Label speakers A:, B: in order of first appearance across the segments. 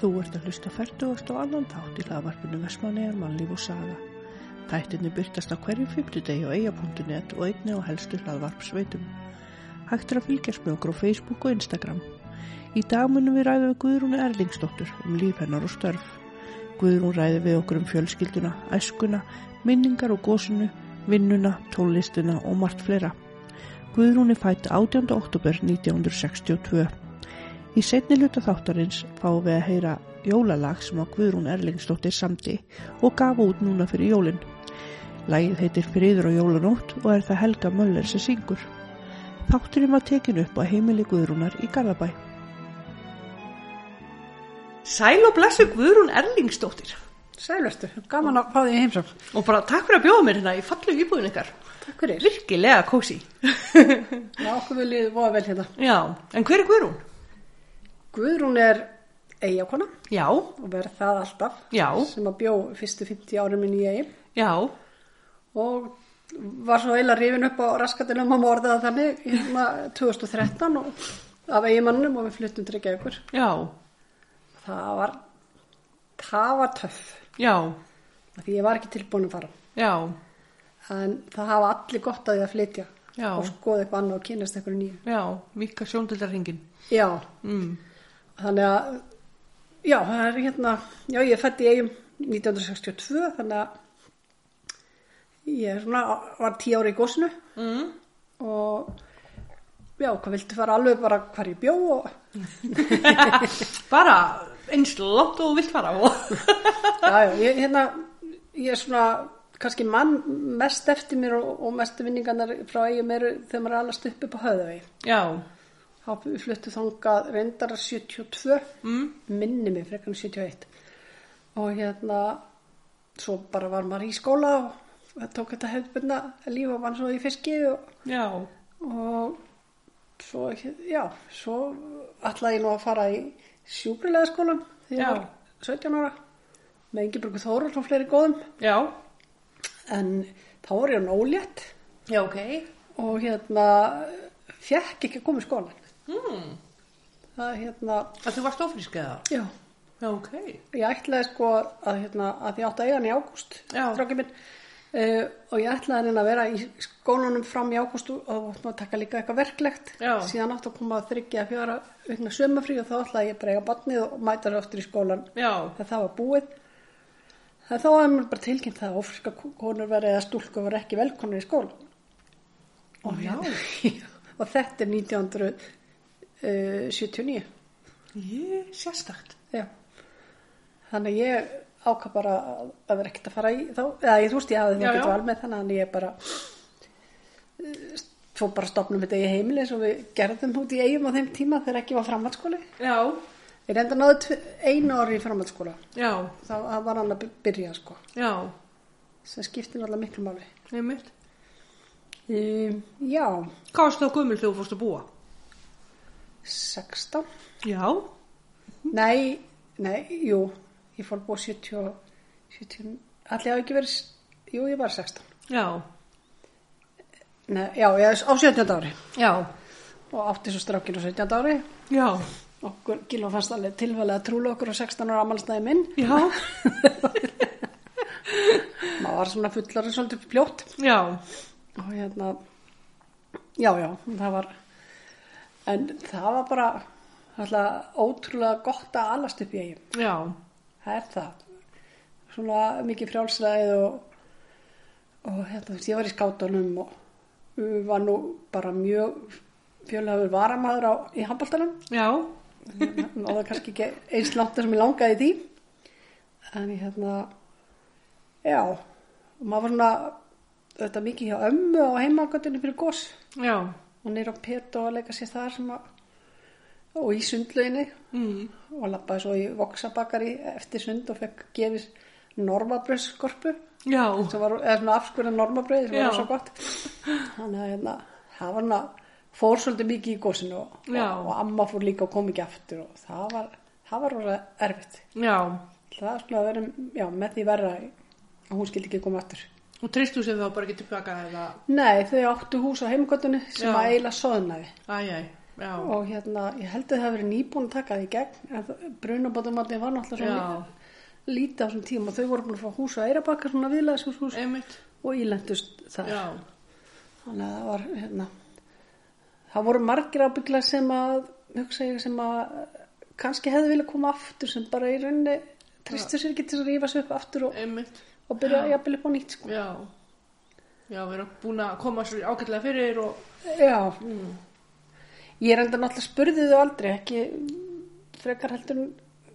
A: Þú ert að hlusta færtugast og annan þátt í laðvarpinu Vestmannegar mannlíf og saga. Þættinni byrtast á hverjum fymtudegi á eia.net og einni á helstu laðvarpsveitum. Hægt er að fylgjast með okkur á Facebook og Instagram. Í dag munum við ræða við Guðrúnu Erlingsdóttur um líf hennar og störf. Guðrún ræði við okkur um fjölskylduna, æskuna, minningar og gósunu, vinnuna, tónlistuna og margt fleira. Guðrún er fætt 18. oktober 1962. Í setni hluta þáttarins fáum við að heyra jólalag sem á Guðrún Erlingsdóttir samti og gaf út núna fyrir jólin. Lagið heitir Friður og jólanótt og er það Helga Möller sem syngur. Þátturinn var tekin upp á heimili Guðrúnar í Garðabæ. Sæl og blessu Guðrún Erlingsdóttir
B: Sælustu, gaman að fá því heimsókn.
A: og bara takk fyrir að bjóða mér hérna í fallu íbúðin ykkar.
B: Takk fyrir.
A: Virkilega kósi.
B: Já, okkur vil ég voða vel hérna.
A: Já, en hver er Guðrún?
B: Guðrún er eigakona
A: Já,
B: og verð það alltaf.
A: Já.
B: Sem að bjó fyrstu 50 árum minn í eigin
A: já,
B: og var svo eila rifin upp á raskatinn um að morða það þannig hérna 2013 og af eigimannum og við fluttum til Reykjavíkur.
A: já,
B: Það var, það var töff.
A: já,
B: af Því ég var ekki tilbúin að fara.
A: já,
B: En það hafa allir gott að því að flytja
A: Já.
B: og skoða eitthvað annað og kynast eitthvað nýju.
A: já, mikka sjóndildarhingin.
B: Já,
A: Mm.
B: þannig að já, það er hérna já, ég fætti í eigum 1962 þannig að ég er svona, var tíu ári í gósinu
A: Mm.
B: og já, hvað viltu fara alveg bara hvar ég bjó og
A: bara eins langt og þú vilt fara og...
B: já, já, ég, hérna ég er svona, kannski mann mest eftir mér og, og mestu vinningarnar frá eigum eru þegar maður er allast upp upp á höðavegi
A: já,
B: þá við fluttu þangað reyndar 72 mm. minni mig frekar en 71 og hérna svo bara var maður í skóla og það tók þetta hefðbunna líf og vann svo í fiski og,
A: já,
B: og svo, já, svo ætlaði ég nú að fara í sjúkrilega skólan þegar
A: Já.
B: ég var 17 ára með yngi brugu þórar og fleiri góðum
A: já,
B: en þá var ég nólétt
A: já, ok,
B: og hérna fekk ekki að koma í skólan
A: mm.
B: það hérna,
A: að þú varst ofrísk eða?
B: já
A: Já, ok,
B: Ég ætlaði sko að, hérna, að ég átti að eiga hann í ágúst,
A: Já.
B: strákið minn, uh, og ég ætlaði hann að vera í skólanum fram í ágúst og þá áttum að taka líka eitthvað verklegt.
A: Já.
B: Síðan áttu að koma að þryggja að fjóra vegna sömafrí og þá ætlaði ég bara að eiga barnið og mæta það aftur í skólan.
A: já,
B: Þegar það var búið. Það þá var mér bara tilkynnt það að ofriska konur verið eða stúlku verið ekki velkonur í skólan. Og,
A: Já.
B: hérna- og þetta er eh, 1979.
A: ég sérstakt,
B: Já, þannig að ég ákvað bara að að vera ekkert að fara í þá, eða ég þúst ég hafði
A: Já,
B: það
A: já.
B: getur alveg þannig að ég bara eh, fór bara að stopnum þetta í heimili eins og við gerðum út í eigum á þeim tíma þegar ekki var framhaldsskóli.
A: já,
B: Ég reynda náðu tve- einu ári í framhaldsskóla,
A: já,
B: þá þá var hann að by- byrja sko,
A: já,
B: sem skipti náttúrulega miklu máli.
A: einmitt.
B: Um, já,
A: Hvað varst þá gömul þegar þú fórst að búa?
B: 16,
A: Já,
B: nei, nei, jú, ég fór búið 70, 70, allir hafa ekki verið, s- jú, ég var 16.
A: já,
B: Nei, já, ég er á 17. ári
A: já,
B: og átti svo strákin á 17. ári.
A: já,
B: Okkur, Gilva fannst alveg tilfælega að trúla okkur á 16 ára amalstæði minn.
A: já,
B: Maður var svona fullarinn svolítið fljótt
A: já,
B: og hérna, já, já, það var, en það var bara alltaf ótrúlega gott að alast upp í eigin.
A: já,
B: Það er það. Svona mikið frjálsræði og, og hérna, þú veist, ég var í skátunum og var nú bara mjög fjölhafur varamaður á, í handbaltanum.
A: já,
B: og það kannski ekki eins langt sem ég langaði í því en ég hérna já, og maður var svona þetta mikið hjá ömmu og heimangöndinu fyrir gos
A: já,
B: og nýr á pet og að leika sér þar sem að og í sundlauginni
A: mm.
B: og lappaði svo í voksabakari eftir sund og fekk gefis normabröðskorpu
A: já,
B: sem var, eða svona afskurða normabröði sem
A: Já.
B: var svo gott þannig að hérna, það var hérna fór svolítið mikið í gósinu og,
A: Já.
B: og, og amma fór líka og kom ekki aftur og það var, það var rosa erfitt
A: já,
B: það var svona að vera, já, með því verra að hún skildi ekki koma aftur
A: og treystu sem þá bara ekki tilbaka eða,
B: nei, þau áttu hús á heimgötunni sem
A: Já.
B: að eiginlega soðnaði
A: æj, æj, já,
B: og hérna, ég held að það hafi verið nýbúin að taka því gegn en brunabótumatni var náttúrulega
A: Já.
B: svo lí- lítið á þessum tíma og þau voru búin að fá hús á Eirabakka svona viðlæðshús
A: einmitt,
B: og ílendust þar
A: já,
B: þannig að það var hérna, það voru margir ábyggla sem að hugsa ég sem að kannski hefði vilja koma aftur sem bara í rauninni tristur sér ekki til að rífa sig upp aftur og,
A: einmitt,
B: og byrja að jafnvel upp á nýtt sko.
A: já, já, við erum búin að koma svo ágætlega fyrir og,
B: Já Mm. Ég er enda náttúrulega spurði þau aldrei ekki frekar heldur en,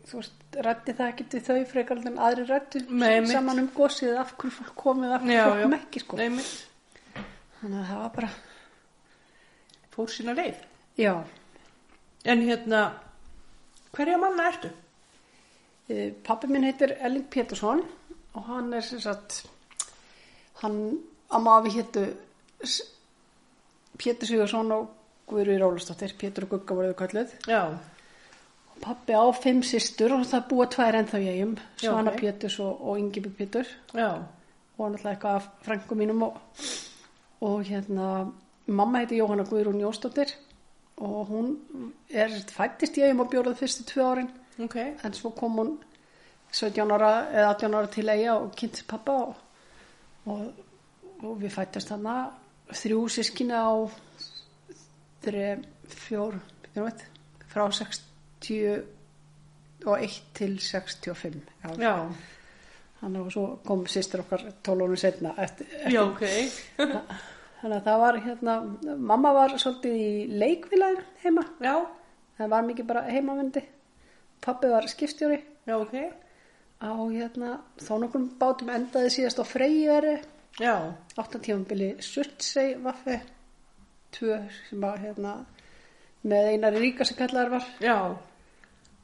B: þú veist, rætti það ekki við þau frekar heldur en aðri rættu
A: Nei, mitt.
B: saman um gosið af hverju fólk komið af hverju
A: já,
B: fólk
A: já,
B: kom ekki sko.
A: einmitt,
B: þannig að það var bara
A: fór sína leið.
B: já,
A: En hérna, hverja manna ertu?
B: Eh, pappi minn heitir Elling Pétursson og hann er sem sagt hann, amma afi héttu S- Pétur Sigursson og Guðrúi Rólastóttir Pétur og Gugga voruðu kölluð
A: Já,
B: Pappi á fimm systur og það búa tvær ennþá ég um,
A: Já,
B: Svana
A: ok.
B: Péturs og, og Ingibjörg Pétur
A: já,
B: og náttúrulega eitthvað af frængu mínum og, og hérna, mamma heiti Jóhanna Guðrún Jóstóttir og hún er fættist ég um að bjóra það fyrstu tvö árin
A: ok,
B: en svo kom hún 17 ára eða 18 ára til eiga og kynnt pappa og, og, og við fættist þarna þrjú sískina á þre, fjór, byrjum við, frá 60 og 1 til 65 já,
A: já,
B: Þannig að svo kom sýstir okkar tólónu setna. Eftir,
A: já, ok,
B: þannig að það var hérna, mamma var svolítið í leikvilaðir heima.
A: já,
B: Það var mikið bara heimavindi. Pappi var skiptjóri
A: já, ok,
B: á hérna, þá nokkrum bátum endaði síðast á Freyjari.
A: já,
B: Áttatífambili Surtsey vaffi. Tvö sem var hérna með einari ríka sem kallaðar var.
A: já,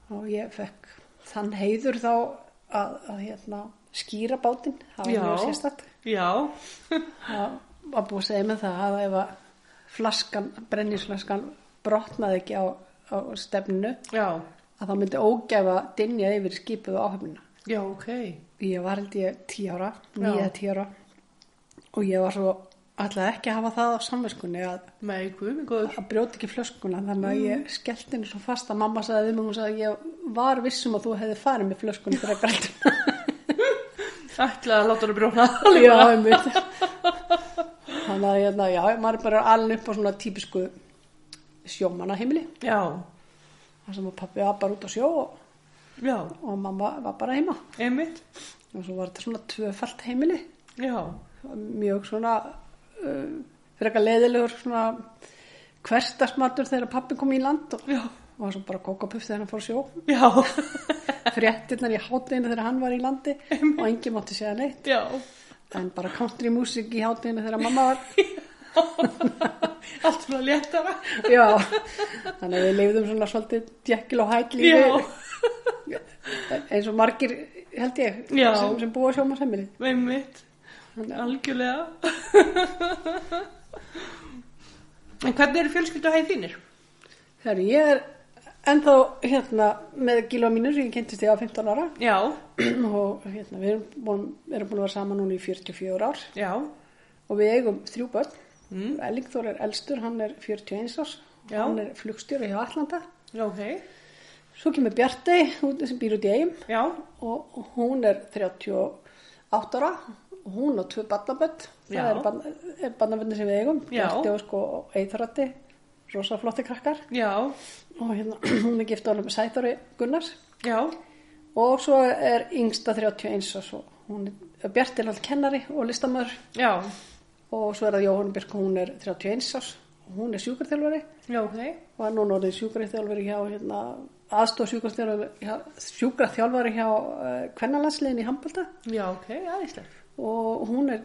B: Og ég fekk þann heiður þá að, að hérna skýra bátinn. Það
A: Já.
B: var mjög sérstætt.
A: já,
B: það var búið að segja með það að ef að flaskan, brennisflaskan brotnaði ekki á, á stefnu
A: já,
B: að þá myndi ógæfa dinja yfir skipið og áhafnina
A: já, ok,
B: ég var held ég tí ára,
A: Já.
B: nýja tí ára og ég var svo alltaf ekki að hafa það á samviskunni að,
A: með guð, minn góður,
B: að brjóta ekki flöskuna þannig að ég skellti henni svo fast að mamma sagði um og hún sagði ég var vissum að þú hefði farið með flöskuna frekar heldur en-
A: ætlaði að láta hann brjóna,
B: já, einmitt þannig að hérna, já, maður er bara alveg upp á svona típisku sjómanna heimili
A: já,
B: þar sem að pappi var bara út á sjó og,
A: já,
B: og mamma var bara heima
A: einmitt,
B: og svo var þetta svona tvöfalt heimili
A: já,
B: mjög svona uh, frekar leiðilegur svona hverstasmatur þegar pappi kom í land og,
A: já,
B: og svo bara kókapuff þegar hann fór á sjó
A: já,
B: fréttirnar í hátinu þegar hann var í landi og enginn mátti segja neitt
A: já,
B: en bara country music í hátinu þegar mamma var
A: allt svona léttara,
B: Já, þannig að við lifðum svona svolítið djekkil og hækil í
A: já,
B: eins og margir, held ég,
A: Já.
B: sem, sem búa sjómasemmili.
A: einmitt, algjörlega, en hvernig eru fjölskylduhæð þínir?
B: Þegar ég er ennþá hérna með gíla mínur, ég kynntist ég á 15 ára
A: Já,
B: og hérna, við erum búin, erum búin að vera saman núna í 44 ár
A: já,
B: og við eigum þrjú börn. Mm. Elling Þór er elstur, hann er 41 árs,
A: Já.
B: hann er flugstjóri hjá Atlanta.
A: já, ok,
B: Svo kemur Bjartey, hún sem býr út í eigum
A: já,
B: og hún er 38 ára og hún á tvö barnabönd
A: Já.
B: það er barnaböndin sem við eigum
A: Já.
B: Bjarti og sko eithrætti rosa flotti krakkar
A: já,
B: og hérna, hún er gift á honum Sæþóri Gunnars
A: já,
B: og svo er yngsta 31 og svo hún er Bjarti er alltaf kennari og listamöður
A: já,
B: og svo er það Jóhann Birk hún er 31 árs og hún er sjúkarþjálfari
A: já, ok,
B: og er núna orðið sjúkarþjálfari hjá hérna, aðstof sjúkarþjálfari sjúkarþjálfari hjá uh, kvennalandsliðin í handbalta
A: já, ok, aðeinslega,
B: og hún er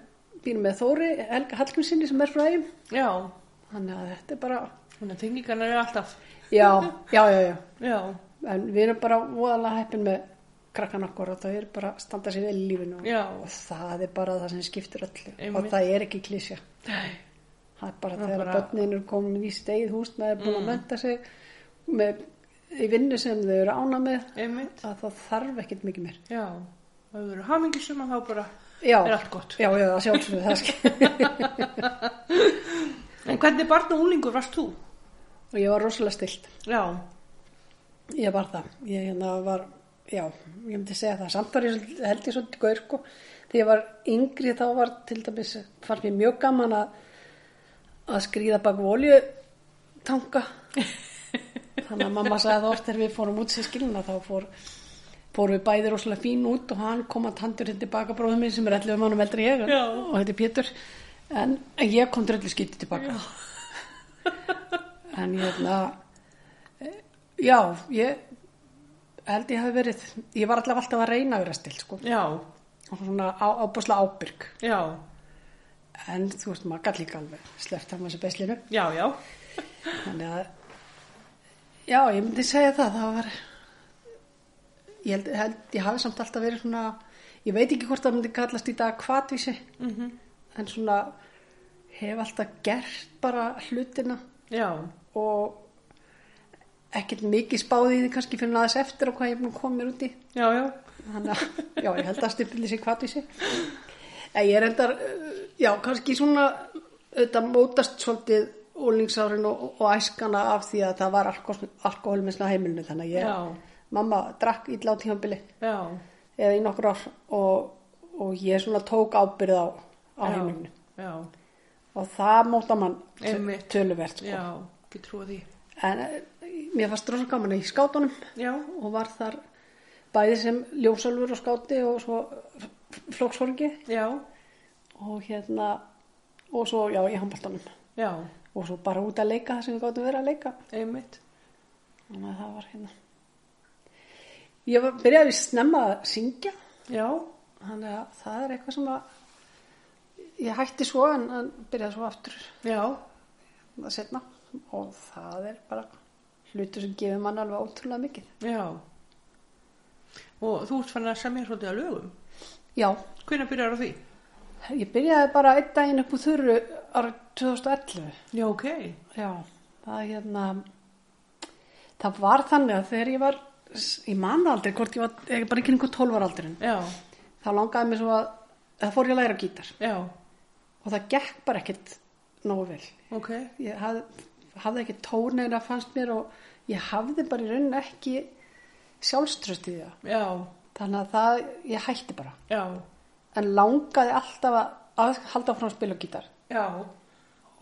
B: býr með Þóri Helga Hallgrímsinni sem er frá þeim
A: já,
B: þannig að þetta er bara
A: þannig að tengingarna eru alltaf,
B: já, já, já, já
A: já,
B: en við erum bara voðalega heppin með krakkan okkur og það er bara að standa sér vel í lífinu og,
A: Já.
B: og það er bara það sem skiptir öllu
A: Einmitt.
B: og það er ekki klísja
A: Nei,
B: það er bara
A: Það er
B: þegar bara...
A: bara- Mm.
B: börnin eru komin í stegið húsnaði búin að menta sig með, í vinnu sem þau eru ána með
A: einmitt,
B: að það þarf ekkert mikið mér
A: já, ef við erum hamingisum þá bara
B: já,
A: er allt gott.
B: já, já, það sko. sjálfsögðu það sk-
A: En hvernig barn og úlingur varst þú?
B: og ég var rosalega stilt
A: Já,
B: ég var það, ég hérna var já, ég myndi segja það samt var ég svolítið- held ég svolítið gaur sko þegar ég var yngri þá var til dæmis fannst mér mjög gaman að að skrýða bak volju tanka þannig að mamma sagði það oft þegar við fórum út sér skilina þá fór, fórum við bæði rosalega fín út og hann kom að tandur hérna tilbaka bróðum minn sem er 11 mannum eldri en ég
A: Já.
B: og þetta er Pétur en, en ég kom dröllu skýtti tilbaka en hérna Já, ég held ég hafi verið, ég var allavega alltaf að reyna að vera stil, sko,
A: já,
B: og svona á- ábúslega ábyrg,
A: já,
B: en þú veist maður gæti líka alveg sleppt af maður þessu beslinu,
A: já, já,
B: þannig að, já, ég myndi segja það, það var, ég held, held, ég hafi samt alltaf verið svona, ég veit ekki hvort það myndi kallast í dag kvatvísi, -hmm. en svona hef alltaf gert bara hlutina
A: já,
B: og ekkert mikið spáði því kannski fyrir aðeins eftir og hvað ég er búin að koma mér út í.
A: já, já,
B: þannig að já, ég held að stimpildi sér hvað í sig en ég er endar uh, já, kannski svona þetta mótast svolítið úlingsárin og, og æskana af því að það var alkoholmisna heimilinu þannig að ég,
A: Já.
B: mamma drakk illa á tímanbili
A: já,
B: eða í nokkur ár og, og ég svona tók ábyrð á, á
A: já,
B: heimilinu
A: já,
B: og það móta mann töl-
A: Einmitt.
B: töluvert sko.
A: já, ekki trúa því,
B: en eh, mér fannst rosa gaman í skátunum
A: já,
B: og var þar bæði sem ljósálfur og skáti og svo flóksforgi
A: já,
B: og hérna og svo já í handbóltanum
A: já,
B: og svo bara út að leika það sem við gáttum verið að leika
A: einmitt,
B: þannig að það var hérna ég var, byrjaði snemma að syngja
A: já,
B: þannig að það er eitthvað sem að ég hætti svo en, en byrjaði svo aftur
A: já,
B: að setna og það er bara hlutur sem gefur mann alveg ótrúlega mikið
A: já, og þú ert fann að semja svolítið að lögum,
B: já,
A: hvenær byrjar á því?
B: ég byrjaði bara einn daginn upp úr þurru ára 2011
A: Já, ok,
B: Já, það er hérna það var þannig að þegar ég var ég man það aldrei hvort ég var ég er bara ekki einhver 12 ára aldurinn
A: já,
B: þá langaði mér svo að það fór ég að læra á gítar
A: já,
B: og það gekk bara ekkit nógu vel
A: ok,
B: ég haf, hafði ekki tóneina fannst mér og ég hafði bara í raunin ekki sjálfströst í það
A: já,
B: þannig að það, ég hætti bara
A: já,
B: en langaði alltaf að, að halda áfram að spila á gítar
A: já,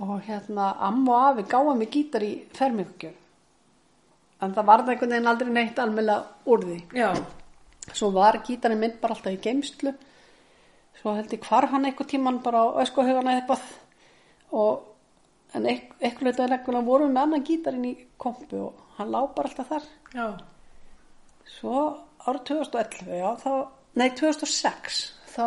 B: og hérna amma og afi gáða mig gítar í fermingugjöf en það varð einhvern veginn aldrei neitt almennlega úr því
A: já,
B: svo var gítarinn minn bara alltaf í geimslu svo held ég hvar hann einhvern tíman bara á öskuhugana eitthvað og en eit- eitthvað leitað legguna vorum við með annan gítarinn í kompu og hann lá bara alltaf þar
A: já,
B: svo ára 2011 já, þá, nei 2006 þá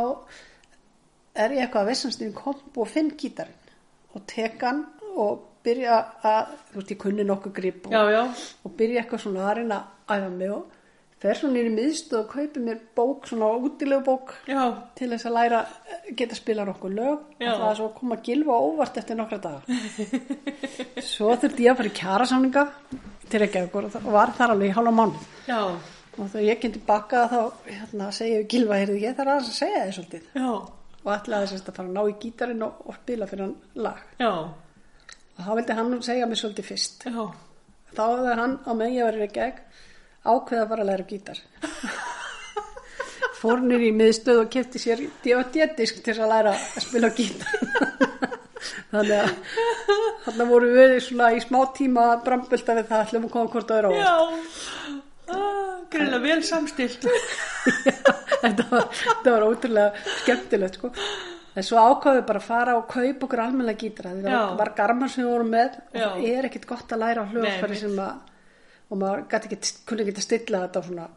B: er ég eitthvað að vissanst í kompu og finn gítarinn og tek hann og byrja að, þú veist, ég kunni nokkuð grip og,
A: já, já,
B: og byrja eitthvað svona að reyna að æfa mig og fer svona inn í miðstu og kaupi mér bók, svona útilegu bók
A: já,
B: til þess að læra, eh, geta spilað nokkuð lög
A: Já.
B: og það er svo að koma að gilfa óvart eftir nokkra daga svo þurfti ég að fara í kjarasamninga til ekki og var þar alveg í hálfa mánuð
A: já,
B: og þegar ég kem tilbaka þá hérna, segja við Gilva, heyrðu ég þarf aðeins að segja þér svolítið
A: já,
B: og ætlaði þess að fara að ná í gítarinn og, og spila fyrir hann lag
A: já,
B: og þá vildi hann nú segja mér svolítið fyrst
A: já,
B: þá hefði hann á meðan ég var í gegn ákveða að fara að læra á gítar fór nýr í miðstöð og kefti sér DVD-disk til þess að læra að spila á gítar þannig að þarna voru við svona í smá tíma brambulta við það ætlum að koma hvort á er á
A: já, Ah, greinilega vel samstilt,
B: þetta, var, þetta var ótrúlega skemmtilegt sko. en svo ákvaðum við bara að fara og kaupa okkur almennlega gítara því
A: Já.
B: það var garmar sem við vorum með og
A: Já.
B: það er ekkit gott að læra á
A: Nei,
B: hljóðfæri
A: mitt.
B: sem að og maður gat ekki, kunni ekki að stilla þetta og svona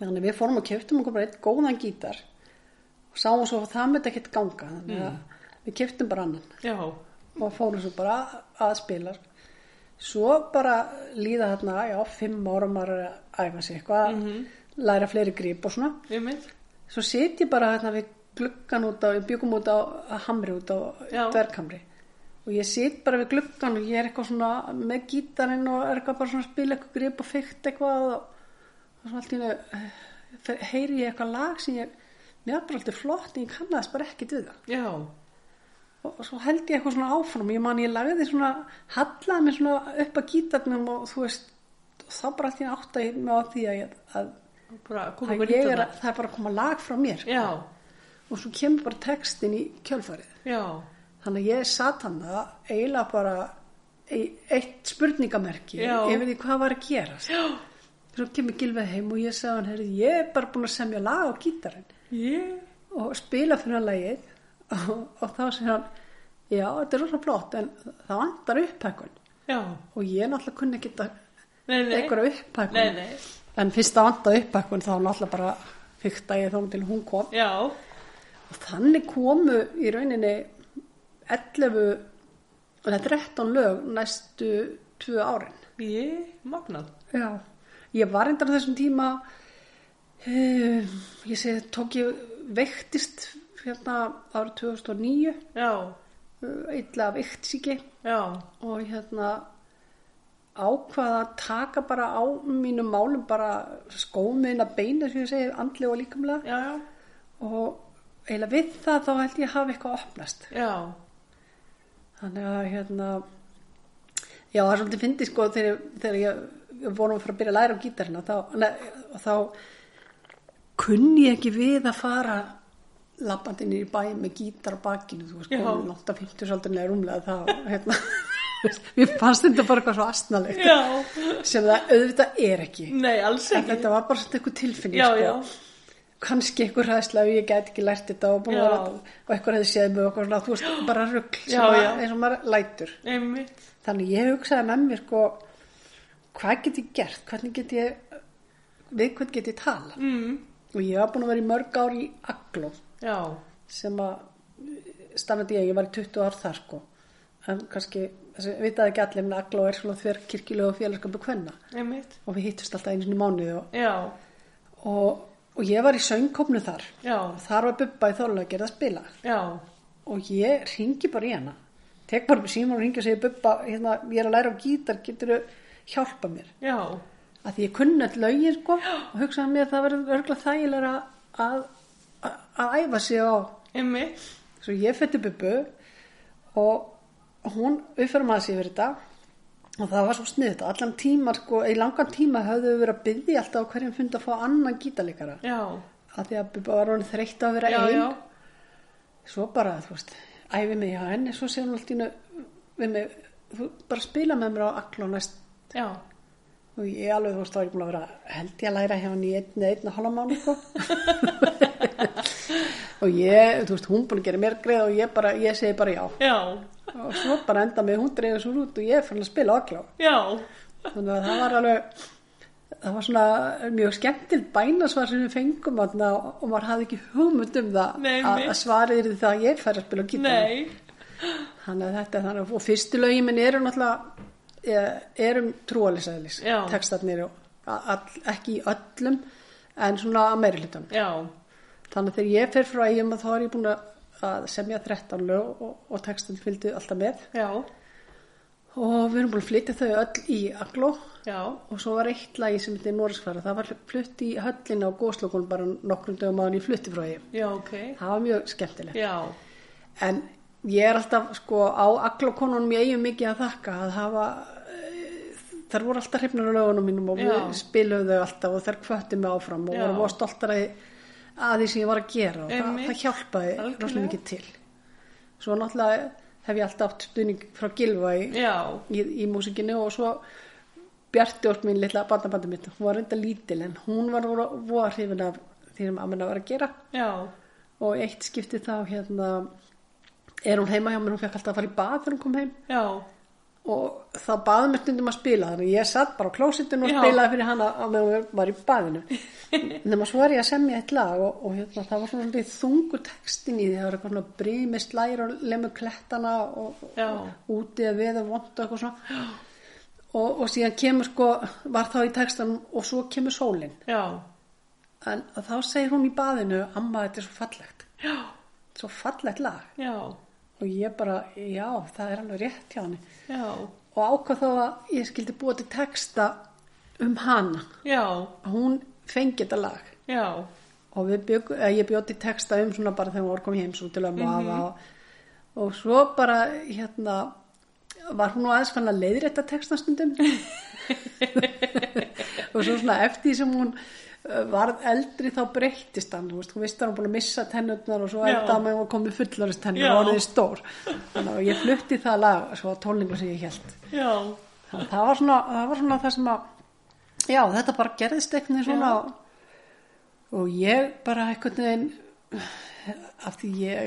B: þannig að við fórum og keftum okkur bara eitt góðan gítar og sáum svo að það myndi ekkit ganga þannig
A: Mm.
B: að við keftum bara annan
A: já,
B: og fórum svo bara að spila svo bara líða þarna já, fimm ára maður er að æfa sig eitthvað
A: Mhm.
B: læra fleiri grip og svona
A: ég mynd,
B: svo sit ég bara hérna við gluggan út á, við byggum út á á hamri út á
A: Já.
B: dverghamri og ég sit bara við gluggan og ég er eitthvað svona með gítarinn og er eitthvað bara svona að spila eitthvað grip og fyrt eitthvað og, og svona allt í einu eh, fer- heyri ég eitthvað lag sem ég mér er bara alltaf flott en ég kannaðist bara ekkit við það
A: já,
B: og svo held ég eitthvað svona áfram ég man ég lagði svona, hallaði mér svona upp að gítarnum og þú veist og þá bara allt í átt að ég með á því að, ég- að,
A: Og bara koma
B: að
A: okkur
B: ég
A: nýtt
B: er
A: hana.
B: að það er bara að koma lag frá mér
A: Já,
B: og svo kemur bara textin í kjölfarið
A: já,
B: þannig að ég satt hann það eiginlega bara í eitt spurningamerki
A: Já.
B: yfir því hvað var að gerast
A: já,
B: svo kemur Gilveð heim og ég sagði hann heyrðu, ég er bara búin að semja lag á gítarinn
A: ég,
B: og spila fyrir hann lagið og, og þá segir hann já, þetta er rosa flott en það vantar upphækun
A: já,
B: og ég náttúrulega kunni ekki þetta
A: nei, nei,
B: einhverja upphækun
A: nei, nei,
B: en fyrst það vantaði upphækun þá náttúrulega bara fyrta ég þá til hún kom
A: já,
B: og þannig komu í rauninni 11 eða 13 lög næstu tvö árin
A: ég, magnað,
B: já, ég var endar á þessum tíma um, ég segi tók ég veiktist hérna árið 2009
A: já,
B: uh, illa veiksíki
A: já,
B: og hérna ákvaða að taka bara á mínum málum bara skómiðin að beina sem ég segi andlega og líkamlega
A: já, já,
B: og eiginlega við það þá held ég að hafa eitthvað opnast
A: já,
B: þannig að hérna já það er svolítið fyndið sko þegar, þegar ég við vorum að fara að byrja að læra á gítarina þá, ne, þá kunni ég ekki við að fara labbandi niður í bæ með gítar á bakinu, þú veist,
A: Já.
B: komin 8-50 svolítið neður umlega þá, hérna mér fannst þetta bara eitthvað svo astnalegt
A: já,
B: sem það auðvitað er ekki
A: nei, alls
B: en
A: ekki,
B: þetta var bara svona eitthvað tilfinning
A: já,
B: sko.
A: já,
B: kannski eitthvað hræðsla ef ég get ekki lært þetta og, búin að
A: Já.
B: vera- og eitthvað hefði séð mig og eitthvað svona, þú veist, bara rugg
A: Já, já.
B: eins og maður lætur
A: einmitt,
B: þannig ég hugsaði með mér sko, hvað get ég gert hvernig get ég við hvern get ég tala
A: mm,
B: og ég var búin að vera í mörg ár í Agló
A: já,
B: sem að stannandi ég, ég var í 20 ár þar sko en kannski, þessi, vitaði ekki allir en Agló er svona þverkirkilegu og félagskapu kvenna
A: einmitt,
B: og við hittust alltaf einu sinni í mánuði og,
A: já,
B: og, og ég var í söngkopnu þar
A: já,
B: og þar var Bubba í Þorlaugir að spila
A: já,
B: og ég ringi bara í hana tek bara síma og ringi og segi Bubba, hérna, ég er að læra á gítar, getur hjálpa mér
A: já,
B: að því ég kunni all lögin sko og hugsaði mér að það verður örgulega þægilega að, að, að æfa sig á
A: einmitt,
B: svo ég fætti bubbu og hún uppfærum að sig yfir þetta og það var svo sniðt allan tíma sko, í langan tíma höfðu við verið að byggja alltaf á hverjum fund að fá annan gítarleikara
A: já,
B: að því að bubba var hún þreytt á að vera
A: já,
B: ein
A: já,
B: svo bara, þú veist, æfi mig hjá henni svo segir hún alltaf innu við mig, þú bara spila með mér á allan næst
A: já,
B: og ég alveg þú veist þá er ég búin að vera held ég að læra hjá hann í einn eða einn og halva mánu sko. og ég, þú veist, hún búin að gera mér greið og ég bara, ég segi bara já
A: já,
B: og svo bara enda með hún dreifir svo út og ég er fann að spila okklá
A: já,
B: þannig að það var alveg það var svona mjög skemmtild bænasvar sem við fengum þarna og maður hafði ekki hugmynd um það
A: Nei,
B: að,
A: nei.
B: að svarið er það að ég fær að spila á gítar
A: nei,
B: þannig að þetta er þannig og fyrstu lögin minn eru náttúrulega eh, eru trúalisæðilis
A: Já.
B: textarnir og a- all, ekki í öllum en svona að meiri hlutum
A: já,
B: þannig að þegar ég fer frá eigum þá er ég búin að- að semja 13 lög og, og textin fylgdu alltaf með
A: já,
B: og við erum búin að flytja þau öll í Agló
A: já,
B: og svo var eitt lagi sem þetta er Norsfæra það var flutt í höllina á góslokun bara nokkrum dögum áðan í flutti frá eigum
A: já, ok,
B: það var mjög skemmtilegt
A: já,
B: En ég er alltaf sko á alla konunum ég eigum mikið að þakka að hafa eh, þær voru alltaf hrifnar á lögunum mínum og
A: Já.
B: við spiluðum þau alltaf og þær kvöttu mig áfram og
A: Já.
B: voru voru stoltar að, að því sem ég var að gera og það,
A: Einmitt.
B: það hjálpaði
A: Algjörlega.
B: rosalega mikið til. Svo náttúrulega hef ég alltaf átt stuðning frá Gilva í,
A: já,
B: í, í músikinu og svo Bjarti orð mín litla barnabandi mitt, hún var reynda lítil en hún var voru hrifin af því sem að minna var að gera
A: já,
B: og eitt skipti þá hérna er hún heima hjá mér, hún fekk alltaf að fara í bað þegar hún kom heim
A: já,
B: og þá baði mér stundum að spila þannig að ég satt bara á klósitinu og
A: Já.
B: spilaði fyrir hana á meðan hún var í baðinu nema svo er ég að semja eitt lag og, og hérna, það var svona svolítið þungur textin í því það var eitthvað svona brími slægir og lemur klettana og,
A: Já.
B: og úti að veða vond og eitthvað svona og, og síðan kemur sko var þá í textanum og svo kemur sólin
A: já,
B: en þá segir hún í baðinu amma þetta er svo fallegt
A: já,
B: svo fallegt lag
A: já,
B: og ég bara, já, það er alveg rétt hjá henni
A: já,
B: og ákvað þá að ég skildi búa til texta um hana
A: já,
B: að hún fengi þetta lag
A: já, Mhm.
B: og við bygg, eða, ég bjóti texta um svona bara þegar hún var komið heim svo til að mafa og, og svo bara hérna var hún nú aðeins fann að leiðrétta textastundum og svo svona eftir því sem hún uh, varð eldri þá breyttist hann þú veist, hún visst að hún búin að missa tennutnar og svo
A: Já.
B: elda að hún komið fullarist tennur
A: Já.
B: og orðið stór þannig að ég flutti það lag svo að tólingu sem ég held
A: já,
B: þannig að það var svona það, var svona það sem að já, þetta bara gerðist eitthvað svona
A: Já.
B: og, og ég bara eitthvað neginn af því ég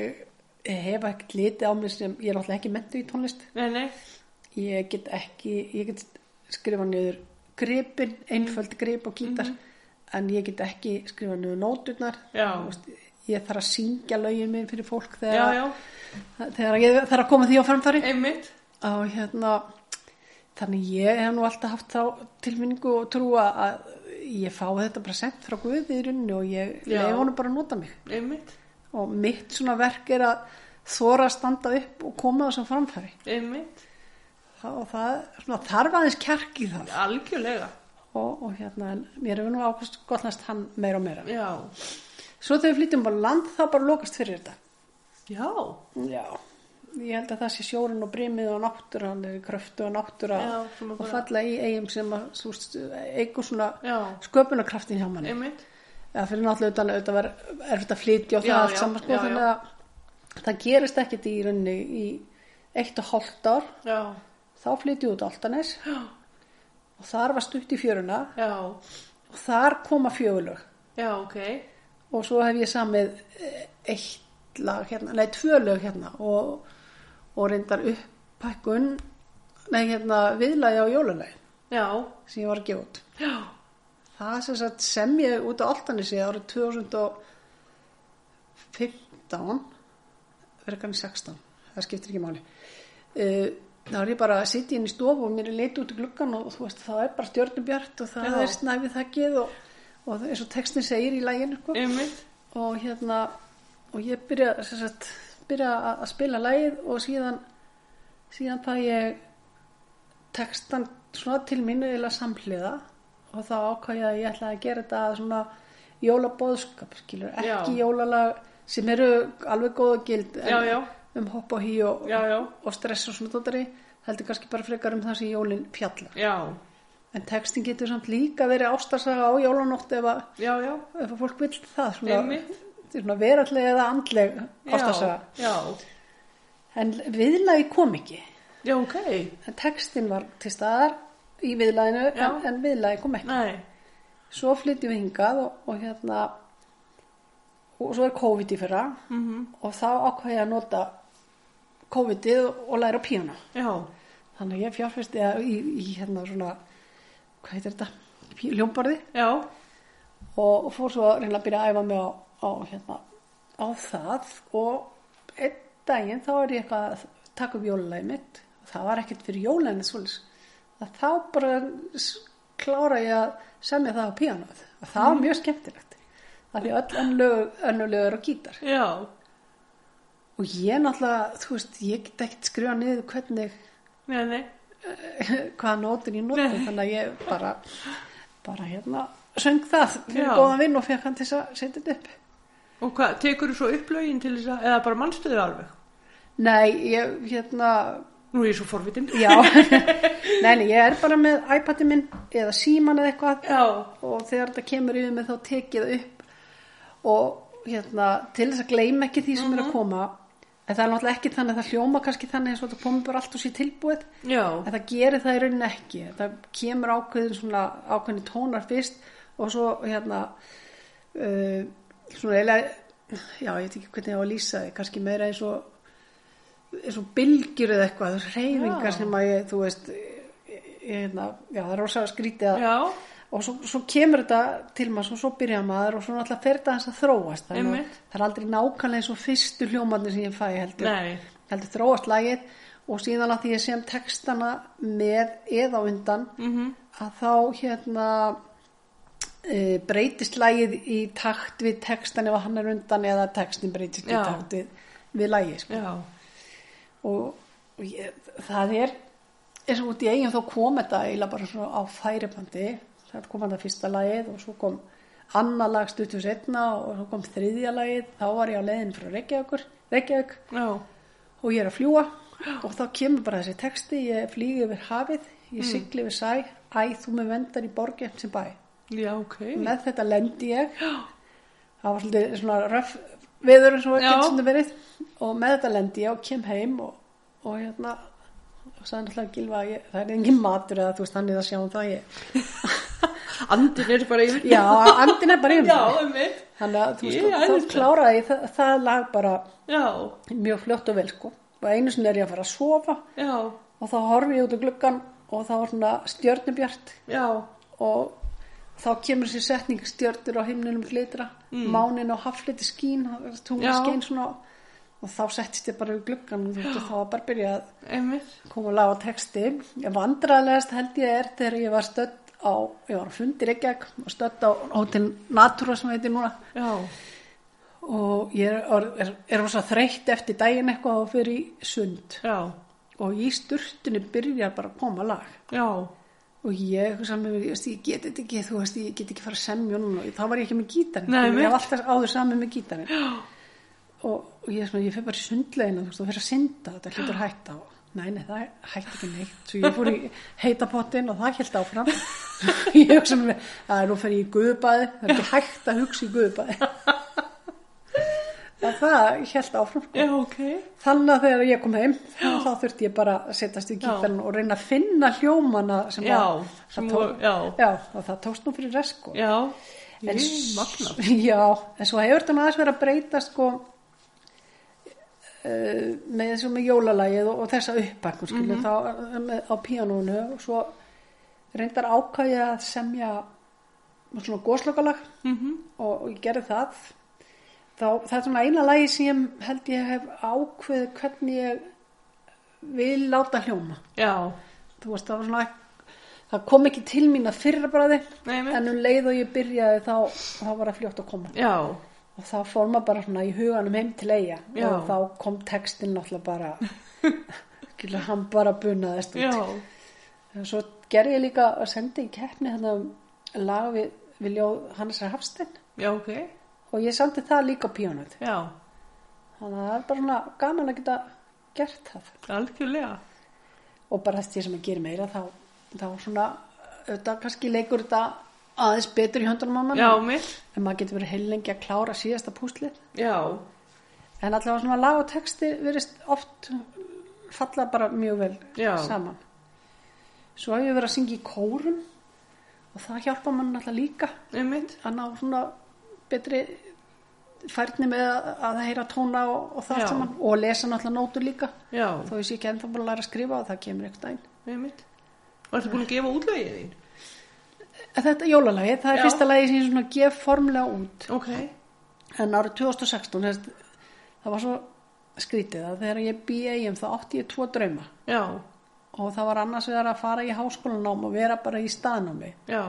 B: hef ekkert litið á mig sem ég er náttúrulega ekki mentu í tónlist
A: nei, nei,
B: ég get ekki ég get skrifa niður gripin, einföld grip og gítar
A: Mhm.
B: en ég get ekki skrifa niður nóturnar
A: Já.
B: Þú veist, ég þarf að syngja lögin minn fyrir fólk
A: já,
B: þegar,
A: já,
B: þegar ég þarf að koma því á framfæri
A: einmitt,
B: og hérna þannig ég hef nú alltaf haft þá tilminningu og trúa að ég fá þetta bara sent frá Guði í runni og ég
A: Já.
B: leif honum bara að nota mig
A: einmitt,
B: og mitt svona verk er að þóra að standa upp og koma þessum framfæri
A: einmitt,
B: Þa- og það svona, þarf aðeins kjark í það
A: algjörlega,
B: og, og hérna, en mér hefur nú ákvæmst gotnast hann meira og meira
A: já,
B: svo þegar við flytjum bara á land þá bara lokast fyrir þetta
A: já,
B: já, ég held að það sé sjórinn og brimið og náttúran er kröftu og náttúra
A: Já, svona
B: og
A: bara-
B: falla í eigum sem að þú veist, eigur svona
A: Já.
B: sköpunarkraftin hjá manni
A: einmitt,
B: eða fyrir náttúrulega utan auðvitað var erfitt að flytja og það
A: Já, já,
B: allt saman sko,
A: já, já.
B: þannig að það gerist ekkit í rauninni í eitt og hálft ár
A: já,
B: þá flytjum við út á Altanes
A: já,
B: og þar var stutt í fjöruna
A: já,
B: og þar koma fjögulög
A: já, ok,
B: og svo hef ég samið eh, eitt lag hérna, nei, tvö lög hérna og, og reyndar upphækkun nei, hérna, viðlagi á jólalagi
A: já,
B: sem ég var að gefa út
A: já,
B: það sem, sagt, sem ég út á Altanesi árið 2015 verkan 16 það skiptir ekki máli uh, þá er ég bara að sitja inn í stofu og mér er leit út í gluggan og þú veist það er bara stjörnubjart og það
A: Já.
B: er snæfið þakkið og, og það- eins og textin segir í læginu sko
A: einmitt,
B: og hérna og ég byrja, sem sagt, byrja að að spila lægið og síðan síðan það ég textan svona til mínu eða samhliða og þá ákvað ég að ég ætlaði að gera þetta að svona jólabóðskap skilur, ekki
A: Já.
B: jólalag sem eru alveg góða gild en
A: Já, já.
B: um hopp og hí og,
A: Já, já.
B: og stress og svona dóttari heldur kannski bara frekar um það sem jólin fjalla
A: já,
B: en textin getur samt líka verið ástarsaga á jólanótt ef að
A: já, já,
B: ef að fólk vil það svona,
A: Einmitt.
B: svona verallega eða andleg
A: já,
B: ástasaga
A: já,
B: en viðlagi kom ekki
A: já, ok,
B: en textin var til staðar í viðlaginu
A: Já.
B: en, en viðlagi kom ekki
A: nei,
B: svo flyttum við hingað og, og hérna og svo er COVID í fyrra
A: mhm,
B: -hmm. og þá ákvað ég að nota COVID-ið og, og læra á píano
A: já,
B: þannig að ég fjárfyrst í, í hérna svona hvað heitir þetta? Pí- Hljómborði
A: já,
B: og, og fór svo að reyna að byrja að æfa mig á, á, hérna, á það og einn daginn þá er ég eitthvað að taka upp jólulegið mitt það var ekkert fyrir jólulegið svolis að þá bara s- klára ég að semja það á píanoð og það
A: Mm.
B: var mjög skemmtilegt af því öll önnulög, önnulög er á gítar
A: já,
B: og ég náttúrulega, þú veist, ég get ekkert skrifa niður hvernig
A: nei, nei,
B: hvaða nótur ég nota
A: Nei.
B: þannig að ég bara bara hérna söng það fyrir
A: Já.
B: góðan vinn og fekk hann til þess að setja þetta upp
A: og hvað, tekur þú svo upplögin til þess að, eða bara mannstuður alveg,
B: Nei, ég, hérna,
A: nú er ég svo forvitin,
B: já, nei, nei, ég er bara með iPadin minn eða síman eða eitthvað
A: já,
B: og þegar þetta kemur yfir mig þá tek ég það upp og hérna, til þess að gleyma ekki því sem er að koma, en það er náttúrulega ekki þannig að það hljóma kannski þannig eins og þetta komi bara allt og sé tilbúið,
A: já,
B: en það gerir það í rauninni ekki, það kemur ákveðin svona ákveðin tónar fyrst og svo hérna, uh, svona eiginlega, já, ég veit ekki hvernig ég á að lýsa því, kannski meira eins og eins og bylgjur eða eitthvað, þessar reyfingar
A: Já.
B: sem að ég, þú veist ég, ég, hérna, já, það er rosa skrítið að,
A: já,
B: og svo, svo kemur þetta til maður og svo byrja maður og svo náttúrulega fer þetta hans að þróast þannig að
A: Einmitt.
B: það er aldrei nákvæmlega eins og fyrstu hljómanir sem ég fæ heldur
A: Nei.
B: heldur þróast lagið og síðan að því ég sem textana með eða á undan
A: Mhm.
B: -hmm. að þá hérna e, breytist lagið í takt við textan ef hann er undan eða textin breytist í
A: Já.
B: takt við, við lagið sko.
A: já,
B: og, og ég, það er eins og út í eigin þá kom þetta eiginlega bara svona á færibandi það kom hann að fyrsta lagið og svo kom annað lag stuttu setna og svo kom þriðja lagið þá var ég á leiðin frá Reykjavíkur, Reykjavík
A: já,
B: og ég er að fljúa og þá kemur bara þessi texti, ég flýg yfir hafið,
A: Mm.
B: ég sigli yfir sæ, æ, þú með vendar í borgin sem bæ.
A: Já, ok.
B: Með þetta lendi ég, það var svolítið svona röf viður eins og
A: Já.
B: ekki sem verið og með þetta lendi ég og kem heim og, og hérna og sagði náttúrulega gilfa að ég, það er engin matur eða þú veist hann er að sjá um það ég
A: Andin er bara yfir.
B: já, andin er bara yfir
A: Já,
B: mig.
A: einmitt.
B: þannig að þú
A: Ég
B: veist,
A: er
B: þú, þú
A: æðisleg.
B: kláraði ég það, það lag bara
A: Já,
B: mjög fljótt og vel sko og einu sinni er ég að fara að sofa
A: já,
B: og þá horfi ég út um gluggan og þá var svona stjörnubjart
A: já.
B: og þá kemur þessi setning stjörnur á himninum glitra mm. mánin á hafliti skín tungl
A: Já.
B: skein svona og þá settist ég bara við gluggan og þú veist, og þá var bara að byrja að
A: Einmitt.
B: koma að laga texti ég vandræðilegast held ég er þegar ég var stödd á, ég var á fundir ekki og stödd á Hotel Natura sem heitir núna
A: Já,
B: og ég er, er, er rosa þreytt eftir daginn eitthvað og fyrir í sund
A: já,
B: og í sturtunni byrjar bara að koma lag
A: já.
B: og ég, hugsa með mér, ég, veist, ég get þetta ekki þú veist, ég get ekki fara að semja núna og þá var ég ekki með gítarinn
A: Nei,
B: ég
A: mitt.
B: hef alltaf áður saman með gítarinn og, og ég, er svona, ég fer bara í sundlegina þú veist, og fer að synda, þetta hlýtur að hætta og nei, nei, það hætti ekki neitt svo ég fór í heitapottin og það held áfram ég hugsa með mér að nú fer ég í guðbæði, það er ekki hægt að hugsa í guðbæði en það held áfram sko.
A: Já, ok.
B: Þannig að þegar ég kom heim þá, þá þurfti ég bara að setjast í gítarinn og reyna að finna hljómana sem
A: Já,
B: að,
A: sem
B: að tók,
A: voru- já.
B: og það tókst nú fyrir resko.
A: Já.
B: En
A: Ég,
B: s-
A: magna.
B: Já, en svo hefur þetta nú aðeins verið að breyta sko uh, með þessu með jólalagið og, og þessa uppakku skilur
A: Mhm.
B: mm þá eh, með, á píanónu og svo reyndar ákvæði að semja svona góslökalag -hmm.
A: Mhm.
B: og, og ég gerði það þá það er svona eina lagi sem ég held ég hef ákveðið hvernig ég vil láta hljóma
A: Já,
B: þú veist það var svona það kom ekki til mín að fyrra bræði
A: Nei, einmitt.
B: en um leið og ég byrjaði þá, þá var það fljótt að koma
A: já,
B: og þá fór maður bara svona í huganum heim til eiga
A: Já.
B: og þá kom textin náttúrulega bara skilur hann bara bunaðist
A: já.
B: út og svo gerði ég líka að senda í keppni þannig að lag við, við ljóð Hannesar Hafstein
A: Já, ok.
B: og ég samti það líka á píónuð
A: Já,
B: þannig að það er bara svona gaman að geta gert það
A: algjörlega.
B: og bara þess ég sem að gera meira þá, þá svona, auðvitað kannski leikur þetta aðeins betur í höndunum á mann
A: Já, mitt.
B: en maður getur verið heilengi að klára síðasta púslið
A: Já,
B: en allavega svona lag og texti verist oft falla bara mjög vel
A: Já.
B: saman svo hef ég verið að syngja í kórum og það hjálpa mann alltaf líka
A: einmitt.
B: að ná svona betri færni með að, að heyra tóna og, og það
A: Já.
B: allt saman og lesa náttúrulega nótur líka
A: Já,
B: þó ég sé ekki ennþá búin að læra að skrifa og það kemur ekkert dæn
A: einmitt. Og ertu búin að gefa útlögið þín?
B: En Þetta jólalagi, það er
A: Já.
B: fyrsta lagi sem ég svona gef formlega út
A: Ok.
B: en árið 2016 þess, það var svo skrítið að þegar ég bý eigum þá átti ég tvo drauma
A: Já,
B: og það var annars vegar að fara í háskólanám og vera bara í staðnámi
A: já.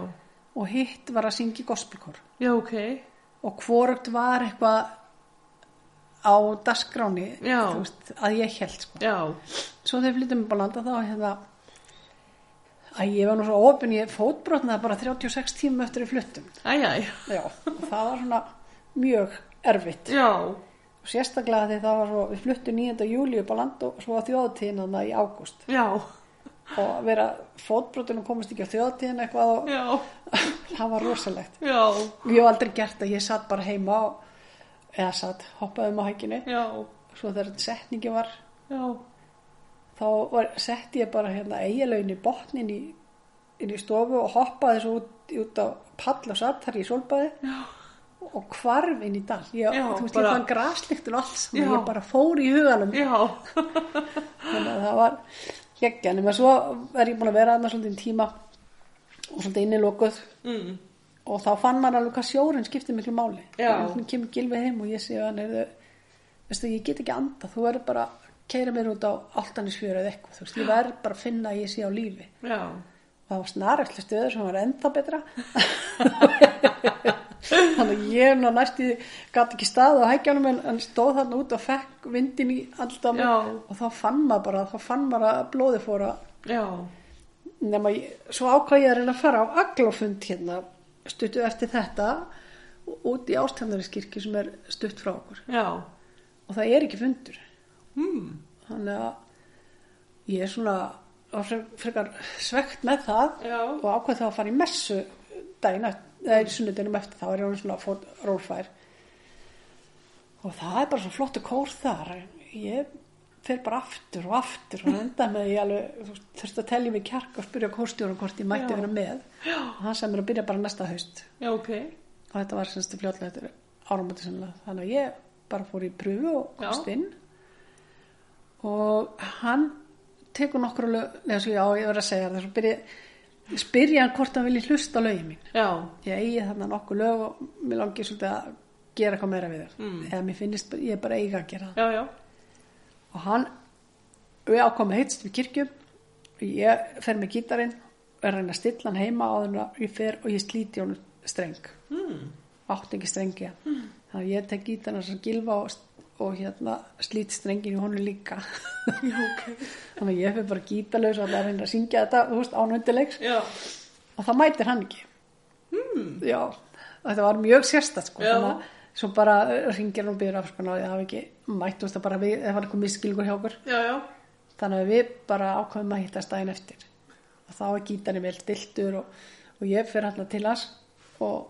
B: og hitt var að syngja í gospelkor
A: Já, ok.
B: og hvorugt var eitthvað á dagskráni
A: Já.
B: þú veist, að ég held sko.
A: Já,
B: svo þegar flyttum upp á landa þá hérna að ég var nú svo opin ég fótbrotnaði bara 36 tíma eftir í fluttum
A: æjæj.
B: Já, og það var svona mjög erfitt.
A: Já,
B: Og sérstaklega því það var svo, við fluttum 9. júli upp á land og svo á þjóðatíðin hann í ágúst.
A: já,
B: Og að vera fótbrotin og komast ekki á þjóðatíðin eitthvað og
A: já,
B: það var rosalegt.
A: já,
B: Ég hef aldrei gert það, ég satt bara heima og, eða satt, hoppaði um á hækinu.
A: já,
B: Svo þegar setningi var,
A: já,
B: þá var, setti ég bara hérna eiginlegin í botnin í, inn í stofu og hoppaði svo út, út á pall og satt þar í solbaði
A: Já.
B: og hvarf inn í dal ég,
A: Já,
B: þú veist
A: bara-
B: ég fann graslyktun og allt saman,
A: Já.
B: ég bara fór í huganum
A: já,
B: þannig að það var geggja nema svo er ég búin að vera þarna svolítið tíma og svolítið innilokuð
A: mm,
B: og þá fann maður alveg hvað sjórinn skiptir miklu máli
A: Já.
B: þannig kemur gilfið heim og ég sé hann er veistu, ég get ekki anda þú verður bara að keira mér út á alltanisfjöru eða eitthvað, þú veist, ég verður bara að finna að ég sé á lífi
A: já,
B: það var snaröldlega stöður sem var ennþá betra þannig að ég ná næst í gæti ekki staðið á hækjanum en, en stóð þarna út og fekk vindin í alltaf
A: Já.
B: og þá fann maður bara þá fann maður að blóði fóra
A: já,
B: nema ég, svo ákvað ég að reyna að fara á aglofund hérna stuttu eftir þetta út í ástændariskirkju sem er stutt frá okkur
A: já,
B: og það er ekki fundur
A: mm,
B: þannig að ég er svona var fre- frekar svegt með það
A: Já.
B: og ákveð þá að fara í messu daginn, eft- eða í sunnudinum eftir þá er ég orðin svona fór, rólfær og það er bara svo flottu kór þar ég fer bara aftur og aftur og enda með ég alveg þú veist, þurfti að telja mig kjark og spyrja kórstjóra hvort ég mætti
A: Já.
B: vera með Já. og hann sem er að byrja bara næsta haust
A: Já, ok.
B: og þetta var semst fljótlega eftir áramóti sennilega þannig að ég bara fór í pröfu og
A: Já.
B: komst inn og hann tekur nokkru lög neða svo já ég verð að segja það svo byrja, spyrja hann hvort hann vilji hlusta á lögin mín
A: Já,
B: ég eigi þarna nokkur lög og mér langi svolítið að gera eitthvað meira við þér
A: Mm.
B: eða mér finnist bara- ég er bara eiga að gera það
A: já, já.
B: og hann við ákomum heitst við kirkju ég fer með gítarinn og er að reyna að stilla hann heima áður en að ég fer og ég slíti honum streng
A: Mm.
B: átti ekki strengi
A: Hmm.
B: mm. þannig að ég tek gítarinn hans að gilfa og, og hérna slít strengin í honum líka
A: Já, ok.
B: þannig að ég fer bara gítarlaus og allar að reyna að syngja þetta þú veist, ánöndilegs
A: Já,
B: og það mætir hann ekki mm. já, og þetta var mjög sérstætt sko,
A: Hmm. Já.
B: þannig að svo bara ringir hann og byrður afskan á því að hafa ekki mætt þú veist það bara við, það var eitthvað miskilgur hjá okkur
A: já, já.
B: þannig að við bara ákveðum að hittast daginn eftir og þá er gítarinn vel diltur og, og ég fyrir hérna til hans og,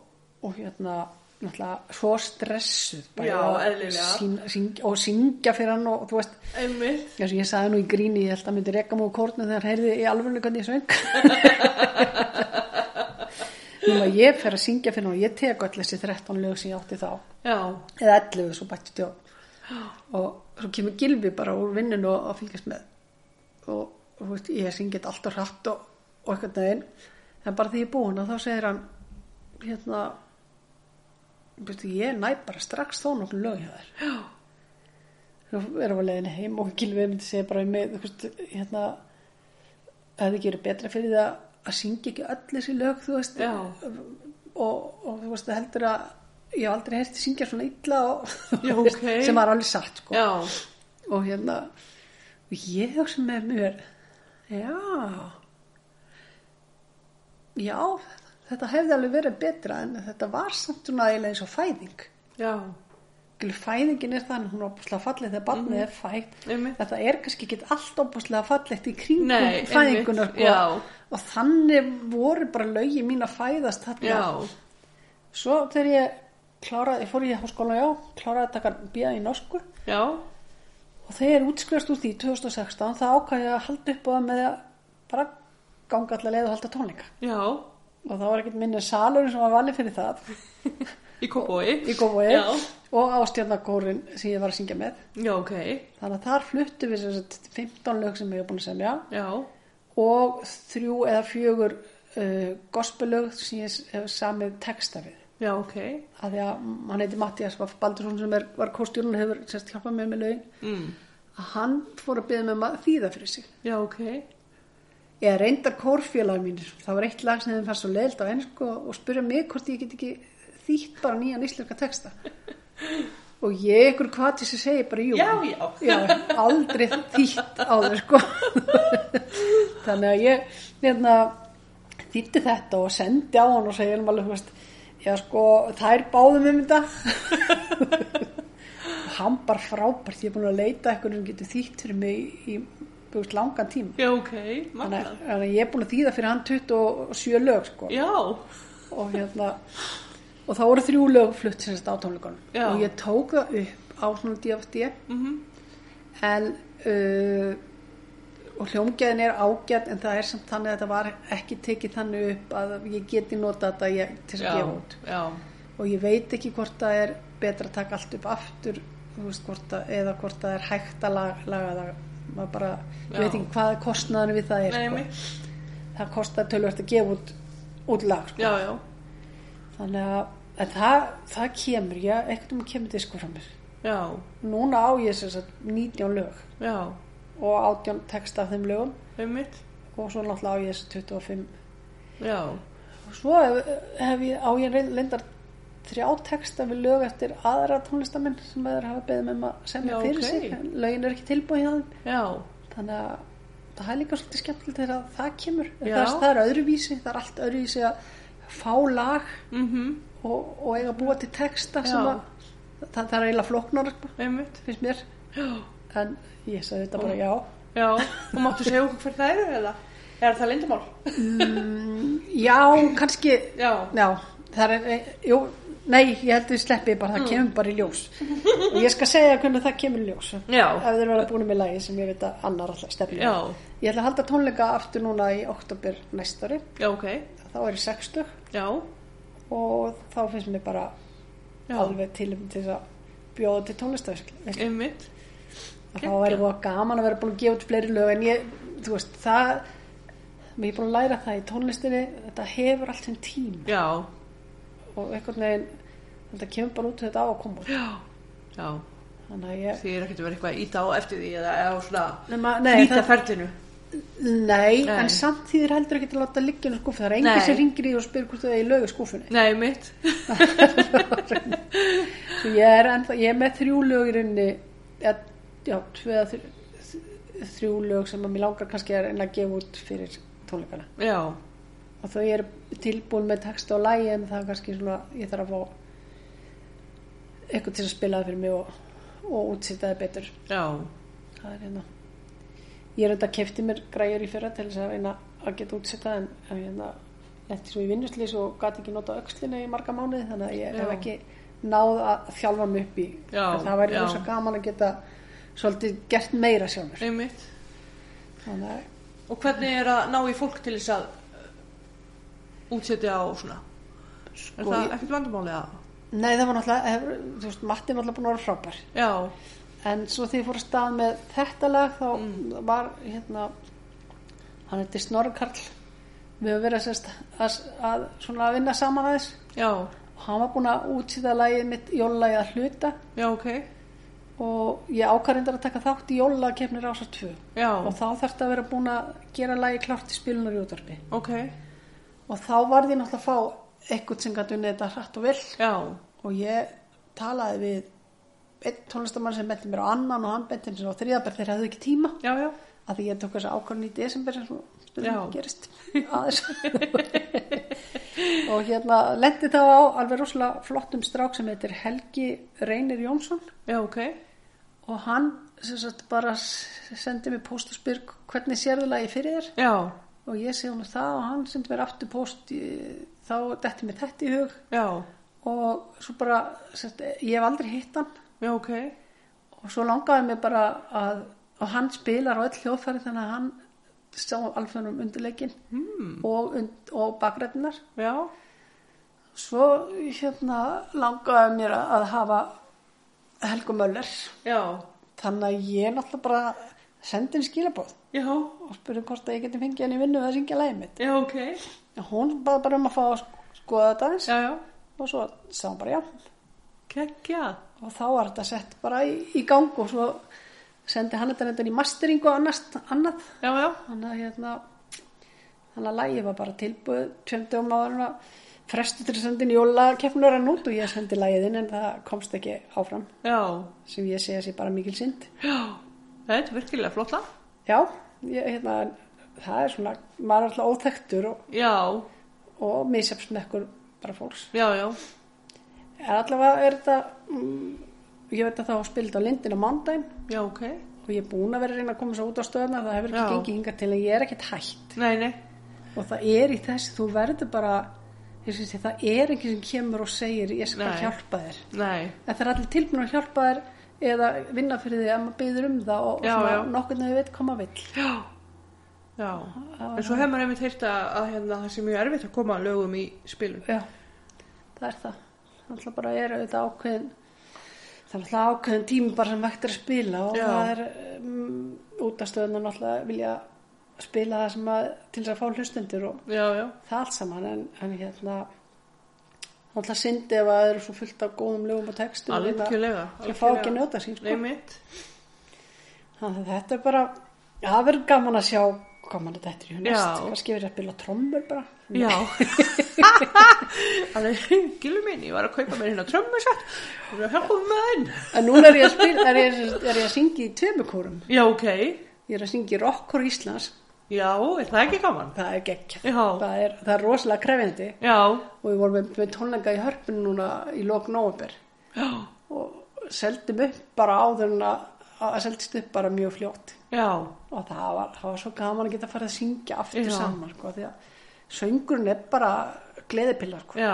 B: og hérna náttúrulega svo stressuð bara
A: Já,
B: að
A: eðlilega.
B: sín, sín, og syngja fyrir hann og, og þú veist
A: Einmitt.
B: eins og ég sagði nú í gríni, ég held að myndi reka mig úr kórnum þegar heyrði í alveg hvernig ég söng Núna ég fer að syngja fyrir hann og ég tek öll þessi 13 lög sem ég átti þá
A: Já,
B: eða 11 svo bætti tjó og svo kemur Gilvi bara úr vinnun og, og fylgjast með og, og þú veist, ég syngi þetta alltaf hratt og, og eitthvað neginn en bara því ég er búin að þá segir hann hérna veistu, ég næ bara strax þó nokkuð lög hjá þér já þú erum við leiðin heim og Gilvi myndi segja bara með, þú veist, hérna að þið gerir betra fyrir það að syngja ekki öll þessi lög þú veist
A: Já.
B: og, og þú veist heldur að ég hef aldrei hérti syngja svona illa og,
A: Já, ok.
B: sem var alveg satt sko.
A: já.
B: og hérna og ég hugsa með mér já já þetta hefði alveg verið betra en þetta var samt svona eiginlega eins og fæðing
A: Já,
B: Skilur, fæðingin er þannig, hún er opaslega fallið þegar barnið er fætt
A: Mhm. Einmitt.
B: þetta er kannski ekki allt opaslega fallið í kringum
A: Nei,
B: fæðinguna sko.
A: einmitt, já.
B: og þannig voru bara lögi mín að fæðast þarna
A: já.
B: Svo þegar ég kláraði, ég fór í háskóla, já, kláraði að taka bíða í norsku
A: Já,
B: og þegar útskrifast úr því 2016 þá ákvæði ég að halda upp á það með að bara ganga allar leið og halda tónleika.
A: já.
B: Og það var ekkert minni salurinn sem var valið fyrir það
A: Í kópói.
B: í góðbói
A: Já,
B: og ástjarnakórin sem ég var að syngja með.
A: já, ok.
B: Þannig að þar fluttu við sem sagt 15 lög sem ég er búin að semja
A: Já,
B: og þrjú eða fjögur uh, gospellög sem ég hef samið texta við.
A: já, ok.
B: að því að hann heiti Mattias Baldursson sem er, var kórstjórn og hefur sérst hjálpað mér með lögin
A: Mm.
B: að hann fór að byggja mig um að þýða fyrir sig
A: Já, ok.
B: eða reyndar kórfélag mínir það var eitt lag sem þeim fannst svo leilt á ennsku og, og spurja mig hvort ég get ekki þýtt bara nýjan íslenska texta og ég ykkur hvað til þess að segja bara jú
A: Já, já.
B: Já, aldrei þýtt á þau sko þannig að ég hérna, þýtti þetta og sendi á hann og segja hann alveg þú veist, já sko þær báðum um þetta og hann bara frábært ég er búin að leita eitthvað sem getur þýtt fyrir mig í, í þú veist, langan tíma
A: Já, ok.
B: þannig
A: Magnað.
B: að- þannig að ég er búin að þýða fyrir hann 27 lög sko
A: Já,
B: og hérna og þá voru þrjú lög flutt sem þetta á tónleikunum
A: Já. Mhm.
B: og ég tók það upp á svona DFD en uh, og hljómgæðin er ágætt en það er samt þannig að þetta var ekki tekið þannig upp að ég geti nota þetta ég, til þess
A: já,
B: að gefa út
A: já.
B: og ég veit ekki hvort það er betra að taka allt upp aftur þú veist, hvort að, eða hvort það er hægt að laga, laga það maður bara, ég
A: Já.
B: veit ekki hvað kostnaðan við það er
A: Nei,
B: sko.
A: mitt.
B: það kostar tölvöld að gefa út út lag sko.
A: Já, já.
B: Þannig að en það, það kemur, já, einhvern veginn kemur diskur frá mér.
A: Já,
B: Núna á ég sem sagt 19 lög
A: já.
B: og 18 texta af þeim lögum
A: Einmitt.
B: og svo náttúrulega á ég þessi 25.
A: Já,
B: Og svo hef, hef ég, á ég reyn- reyndar þrjá texta við lög eftir aðra tónlistamenn sem aður hafa beðið með maður sem
A: Já,
B: er fyrir
A: ok.
B: sig. en Lögin er ekki tilbúið hjá þeim.
A: já.
B: Þannig að það er líka svolítið skemmtilegt þegar að það kemur.
A: Já.
B: Það, það er öðruvísi, það er allt öðruvísi að fá lag
A: mhm,
B: og, og eiga að búa til texta sem
A: Já.
B: að það, það er eiginlega flóknar sko.
A: Einmitt.
B: finnst mér
A: Já,
B: en ég sagði þetta bara já.
A: Já, og máttu segja okkur hver það eru eða? Er það lindamál?
B: Já, kannski,
A: Já.
B: já það er, jú, nei, ég held við sleppi bara,
A: Mm.
B: það kemur bara í ljós. Og ég skal segja hvernig það kemur í ljós.
A: Já.
B: Ef þeir verða búin með lagi sem ég veit að annar alltaf stefnir.
A: Já.
B: Ég ætla að halda tónleika aftur núna í oktober næstari,
A: Já, ok.
B: þá er ég 60
A: Já.
B: og þá finnst mér bara
A: Já.
B: alveg tilum til þess að bjóða til tónlistavislu.
A: Einmitt.
B: þá væri það gaman að vera búin að gefa út fleiri lög en ég, þú veist, það mér er búin að læra það í tónlistinni þetta hefur allt sem tím
A: Já.
B: og einhvern veginn, þetta kemur bara út þetta á að koma út.
A: Já. Já.
B: þannig að ég
A: Því er ekkert að vera eitthvað ít á eftir því eða, eða svona
B: Nema,
A: flýta ferlinu.
B: nei,
A: Nei.
B: en samt því þér heldur ekki til að láta liggja inn á skúfu, það er engin
A: Nei.
B: sem ringir í og spyr hvort þau er í lög í skúfunni
A: Nei, mitt.
B: Svo ég er, ennþá, ég er með þrjú lög í rauninni eða, já, tvö eða þrjú, þrjú lög sem að mér langar kannski að reyna að gefa út fyrir tónleikana
A: Já.
B: og þau eru tilbúin með texta og lægi en það er kannski svona, ég þarf að fá eitthvað til að spila það fyrir mig og, og útsýta það betur
A: Já.
B: það er hérna ég er auðvitað kefti mér græjur í fyrra til þess að reyna að geta útsýta en en hérna, eftir svo í vinnuslýs og gati ekki nota öxlina í marga mánuði þannig að ég
A: Já.
B: hef ekki náð að þjálfa mig upp í
A: Já,
B: En það væri
A: já.
B: rosa gaman að geta svolítið gert meira sjálfur
A: Einmitt.
B: þannig að
A: Og hvernig Eh, er að ná í fólk til þess að uh, útsetja á svona? Er
B: Sko,
A: það
B: ég-
A: ekkert vandamáli að?
B: Nei, það var náttúrulega, hefur- þú veist, Matti er náttúrulega búin að vera frábær.
A: Já.
B: En svo þegar ég fór að stað með þetta lag þá var hérna hann heiti Snorri Karl við höfum verið sérst, að, að, svona að vinna saman aðeins
A: Já.
B: og hann var búinn að útsýta lagið mitt jólulagið að hluta
A: Já, ok.
B: og ég ákvarðindar að taka þátt í jólulagakefni rásar 2
A: Já.
B: og þá þarf þetta að vera búin að gera lagið klárt í spilunar í útvarfi
A: Ok.
B: og þá varði ég náttúrulega að fá eitthvað sem gæti unnið þetta hratt og vel
A: Já.
B: og ég talaði við einn tónlistamann sem benti mér á annan og hann benti mér á þriðaberð þegar hefðu ekki tíma
A: Já, já.
B: að því ég tók þess að ákvörðin í desember sem svona stundum
A: Já.
B: gerist aðeins og hérna lendi þá á alveg rosalega flottum strák sem heitir Helgi Reynir Jónsson
A: Já, ok.
B: og hann sem sagt bara s- sendi mér póst og spyr hvernig sérðu lagi fyrir þér
A: Já.
B: og ég segi hún það og hann sendi mér aftur póst í- þá detti mér þetta í hug
A: Já.
B: og svo bara sem sagt, ég hef aldrei hitt hann
A: Já, ok.
B: og svo langaði mig bara að og hann spilar á öll hljóðfæri þannig að hann sá alveg um undirleikin mm. og, und, og bakrættinar
A: Já.
B: svo hérna langaði mér að að hafa Helgu Möller
A: Já.
B: þannig að ég náttúrulega bara sendi henni skilabóð
A: Já.
B: og spurði hvort að ég geti fengið henni í vinnu við að syngja lægið mitt
A: Já, ok.
B: En hún baði bara um að fá að sk- skoða þetta aðeins
A: Já, já.
B: og svo sá hann bara já
A: Kekja.
B: og þá var þetta sett bara í, í gang og svo sendi hann þetta reyndar í masteringu og annast, annað
A: Já, já.
B: þannig að hérna þannig að lægið var bara tilbúið tveim dögum áður en að frestu til að senda inn jóla keppnur að nút og ég sendi lægið inn en það komst ekki áfram
A: Já.
B: sem ég segja sér bara mikil synd
A: Já. Þetta er virkilega flotta.
B: já, ég, hérna það er svona, maður er alltaf óþektur og,
A: Já.
B: og misjafsmekkur bara fólks
A: Já, já.
B: er allavega er þetta mm, ég veit að það var spild á lindin á mándaginn
A: Já, ok.
B: og ég er búin að vera að reyna að koma svo út á stöðna það hefur ekki
A: Já.
B: gengið hingað til en ég er ekkert hætt
A: Nei, nei.
B: og það er í þessu, þú verður bara ég syns ég, það er ekki sem kemur og segir ég skal
A: Nei.
B: hjálpa þér
A: Nei.
B: en það er allir tilbúin að hjálpa þér eða vinna fyrir því að maður byður um það og,
A: Já,
B: og
A: já.
B: svona nokkurn veginn veit koma vill
A: Já. Já. En svo hefur maður einmitt heyrt að, að hérna, það sé mjög erfitt að koma lögum í spilum.
B: já, það er það það er alltaf bara er auðvitað ákveðin það er alltaf ákveðin tími bara sem vektir að spila og
A: Já.
B: það er um, út af stöðunum alltaf vilja spila það sem að til þess að fá hlustendur og
A: Já, já.
B: það allt saman en, en hérna það er alltaf syndi ef að það eru svo fullt af góðum lögum og textum og hérna-
A: Algjörlega.
B: ég fá ekki að njóta sín
A: Nei,
B: sko.
A: mitt.
B: Þannig að þetta er bara það verður gaman að sjá hvað mann þetta er í næst
A: Já.
B: kannski verður að spila trommur bara
A: Já. Þannig, gilur minn, ég var að kaupa mér hérna trömmu sér. Þú er að hjálpa mér með einn.
B: en núna er ég að spila er ég, er ég að syngja í tveimukórum
A: Já, ok.
B: ég er að syngja í rockkór Íslands
A: Já, er það ekki gaman?
B: það er gegg
A: Já.
B: það er, það er rosalega krefjandi
A: Já.
B: og við vorum með, með tónleika í hörpun núna í lok nóvember
A: Já.
B: og seldum upp bara áður en að að seldist upp bara mjög fljótt
A: já,
B: og það var, það var svo gaman að geta farið að syngja aftur
A: Já.
B: saman sko, því að söngurinn er bara gleðipillar sko.
A: já,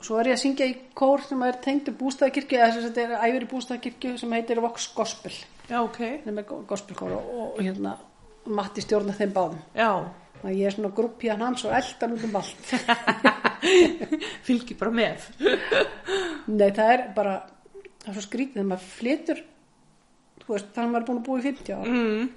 B: og svo er ég að syngja í kór sem er tengd um bústæðakirkju eða þess að þetta er æfir í bústæðakirkju sem heitir Vox Gospel
A: já, ok,
B: sem er gospelkór og, og hérna Matti stjórna þeim báðum
A: já,
B: og ég er svona grúppi hann hans og eldan út um allt
A: fylgi bara með.
B: Nei, það er bara, það er svo skrítið þegar maður flytur, þú veist, þannig að maður er búin að búa í 50 ára.
A: Mm,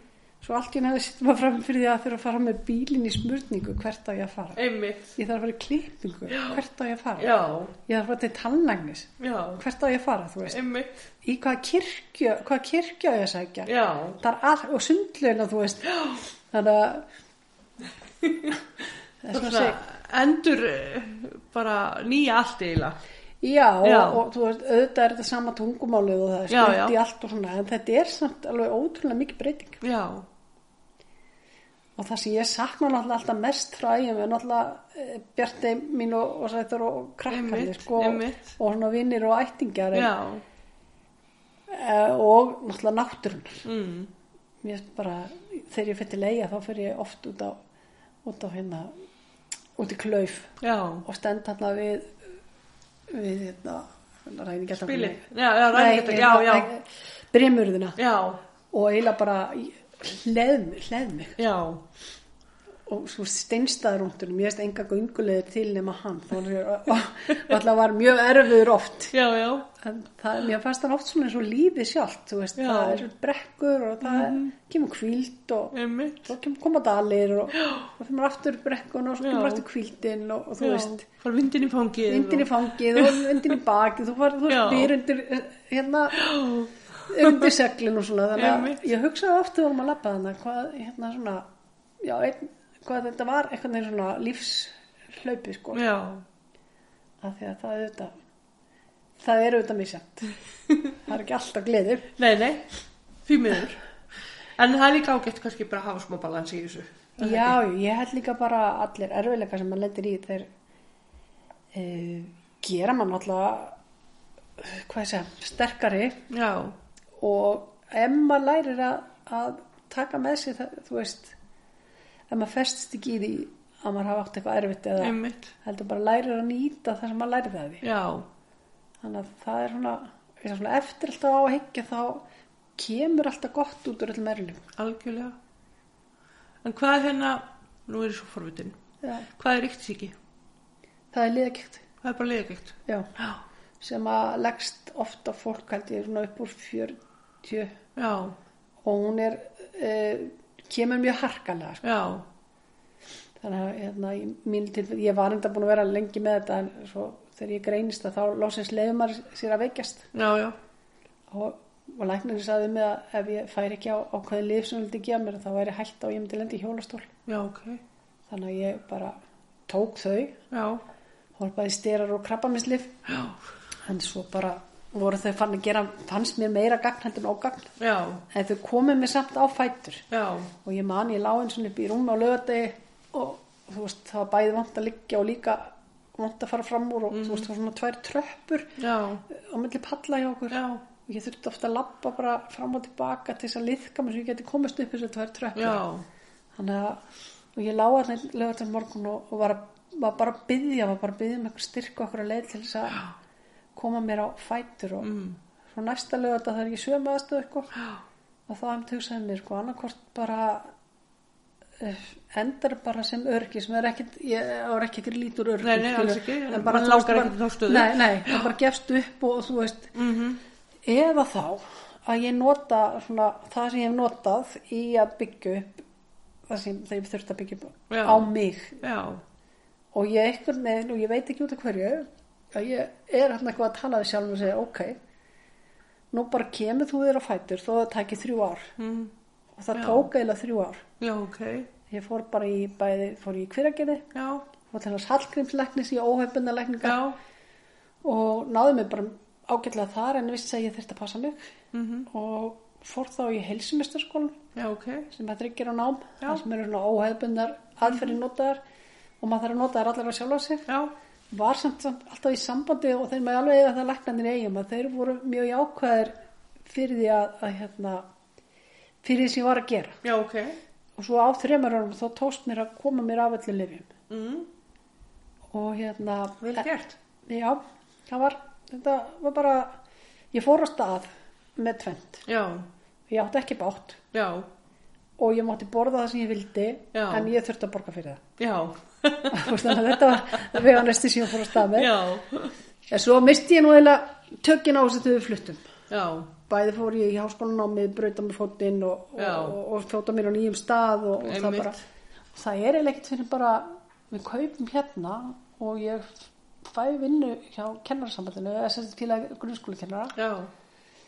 B: Svo allt í nefnir sittum maður fram fyrir því að þurfa að fara með bílinn í smurningu hvert á ég að fara.
A: einmitt,
B: Ég þarf að fara í klippingu, hvert á ég að fara.
A: já,
B: Ég þarf að fara til tannlægnis,
A: já,
B: hvert á ég að fara, þú veist.
A: einmitt,
B: Í hvaða kirkju, hvaða kirkju á ég að sækja.
A: já,
B: Það er all, og sundlöina, þú veist. Já. Þannig að, það er
A: svona
B: svona að segja,
A: endur eh, bara nýja allt eiginlega.
B: Já,
A: Já.
B: Og, og þú veist, auðvitað er þetta sama tungumálið og það er
A: Já,
B: skrift
A: já.
B: í allt og svona, en þetta er samt alveg ótrúlega mikið breyting.
A: Já,
B: Og það sem ég sakna náttúrulega alltaf mest frá ægjum er náttúrulega eh, Bjartey mín og, og sættur og krakkarnir,
A: Einmitt,
B: sko,
A: einmitt.
B: og svona vinnir og ættingjar eh,
A: já,
B: og náttúrulega náttúrunar.
A: mm,
B: Mér finnst bara, þegar ég fyrir til eiga þá fyrir ég oft út á, út á hérna, út í klauf
A: já,
B: og stend hérna við, við hérna, hérna ræðin gæta
A: spilið, já, já, ræðingar, já, já,
B: Brimurðina.
A: já,
B: og eiginlega bara hleð, mig- hleð mig
A: já,
B: og svo steinstaðarúndunum, ég veist enga göngulegir til nema hann þá var ég- og og alltaf var mjög erfiður oft
A: já, já,
B: en það, mér fannst hann oft svona eins og lífið sjálft þú veist,
A: Já. Mhm.
B: það eru brekkur og það kemur kvíld og
A: einmitt,
B: svo kemur koma dalir og það fyrir aftur brekkun og svo
A: Já.
B: kemur aftur kvíldin og, og þú
A: já,
B: veist
A: fara vindin í fangið.
B: vindin í fangið og vindin í bakið þú var, þú
A: Já.
B: veist, við undir hérna, undir seglin og svona þannig
A: Einmitt.
B: að ég hugsaði oft þegar maður lappaði hana hvað, hérna svona já, ein, hvað þetta var eitthvað neginn svona lífshlaupi sko,
A: Já,
B: af því að það er auðvitað það er auðvitað misjæmt það er ekki alltaf gleði
A: nei, nei, því miður. En það er líka ágætt kannski bara að hafa smá balans í þessu.
B: já, já, ég held líka bara að allir erfileika sem maður lendir í þeir uh, gera mann alltaf hvað ég segja, sterkari
A: Já,
B: og ef maður lærir að, að taka með sér það, þú veist ef maður festst ekki í því að maður hafa átt eitthvað erfitt eða
A: einmitt,
B: heldur bara lærir að nýta það sem maður lærir það því
A: já,
B: þannig að það er svona, ég er svona eftir alltaf á að higgja þá kemur alltaf gott út úr öllum erlum
A: algjörlega. En hvað er hérna, nú er ég svo forvitin, hvað er ríktsíki?
B: það er liðagikt
A: Það er bara liðagægt.
B: já,
A: Já,
B: sem að leggst ofta fólk held ég svona upp úr 40
A: já,
B: og hún er uh, kemur mjög harkalega sko.
A: já,
B: þannig að hérna, í mín tilfell, ég var enda búin að vera lengi með þetta en svo þegar ég greinist það þá lósins leiði maður sér að veikjast
A: já, já,
B: og, og læknirinn sagði mig að ef ég færi ekki á ákveði lif sem hún vildi gefa mér þá væri hægt á að ég myndi lendi í hjólastól
A: já, ok,
B: þannig að ég bara tók þau
A: já,
B: horfaði styrar og krabbamislif
A: já,
B: en svo bara voru þau fann að gera fannst mér meira gagn heldur en ógagn
A: já,
B: en þau komið mér samt á fætur
A: já,
B: og ég man ég lá eins og upp í rúmi á lögadegi og þú veist það var bæði vant að liggja og líka vant að fara fram úr og þú veist það var svona tvær tröppur eh,
A: já,
B: á milli palla hjá okkur
A: já,
B: og ég þurfti ofta að labba bara fram og tilbaka til þess að liðka mér svo ég geti komist upp þess að tvær tröppur
A: já,
B: þannig að og ég lá að lögadegi morgun og, og var, að, var bara að byggja var bara að um byggja með styrku okkur að leið til þess að koma mér á fætur og
A: mm,
B: svo næsta lögadegi það er ég sömu aðstöðu sko
A: já,
B: og þá hefum hugsaði mér sko annarkvort bara eh, endar bara sem örgi sem er ekkit, ég er ekkit lítur örgi
A: Nei, nei,
B: skilur,
A: alls ekki, en
B: en
A: mann
B: bara þú
A: langar
B: veist,
A: ekkit
B: bara-
A: í þá stöðu.
B: nei, nei, það bara gefst upp og, þú veist
A: mhm,
B: eða þá að ég nota svona, það sem ég hef notað í að byggja upp það sem það ég þurft að byggja upp
A: Já.
B: á mig
A: já,
B: og ég einhvern veginn og ég veit ekki út af hverju að ég er hann eitthvað að tala við sjálfum og segja ok nú bara kemur þú þér á fætur þó að það tæki þrjú ár
A: mhm,
B: og það
A: Já.
B: tók eiginlega þrjú ár
A: já, ok,
B: ég fór bara í bæði, fór í hveragerði
A: já,
B: fór til hans Hallgrímslæknis í óhefbundalækninga
A: já,
B: og náði mig bara ágætlega þar en vissi að ég þurfti að passa mig
A: mhm,
B: og fór þá í heilsumistarskólan
A: já, ok,
B: sem að þryggir á nám
A: Já. Mhm.
B: það sem eru svona óhefbundar aðferðin notaðar og maður þarf að nota þær allar að sjálfa sig
A: já,
B: var samt, samt alltaf í sambandi og þeir maður alveg eiga það læknandir eigum að þeir voru mjög jákvæðir fyrir því að, að hérna, fyrir því sem ég var að gera
A: Já, ok.
B: og svo á þremur árum þá tókst mér að koma mér af öllu lifjum
A: Mm,
B: og hérna Eh,
A: vel gert.
B: já, það var, þetta var bara ég fór á stað með tvend
A: Já,
B: ég átti ekki bátt
A: já,
B: og ég mátti borða það sem ég vildi
A: Já.
B: en ég þurfti að borga fyrir það
A: já,
B: Þú veist, þannig að þetta var veganesti sem ég fór á stað með
A: já,
B: en svo misti ég nú eiginlega tökin á þessu þegar við fluttum
A: já,
B: bæði fór ég í háskólanámið, brauta með fótinn og,
A: Já.
B: og, og, og fjóta mér á nýjum stað og, og það
A: Einmitt.
B: bara það er eiginlega ekkert fyrir bara við kaupum hérna og ég fæ vinnu hjá kennarsambandinu eða sem sagt félag grunnskólikennara
A: já,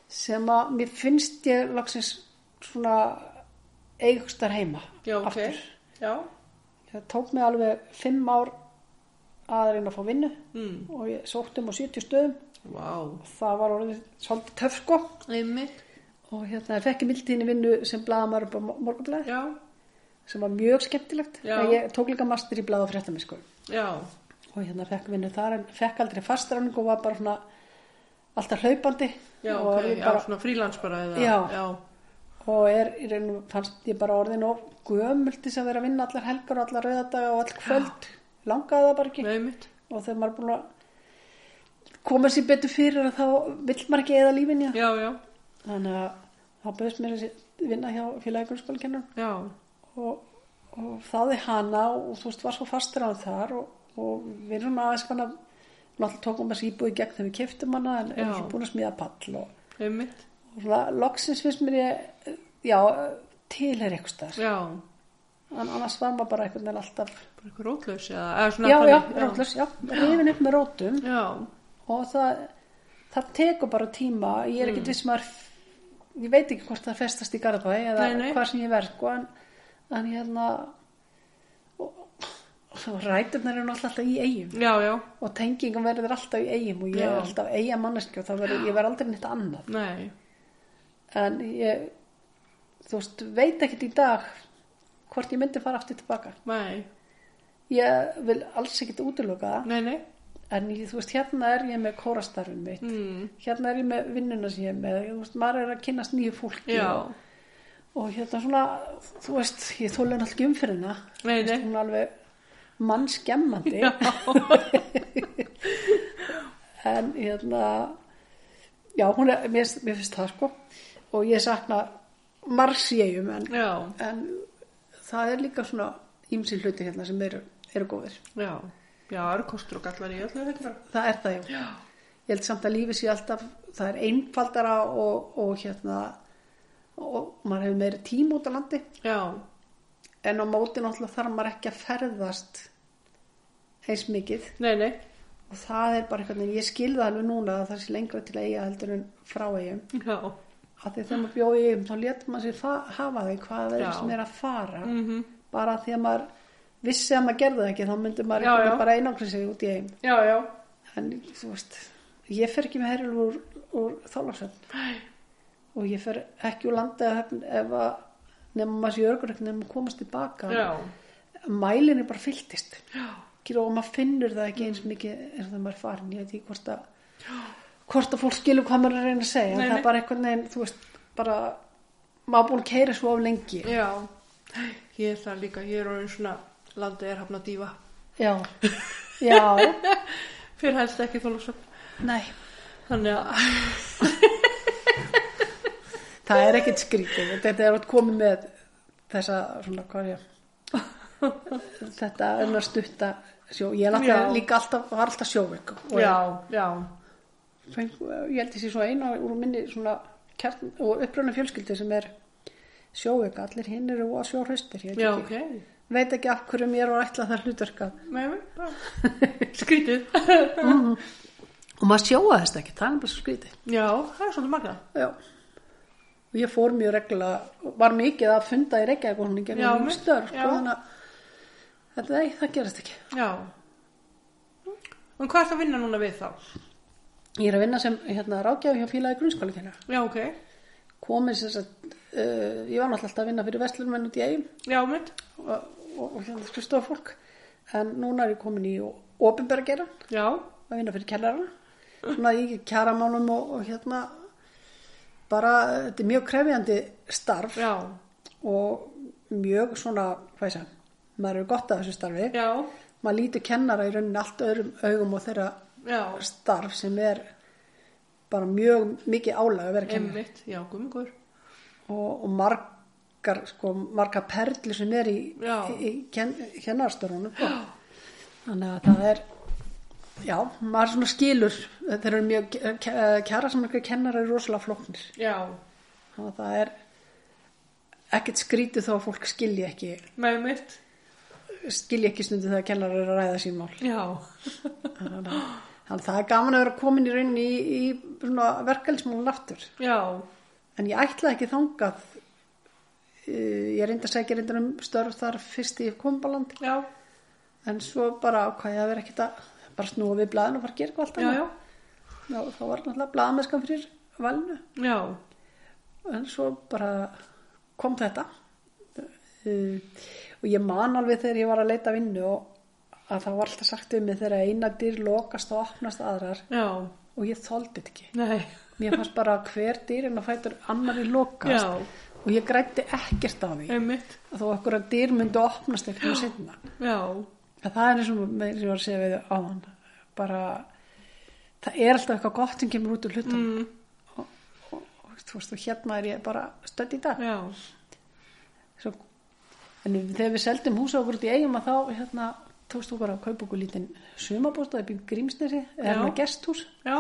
B: sem að mér finnst ég loksins svona eigstar heima
A: já, ok,
B: aftur
A: já,
B: það tók mig alveg fimm ár að reyna að fá vinnu
A: mm,
B: og ég sótti um á 70 stöðum
A: vá,
B: það var orðið svolítið töf sko
A: einmitt,
B: og hérna ég fekk í mildtíðinni vinnu sem blaðamæður upp á morgunblæði
A: já,
B: sem var mjög skemmtilegt
A: Já.
B: En ég tók líka master í blaða fréttamisku
A: já,
B: sko. og hérna fekk vinnu þar en fekk aldrei fastræning og var bara svona alltaf hlaupandi
A: já,
B: og,
A: ok,
B: orðin
A: já,
B: bara,
A: svona frílans bara eða,
B: Já.
A: já,
B: og er, í rauninu, fannst ég bara orðin og gömult til þess að vera að vinna allar helgar og allar rauðadaga og all kvöld langaði það bara ekki
A: einmitt,
B: og þegar maður er búin að koma sér betur fyrir að þá vill maður ekki eða lífin í það
A: já, já,
B: þannig að þá bauðst mér að vinna hjá félagi grunnskólakennar
A: já,
B: og, og þáði hana og þú veist var svo fastur á þar og, og við erum aðeins kannar náttúrulega tókum þessi íbúi í gegn þegar við keftum hana en
A: Já.
B: erum svo búin að smíða pall og,
A: einmitt,
B: og svona, loksins finnst mér ég já, til er eitthvað stær
A: já,
B: en annars var maður bara einhvern veginn alltaf
A: bara eitthvað rótlaus eða, eða svona,
B: já, já,
A: þannig,
B: rótlös, já, rifin upp með rótum
A: já,
B: og það það tekur bara tíma ég er
A: Mm.
B: ekkert viss um maður ég veit ekki hvort það festast í Garðabæ eða
A: Nei, nei.
B: hvað sem ég verð sko, en, en hérna og, og ræturnar eru náttúrulega alltaf í eigum
A: já, já,
B: og tengingum verður alltaf í eigum og ég
A: Já.
B: er alltaf eiga manneski og það verður, ég verð aldrei neitt annað
A: nei,
B: en ég þú veist, veit ekkert í dag hvort ég myndi fara aftur tilbaka
A: nei,
B: ég vil alls ekkert útiloka það
A: nei, nei,
B: en ég, þú veist, hérna er ég með kórastarfin mitt
A: mm,
B: hérna er ég með vinnuna sem ég er með þú veist, maður er að kynnast nýju fólki
A: já,
B: og hérna svona, þú veist ég þóla hann alltaf umfyrirna
A: Nei, nei.
B: hún er alveg mannskemmandi en hérna já, hún er, mér, mér finnst það sko og ég sakna margs í eigum en,
A: já,
B: en það er líka svona ímsi hluti hérna sem eru, eru góðir
A: já, já, það eru kostur og gallar í öllu þetta bara,
B: það er það, já. Ég held samt að lífið sé alltaf, það er einfaldara og, og hérna, og maður hefur meiri tíma út á landi,
A: já,
B: en á móti náttúrulega þarf maður ekki að ferðast eins mikið
A: nei, nei,
B: og það er bara eitthvað, ég skil það alveg núna að það sé lengra til eiga heldur en frá eigum.
A: já,
B: Af því þegar maður bjóði í eigum, þá letur maður sér fa- hafa því hvað það er
A: Já.
B: sem er að fara,
A: mhm,
B: bara því að maður vissi að maður gerði það ekki, þá myndi maður
A: Já,
B: einhvern
A: já.
B: veginn bara einangra sig út í eigum.
A: já, já,
B: en þú veist ég fer ekki með herjul úr, úr þálarsöfn og ég fer ekki úr landaðahöfn ef að nefnum maður sé örgur ekki nefnum að komast tilbaka
A: já,
B: mælin er bara fylltist
A: já, Mm.
B: Skilur, og maður finnur það ekki eins mikið eins og það maður er farin, ég veit ekki hvort að hvort að fólk skilur hvað maður er að reyna að segja
A: Nei,
B: en
A: nei.
B: það er bara einhvern veginn, þú veist bara, maður búin að keira svo af lengi
A: já, ég er það líka, ég er orðin svona, landið er hafna dýfa,
B: já, já
A: fyrir helst ekki þólasöfn,
B: nei,
A: þannig að,
B: það er ekkert skrítið þetta er að komið með þessa svona hvað er ég þetta önnur stutta sjó ég
A: Já.
B: er alltaf, líka alltaf, var alltaf sjóveik og
A: já, já,
B: feng, ég held þessi svo eina úr minni svona kjarn og uppröna fjölskyldi sem er sjóveik allir hinn eru og sjóhraustir ég veit
A: Já,
B: ekki-
A: ok.
B: veit ekki af hverju mér og ætla það hlutverka
A: Nei, nei, bara skrítið.
B: og maður sjóa þess ekki, það er bara svo skrítið
A: Já, það er svolítið magna.
B: já og ég fór mjög reglulega, var mikið að funda í Reykjavík og hún í
A: Já,
B: gegnum
A: mitt,
B: stör sko,
A: já.
B: þannig að þetta, nei, það gerast ekki
A: Já. En hvað ertu að vinna núna við þá?
B: Ég er að vinna sem hérna, rákjáð hjá félagi grunnskólakennar.
A: Já, ok.
B: Komið sem sagt, uh, ég var náttúrulega alltaf að vinna fyrir vestlunmenn út í eigum
A: Já, mitt.
B: og, og, og hérna skristofa fólk. En núna er ég komin í ofinbera gera,
A: Já,
B: að vinna fyrir kellarana. Svona í kjaramálum og, og hérna, bara, þetta er mjög krefjandi starf
A: já,
B: og mjög svona, hvað sem, maður eru gott að þessu starfi.
A: já,
B: Maður lítur kennara í rauninni allt öðrum augum og þeirra
A: já,
B: starf sem er bara mjög mikið álag að vera kennari.
A: einmitt, já, gummingur,
B: Og, og margar, sko, margar perli sem er í,
A: Já.
B: í, í ken, kennarastörunum. Sko. Þannig að það er, já, maður svona skilur, þeir eru mjög, kjara sem ekki kennara eru rosalega flóknir.
A: já,
B: Þannig að það er ekkert skrítið þó að fólk skilji ekki,
A: með mitt,
B: skilji ekki stundu þegar kennarar eru að ræða sín mál.
A: já,
B: Þannig að þannig að það er gaman að vera komin í rauninni í, í verkefnismálun aftur.
A: já,
B: En ég ætlaði ekki þangað, Eh, ég reyndi að segja reyndar um störf þar fyrst í kombaland,
A: já,
B: en svo bara ákvæði að vera ekkert að bara snúa við blaðinu og fara að gera eitthvað allt
A: já, já,
B: Já, þá var náttúrulega blaðamesskan fyrir valinu.
A: já,
B: en svo bara kom þetta uh, og ég man alveg þegar ég var að leita vinnu og að það var alltaf sagt um mig þegar eina dyr lokast og opnast aðrar
A: já,
B: og ég þoldi þetta ekki
A: nei,
B: mér fannst bara að hver dyr en að fætur annari lokast
A: Já.
B: og ég grætti ekkert á því
A: einmitt,
B: að þó okkur að dyr myndi opnast eitthvað sinna
A: já,
B: að það er eins og með- sem ég var að segja við áðan bara það er alltaf eitthvað gott sem kemur út úr hlutum mm. og, og, og, þú veist, og hérna er ég bara stödd í dag
A: já,
B: svo, en við- þegar við seldum húsa okkur út í eigum að þá hérna, tókst þú bara að kaupa okkur lítinn sumabústað upp í Grímsnesi eða
A: Já.
B: hérna gesthús
A: já,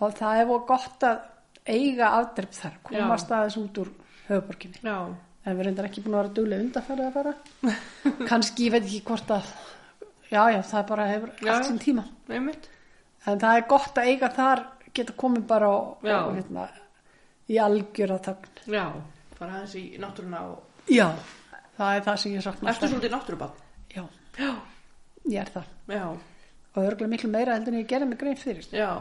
B: og það er voru gott að eiga aðdrepp þar, komast aðeins út úr höfuborginni,
A: já,
B: en við reyndar ekki búin að vera duglega undarfærið að fara kannski, ég veit ekki hvort að já, já, það bara hefur
A: Já.
B: allt sinn tíma
A: einmitt,
B: en það er gott að eiga þar geta komið bara og,
A: Já.
B: og hérna, í algjöra þögn
A: já, bara aðeins í náttúruna og
B: já, það er það sem ég
A: ertu
B: sakna alltaf.
A: svolítið náttúrubann?
B: já,
A: Já,
B: ég er það
A: já,
B: og örgulega miklu meira heldur en ég gerði mig grein fyrir
A: já,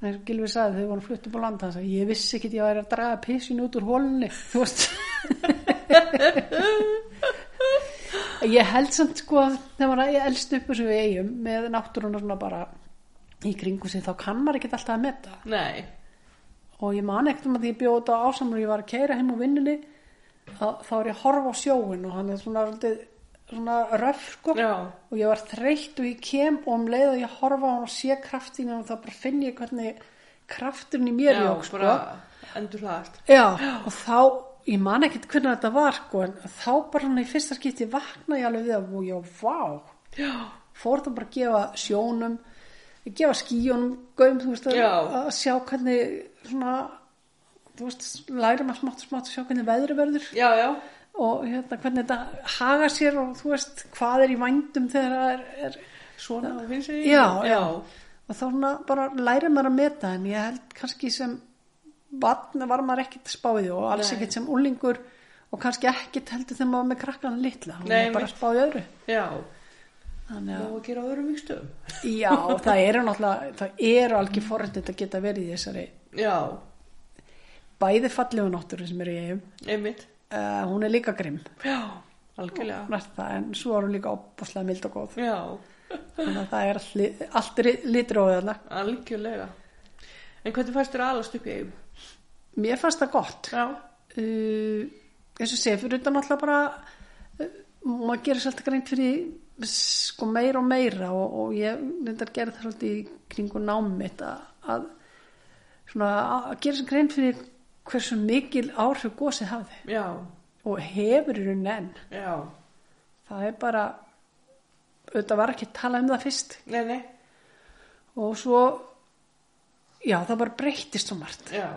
B: en eins og Gilvi sagði þau voru flutt upp á land þannig að ég vissi ekki að ég væri að draga pissin út úr hólunni þú veist ég held samt sko að þegar maður er elst upp þessu við eigum með náttúruna svona bara í kringu sig þá kann maður ekki alltaf að metta
A: nei,
B: og ég man ekkert um að því ég bjóði þetta ásamur og ég var að keira heim úr vinnunni að þá er ég að horfa á sjóin og hann er svona, svolítið- svona röf sko
A: já,
B: og ég var þreytt og ég kem og um leið og ég horfa á hann og sé kraftin og þá bara finn ég hvernig krafturinn í mér
A: já,
B: jók sko.
A: bara endur hlaðast,
B: já, og þá ég man ekkert hvernig þetta var sko, en þá bara hann í fyrsta skipti vakna ég alveg við að og ég, vá,
A: já,
B: fór það bara að gefa sjónum gefa skíunum, gauðum, þú veist að,
A: Já.
B: að sjá hvernig svona, þú veist, læra maður smátt og smátt að sjá hvernig veðri verður
A: já, já,
B: og hérna, hvernig þetta haga sér og þú veist, hvað er í vændum þegar það er, er
A: svona og finnst þið,
B: Já, já.
A: já,
B: og þá svona bara læri maður að meta en ég held kannski sem vatna var maður ekkit spáði og alls
A: Nei.
B: ekkit sem úlingur og kannski ekkit heldur þegar maður var með krakkan litla og
A: Nei,
B: maður bara
A: einmitt.
B: spáði öðru
A: já,
B: þannig
A: og
B: að
A: að gera á öðrum vikstöðum,
B: já, það eru náttúrulega það eru algjör forrættið að geta verið í þessari
A: já,
B: bæði fallegu náttúru sem eru í eigum
A: einmitt,
B: uh, hún er líka grimm
A: já, algjörlega,
B: næst það, en svo er hún líka opbúslega mild og góð
A: já,
B: þannig að það er allt li- allt litróðana
A: algjörlega, en hvernig fæst þér aðalast upp í eigum?
B: mér fannst það gott
A: Já,
B: uh, eins og sé, fyrir utan alltaf bara uh, maður gerir sér alltaf greint fyrir því, sko meira og meira og, og ég nefndar gera það svolítið í kringu námiðt að, að svona að að gera sér greint fyrir hversu mikil áhrif gósið hafði
A: já,
B: og hefur í rauninni enn
A: já,
B: það er bara auðvitað var ekki að tala um það fyrst
A: nei, nei,
B: og svo já, það bara breyttist svo margt
A: já,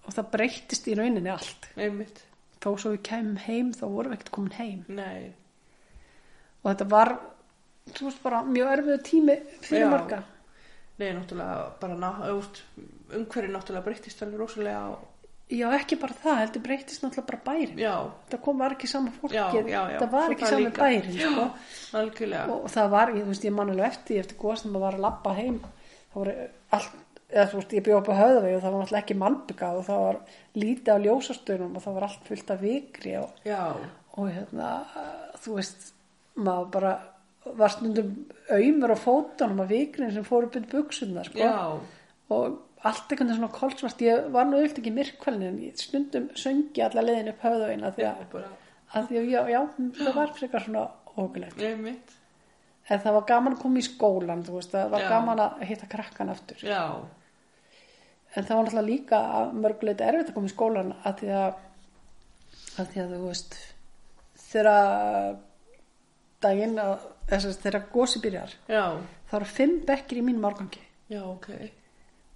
B: og það breyttist í rauninni allt
A: einmitt,
B: þó svo við kemum heim þá vorum við ekkert komin heim
A: nei,
B: og þetta var þú veist bara mjög erfiðu tími fyrir
A: Já.
B: marga
A: Nei, náttúrulega bara ná, úst, umhverju náttúrulega breyttist alveg rosalega og,
B: já ekki bara það, heldur breytist náttúrulega bara bærin
A: já,
B: það kom var ekki saman fólki
A: já, já, já
B: það var
A: Svo
B: ekki saman
A: líka.
B: bærin
A: Já,
B: sko.
A: algjörlega,
B: og það var, ég, þú veist, ég man alveg eftir eftir góð sem maður var að labba heim það voru allt eða þú veist, ég bjóð upp á höðavegi og það var náttúrulega ekki malbyggað og það var lítið á ljósastöðunum og það var allt fullt af vikri og,
A: já,
B: og hérna, þú veist maður bara var stundum auðmur á fótunum af vikrin sem fóru upp í buksunar sko.
A: já
B: og allt einhvern veginn svona kolsvart ég var nú auðvitað ekki myrkvælin en ég stundum söngi alla leiðin upp höfðavín að því að,
A: bara,
B: að því að já, já, það var frekar svona ógulegt
A: ég mitt,
B: en það var gaman að koma í skólan þú veist, það var
A: Já.
B: gaman að hitta krakkan aftur
A: já,
B: en það var náttúrulega líka að mörgulegt erfitt að koma í skólan að því að, að, því að þú veist þegar daginn eh, að, þess að þegar gósi byrjar
A: já,
B: þá eru fimm bekkir í mínum árgangi
A: já, ok,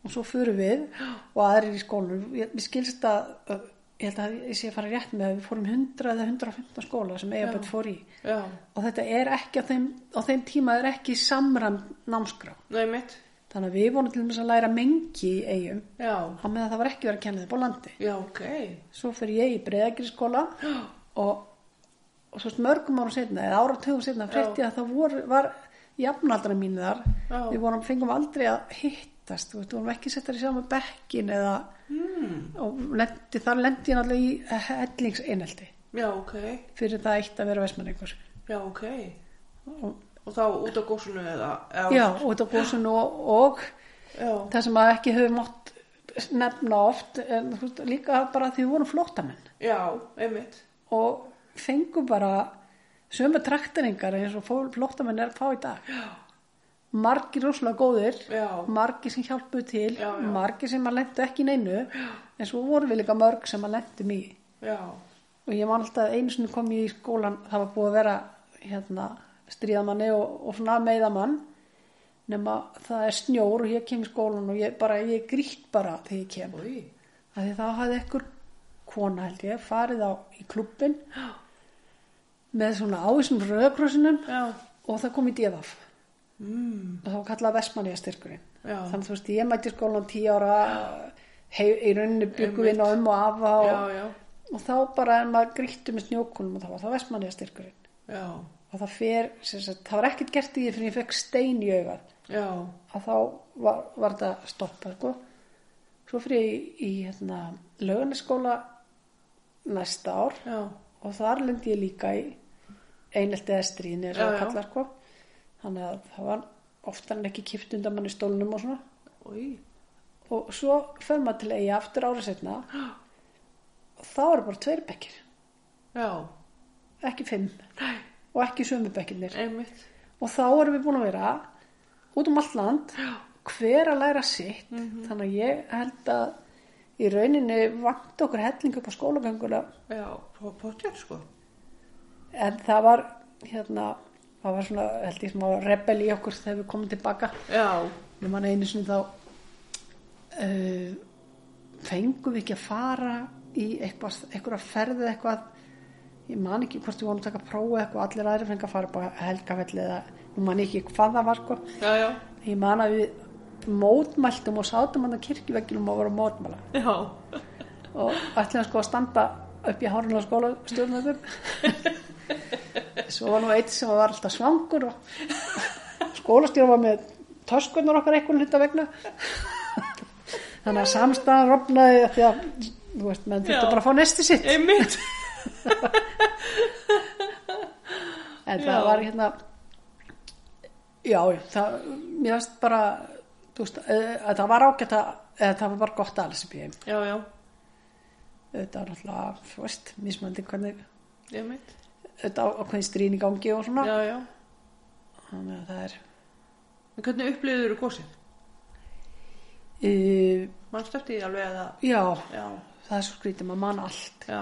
B: og svo förum við og aðrir í skólanum Ég- mér skilst að ö, ég held að ég sé að fara rétt með að við fórum 100 eða 115 skóla sem eigaböld fór í
A: já,
B: og þetta er ekki á þeim, á þeim tíma er ekki samram námskrá
A: nei mitt,
B: þannig að við vorum til þess að læra mengi í eigum
A: já,
B: á meðan það var ekki verið að kenna þeim á landi
A: já, ok,
B: svo fyrir ég í breyðagrisskóla og, og svo veist, mörgum árum setna eða áratugum setna frétti ég að það voru, var jafnaldra mínu þar
A: Já.
B: við vorum, fengum aldrei að hittast þú veist, við vorum ekki settar í saman bekkin eða mm.
A: Hmm.
B: og lendi, þar lendi ég náttúrulega í hellingseineldi
A: já, ok,
B: fyrir það eitt að vera vestmanningur
A: já, ok,
B: og,
A: og þá út á gósunu eða, eða
B: já, út á gósun og, og
A: já,
B: það sem að ekki höfum átt nefna oft en, þú veist, líka bara því við vorum flóttamenn
A: já, einmitt,
B: og fengu bara sömu trakteringar eins og flóttamenn er að fá í dag já. margir rosalega góðir
A: Já.
B: margir sem hjálpuðu til
A: Já, já.
B: margir sem að lendu ekki í neinu já. en svo voru við líka mörg sem að lentum í
A: já,
B: og ég man alltaf að einu sinni kom ég í skólan það var búið að vera hérna, stríðamanni og, og svona meiðamann nema það er snjór og ég kem í skólan og ég bara, ég grýtt bara þegar ég kem
A: oi,
B: að því þá hafði ekkur kona held ég farið á í klubbin með svona ávísum rauðakrossinum
A: já,
B: og það kom í divaf
A: mm,
B: og það var kallað Vestmanniða styrkurinn
A: Já.
B: þannig þú veist ég mætti í skólan 10 ára hei, í rauninni byggum við inn á um og afa
A: já,
B: og,
A: já,
B: og þá bara en maður grýttu með snjókunum og þá var það Vestmanniða styrkurinn
A: já,
B: og það fer, sem sagt, það var ekkert gert í því fyrir ég fekk stein í augað
A: já,
B: að þá var, var þetta stoppað sko. svo fyrir ég í, í hérna, lögunaskóla næsta ár
A: já,
B: og þar lendi ég líka í einelti eða stríðinu eins
A: Já,
B: og það
A: já.
B: kallar sko. þannig að það var oftar en ekki kipt undan manni stólnum og svona
A: oi,
B: og svo fer maður til eigi aftur árið setna og þá eru bara tveir bekkir
A: já,
B: ekki fimm Nei. og ekki sömu bekkinir
A: einmitt,
B: og þá erum við búin að vera út um allt land hver að læra sitt þannig að ég held að í rauninni vant okkur helling upp á skólagönguna
A: já, potjart sko,
B: en það var hérna, það var svona held ég smá rebel í okkur þegar við komum tilbaka
A: já,
B: ég man einu sinni þá uh, fengum við ekki að fara í eitthvað, eitthvað ferð eða eitthvað ég man ekki hvort við vonum að taka prófi eða eitthvað allir aðri fengi að fara bara helgafelli eða nú man ég ekki hvað það var sko
A: já, já,
B: Ég man að við mótmæltum og sátum hann á kirkjuveggjunum og vorum að mótmæla
A: já,
B: og ætlum sko að standa upp í hárun og skóla stjórnum svo var nú eitt sem var alltaf svangur og skólastjóra var með töskunar okkar eitthvað hluta vegna þannig að samstæðan rofnaði af því að þú veist, menn
A: Já.
B: þetta bara að fá nesti sitt
A: einmitt,
B: en
A: Já.
B: það var hérna já, já, það mér varst bara þú veist, eh, að það var ágætt að eða það var bara gott að alls upp í heim
A: já, já,
B: þetta var náttúrulega, þú veist, mismandi hvernig
A: einmitt,
B: þetta ákveðin strín í gangi og svona
A: já, já,
B: þannig að það er
A: en hvernig upplýður þú gósið?
B: uh,
A: Manstu eftir því alveg að það,
B: já,
A: já,
B: það er svo skrítið, maður man allt
A: já,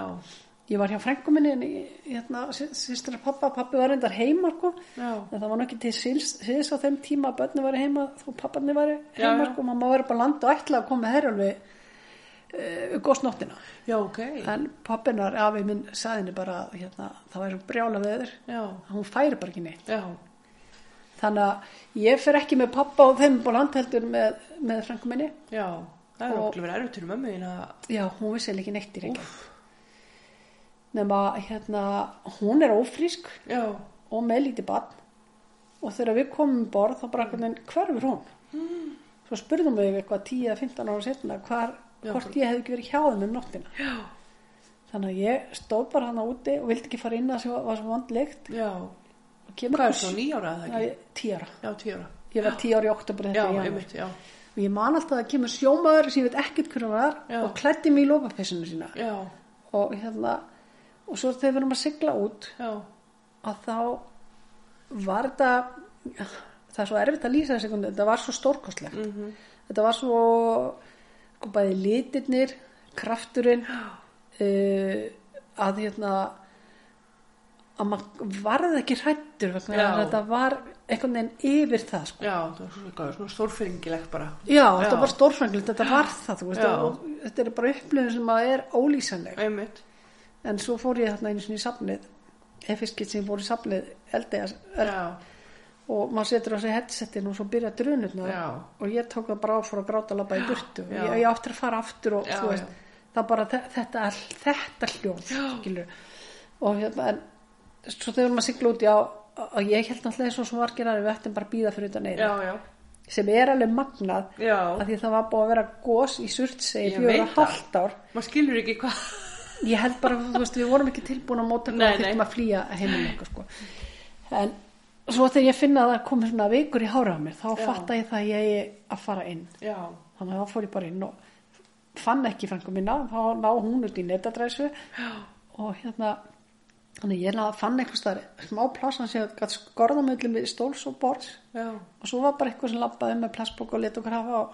B: ég var hjá frængu minni en ég, hérna, sýstur að pappa pappi var reyndar heima, sko
A: já,
B: en það var nú ekki til síðs, síðs á þeim tíma að börni var heima, þú papparni var
A: Já,
B: heima,
A: já.
B: sko, mamma var upp á land og ætlaði að koma með herjálfi uh, góðsnóttina
A: já, ok,
B: en pappinar, afi minn, saði henni bara hérna, það væri svo brjála veður
A: já,
B: að hún færi bara ekki neitt
A: já,
B: Þannig að ég fer ekki með pappa og þeim og landheldur með, með frænku minni.
A: já, það er
B: Og-
A: okkur verið erfitt fyrir mömmu þín að,
B: Já, hún vissi eiginlega ekki neitt í reyngjum. Nefna, hérna, hún er ófrísk
A: já,
B: og með lítið barn og þegar við komum um borð þá bara hvernig hverfur hún. Svo spurðum við eitthvað 10-15 ára setna hvar,
A: Já,
B: hvort ég hefði ekki verið hjá þeim um nóttina.
A: já,
B: Þannig að ég stóð bara hana úti og vildi ekki fara inn að það var- var svo vondlegt.
A: já,
B: Og kemur
A: hvað er svo nýjára eða ekki?
B: Tíu ára.
A: Já, tíu ára,
B: Ég var tíu ára í oktober
A: já,
B: þetta í janúar.
A: einmitt, já,
B: og ég man alltaf að það kemur sjómaður sem ég veit ekkert hverju var
A: Já.
B: og klætti mig í lópapessinu sína
A: já,
B: og hérna og svo þegar við erum að sigla út
A: já,
B: að þá var þetta það er svo erfitt að lýsa þessi einhvern veginn, þetta var svo stórkostlegt
A: Mhm. Mm.
B: þetta var svo sko, bæði litirnir, krafturinn uh, að hérna að maður varði ekki hrættur
A: Já.
B: þetta var einhvern veginn yfir það sko.
A: já, það var svona, eitthvað svona stórfengilegt bara.
B: já, þetta
A: Já.
B: var stórfrængilegt, þetta var það þú veist,
A: Já.
B: og, þetta er bara upplifin sem að er ólýsanleg
A: Einmitt,
B: en svo fór ég þarna einu sinni í safnið eða fiskitt sem ég fór í safnið eldega
A: já,
B: og maður setur á sig headsetin og svo byrja drunurnar
A: Já.
B: og ég tók það bara á og fór að gráta labba í burtu og
A: já.
B: ég, ég áttur að fara aftur og
A: Já,
B: þú veist,
A: já.
B: það bara þe- þetta, þetta hljóð skilur og hérna en svo þegar maður sigla út já og ég held náttúrulega eins og svo margir að við ættum bara að býða fyrir utan einu
A: já, já,
B: sem er alveg magnað
A: já.
B: að því það var búið að vera gos í surtsegi
A: Ég
B: fjóra
A: veit það.
B: hálft ár
A: Maður skilur ekki hvað.
B: ég held bara, þú veist, við vorum ekki tilbúin að móta
A: Nei,
B: hvað
A: nei.
B: þurftum að flýja heiminn okkar sko. en svo þegar ég finna að það komi svona vikur í hára á mér þá
A: Já.
B: fatta ég það að ég eigi að fara inn
A: Já,
B: þannig að þá fór ég bara inn og fann ekki frænku minna, þá ná hún út í netadræsu og hérna þannig að ég náði- fann einhvers þar smá pláss hann sem gætt skorðamöllum við stóls og borðs
A: já,
B: og svo var bara eitthvað sem labbaði um með plassbók og let okkur hafa og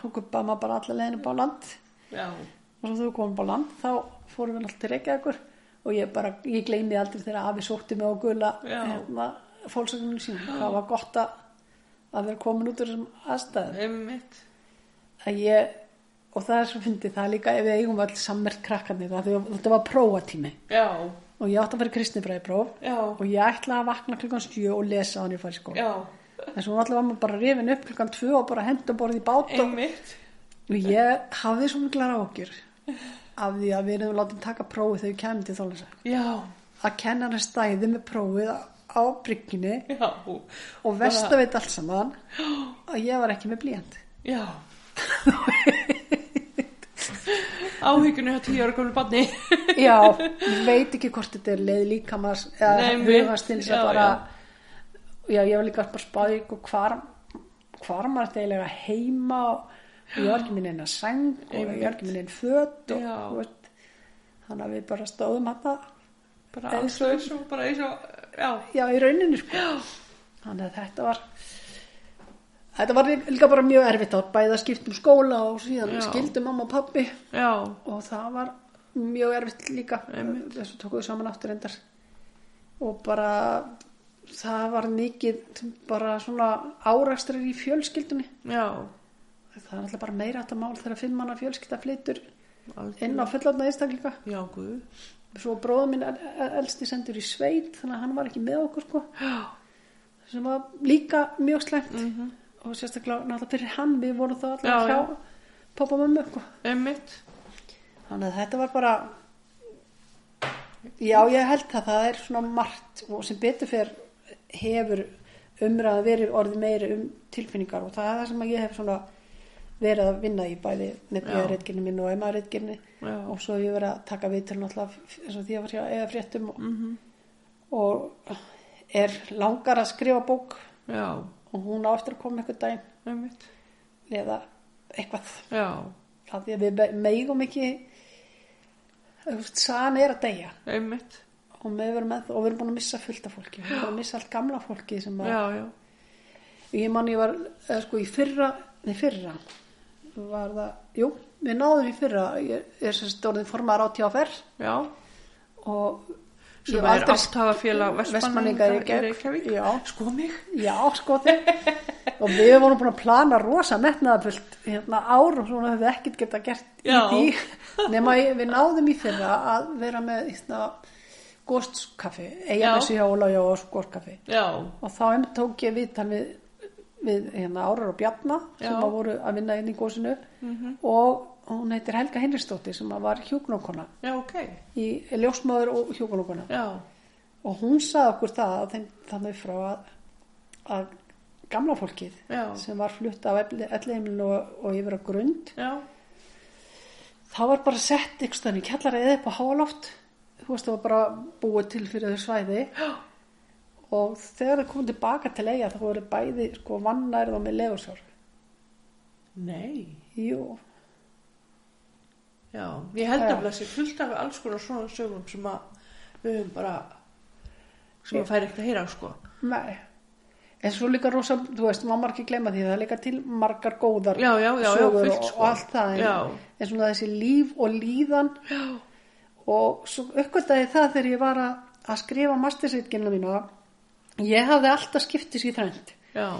B: svo guppaði maður bara alla leiðinu bá land
A: já,
B: og svo þau komum á land þá fórum við náttúrulega til Reykjavíkur og ég bara, ég gleymi aldrei þegar afi sótti mig á gula
A: Já.
B: hérna, fólksögnum sín það var gott að, að vera komin út úr þessum aðstæðum
A: einmitt,
B: að ég, og það er svo fyndið það er líka ef við eigum öll sammert krakkandi það, þetta var prófatími
A: já,
B: og ég átti að fara kristnifræðipróf
A: já,
B: og ég ætlaði að vakna klukkan sjö og lesa hann ég fari í skóla
A: já,
B: en svo alltaf var maður bara rifin upp klukkan tvö og bara henda borðið í bát og
A: einmitt,
B: Og ég hafði svo miklar ágjur af því að við erum látið taka prófið þegar við kemum til þólensa.
A: já,
B: Að kennarinn stæði með prófið á brygginni
A: já,
B: og verst að veit allt saman að ég var ekki með blíjandi.
A: já. Áhyggjunni hjá tíu ára komlu banni.
B: Já, ég veit ekki hvort þetta er leið líka maður eða
A: Nei, mitt,
B: hugast til þess
A: já,
B: að bara já. ég var líka bara spáði ykkur sko, hvar, hvar maður þetta eiginlega heima og ég var ekki minn einn að sæng og ég var ekki minn einn föt og
A: Já.
B: þú veist, þannig að við bara stóðum að það
A: Bara
B: Eins
A: eins og, eins og, bara eins og, já,
B: já, í rauninni sko. þannig að þetta var þetta var líka bara mjög erfitt það var bæða skipt um skóla og síðan
A: Já.
B: skildu mamma og pappi
A: já,
B: og það var mjög erfitt líka
A: Einmitt.
B: þessu tókuðu saman aftur endar og bara það var mikið bara svona árakstrar í fjölskyldunni
A: já,
B: það er alltaf bara meira þetta mál þegar fimm manna fjölskylda flytur
A: aldrei.
B: inn á fullotna einstaklinga
A: Já, guð.
B: svo bróða minn el- el- elsti sendur í sveit þannig að hann var ekki með okkur sko
A: Já,
B: sem var líka mjög slæmt og sérstaklega náttúrulega fyrir hann við vorum þá allir
A: Mhm. Já,
B: hjá
A: já.
B: pappa og mömmu sko.
A: einmitt.
B: þannig að þetta var bara já ég held að það er svona margt og sem betur fyrir hefur umræða verið orðið meiri um tilfinningar og það er það sem að ég hef svona verið að vinna í bæði
A: Já.
B: nefniðareitgerni minn og emaðareitgerni
A: Já.
B: og svo hef ég verið að taka við til náttúrulega f- eins og því að var hér eða fréttum og,
A: Mhm.
B: og er langar að skrifa bók
A: Já,
B: og hún á eftir að koma einhvern daginn
A: einmitt.
B: eða eitthvað
A: Já,
B: af því að við be- megum ekki þú veist, sagan er að deyja
A: einmitt.
B: og við erum, með, og við erum búin að missa fullt af fólki við erum búin að missa allt gamla fólki sem að
A: Já, já,
B: ég man ég var, eða sko í fyrra nei fyrra var það, jú, við náðum í fyrra ég ég er sem stórðin formar á TFR
A: já.
B: og
A: Sem
B: ég hef
A: er
B: aldrei-
A: áttafafélag
B: Vestmannaeyinga í Reykjavík.
A: Já,
B: Já.
A: sko mig.
B: Já, sko þig. og við vorum búin að plana rosa metnaðarfullt hérna ár og svona höfum við ekkert geta gert
A: Já.
B: í því nema ég- við náðum í fyrra að vera með hérna, góstkaffi eiga
A: Já.
B: þessi hjá Óla Jó og góstkaffi
A: Já,
B: og þá einmitt tók ég viðtal við, við hérna Árar og Bjarna sem
A: Já. Mhm.
B: að voru að vinna inn í gósinu og hún heitir Helga Hinristóttir sem að var hjúknokona
A: já, ok.
B: í ljósmaður og hjúknokona
A: Já,
B: og hún sagði okkur það að þeim, þannig frá að, að gamla fólkið
A: Já.
B: sem var flutt af elleimlun og, og yfir á grund
A: já,
B: þá var bara sett ykkur stæðan í kjallara eða upp á háaloft þú veist það var bara búið til fyrir þau svæði Já. og þegar þau komum tilbaka til eiga þá voru bæði sko vannærið og með lefursjár
A: Nei.
B: Jú,
A: Já, ég held
B: Já.
A: að það sé fullt af alls konar svona sögum sem að við höfum bara sem að færi ekkert að heyra sko.
B: nei. En svo líka rosa, þú veist, maður má ekki gleyma því, það er líka til margar góðar
A: Já, já, já, já,
B: sögur
A: fullt,
B: og,
A: sko.
B: og allt það. En,
A: Já.
B: en svona þessi líf og líðan
A: Já.
B: og svo uppgöttaði það þegar ég var að, að skrifa mastersveitginna mína. Ég hafði alltaf skiptis í þrænt.
A: Já.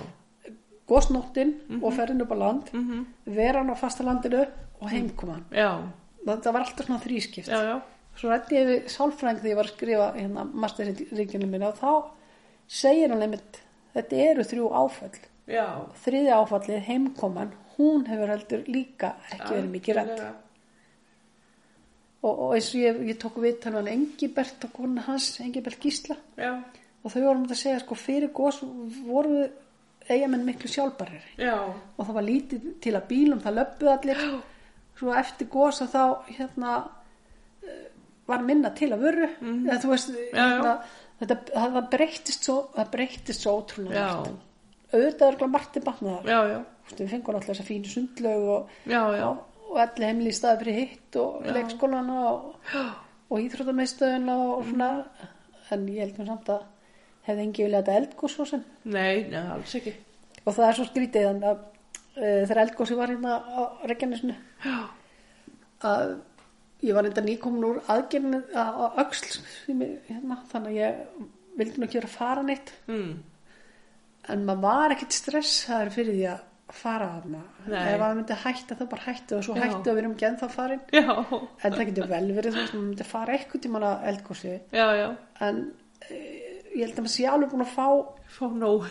B: Gósnóttin
A: Mhm.
B: og ferðin upp á land,
A: Mm -hmm.
B: veran á fasta landinu og heimkoman.
A: Já.
B: Þetta var alltaf svona þrískipt.
A: Mhm. Já, já.
B: Svo rætti ég við sálfræðing þegar ég var að skrifa hérna masterreikinu minna og þá segir hann einmitt þetta eru þrjú áföll.
A: Já.
B: Þriði áfallið, heimkoman, hún hefur heldur líka ekki verið mikið rætt.
A: Algjörlega.
B: Og, og eins og ég, ég tók við hann Engibert og konu hans, Engibert Gísla
A: Já.
B: og þau vorum að segja sko fyrir gos voru eigamenn miklu sjálfbarir
A: Já.
B: og það var lítið til að bílum, það löppuð allir svo eftir gósa þá hérna eh, var minna til að vöru eða þú veist
A: Mhm. já.
B: hérna, þetta, það, það breyttist svo það breyttist svo ótrúlega
A: Já.
B: margt. auðvitað er ekki margt til batnaðar
A: Já, já.
B: við fengum alltaf þessa fínu sundlaug og,
A: Já, já.
B: og allir heimli í staði fyrir hitt og leikskólana og, og íþróttameistöðuna og svona en ég held mér samt að hefði engi viljað þetta eldgóð svo sem
A: Nei, nei, alls ekki.
B: og það er svo skrítið þannig að uh, þegar eldgósi var hérna á Reykjanesinu
A: Já.
B: að ég var enda nýkomin úr aðgerðinu á á öxl sem ég- hérna, þannig að ég vildi nú ekki vera að fara neitt
A: Mm.
B: en maður var ekkit stressaður fyrir því að fara þarna
A: Nei.
B: ef maður myndi hætta þá bara hættu og svo
A: Já.
B: hættu að við erum genn þá farin
A: Já.
B: en það getur vel verið þú veist maður myndi fara eitthvað tímann að eldgósi
A: Já, já.
B: en uh, ég held að maður sé alveg búin að fá
A: Fá nóg.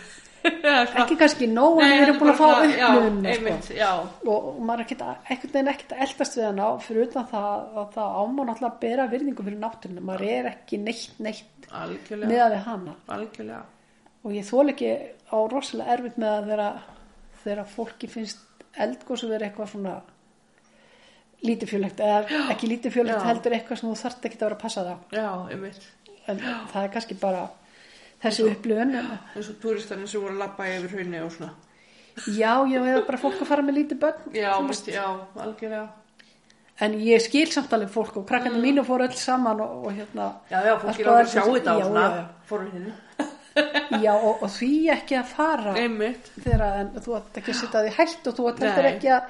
A: Eða svona-
B: ekki kannski nóg en
A: Nei,
B: við erum
A: þetta
B: búin að fá sko.
A: bara svona- Já,
B: upplunum
A: einmitt, já.
B: og og maður er ekkert að- einhvern veginn ekkert að eldast við hana og fyrir utan það að það ámán alltaf að bera virðingu fyrir náttúrinu, maður er ekki neitt neitt
A: Algjörlega.
B: meða við hana
A: Algjörlega.
B: og ég þól ekki á rosalega erfitt með að þeirra þegar fólki finnst eldgósu verið eitthvað svona lítið fjölegt eða ekki lítið fjölegt
A: Já.
B: heldur eitthvað sem þú þarft ekki að vera að passa það
A: Já, einmitt.
B: en það er kannski bara þessi upplifun en-
A: eins og túristanir sem voru að lappa yfir hraunni og svona
B: já, já, eða bara fólk að fara með lítið börn
A: já, mest, já, algjörlega
B: En ég skil samt alveg fólk og krakkandi mínu fór öll saman og, og hérna...
A: Mm. já, já, fólk
B: að
A: er alveg að
B: skoða
A: sjá þetta á
B: já,
A: svona
B: já,
A: forvitin
B: já, já, og, og því ekki að fara
A: einmitt,
B: þegar að- en þú ætti ekki að setja því hætt og þú ætti
A: Nei.
B: heldur ekki að,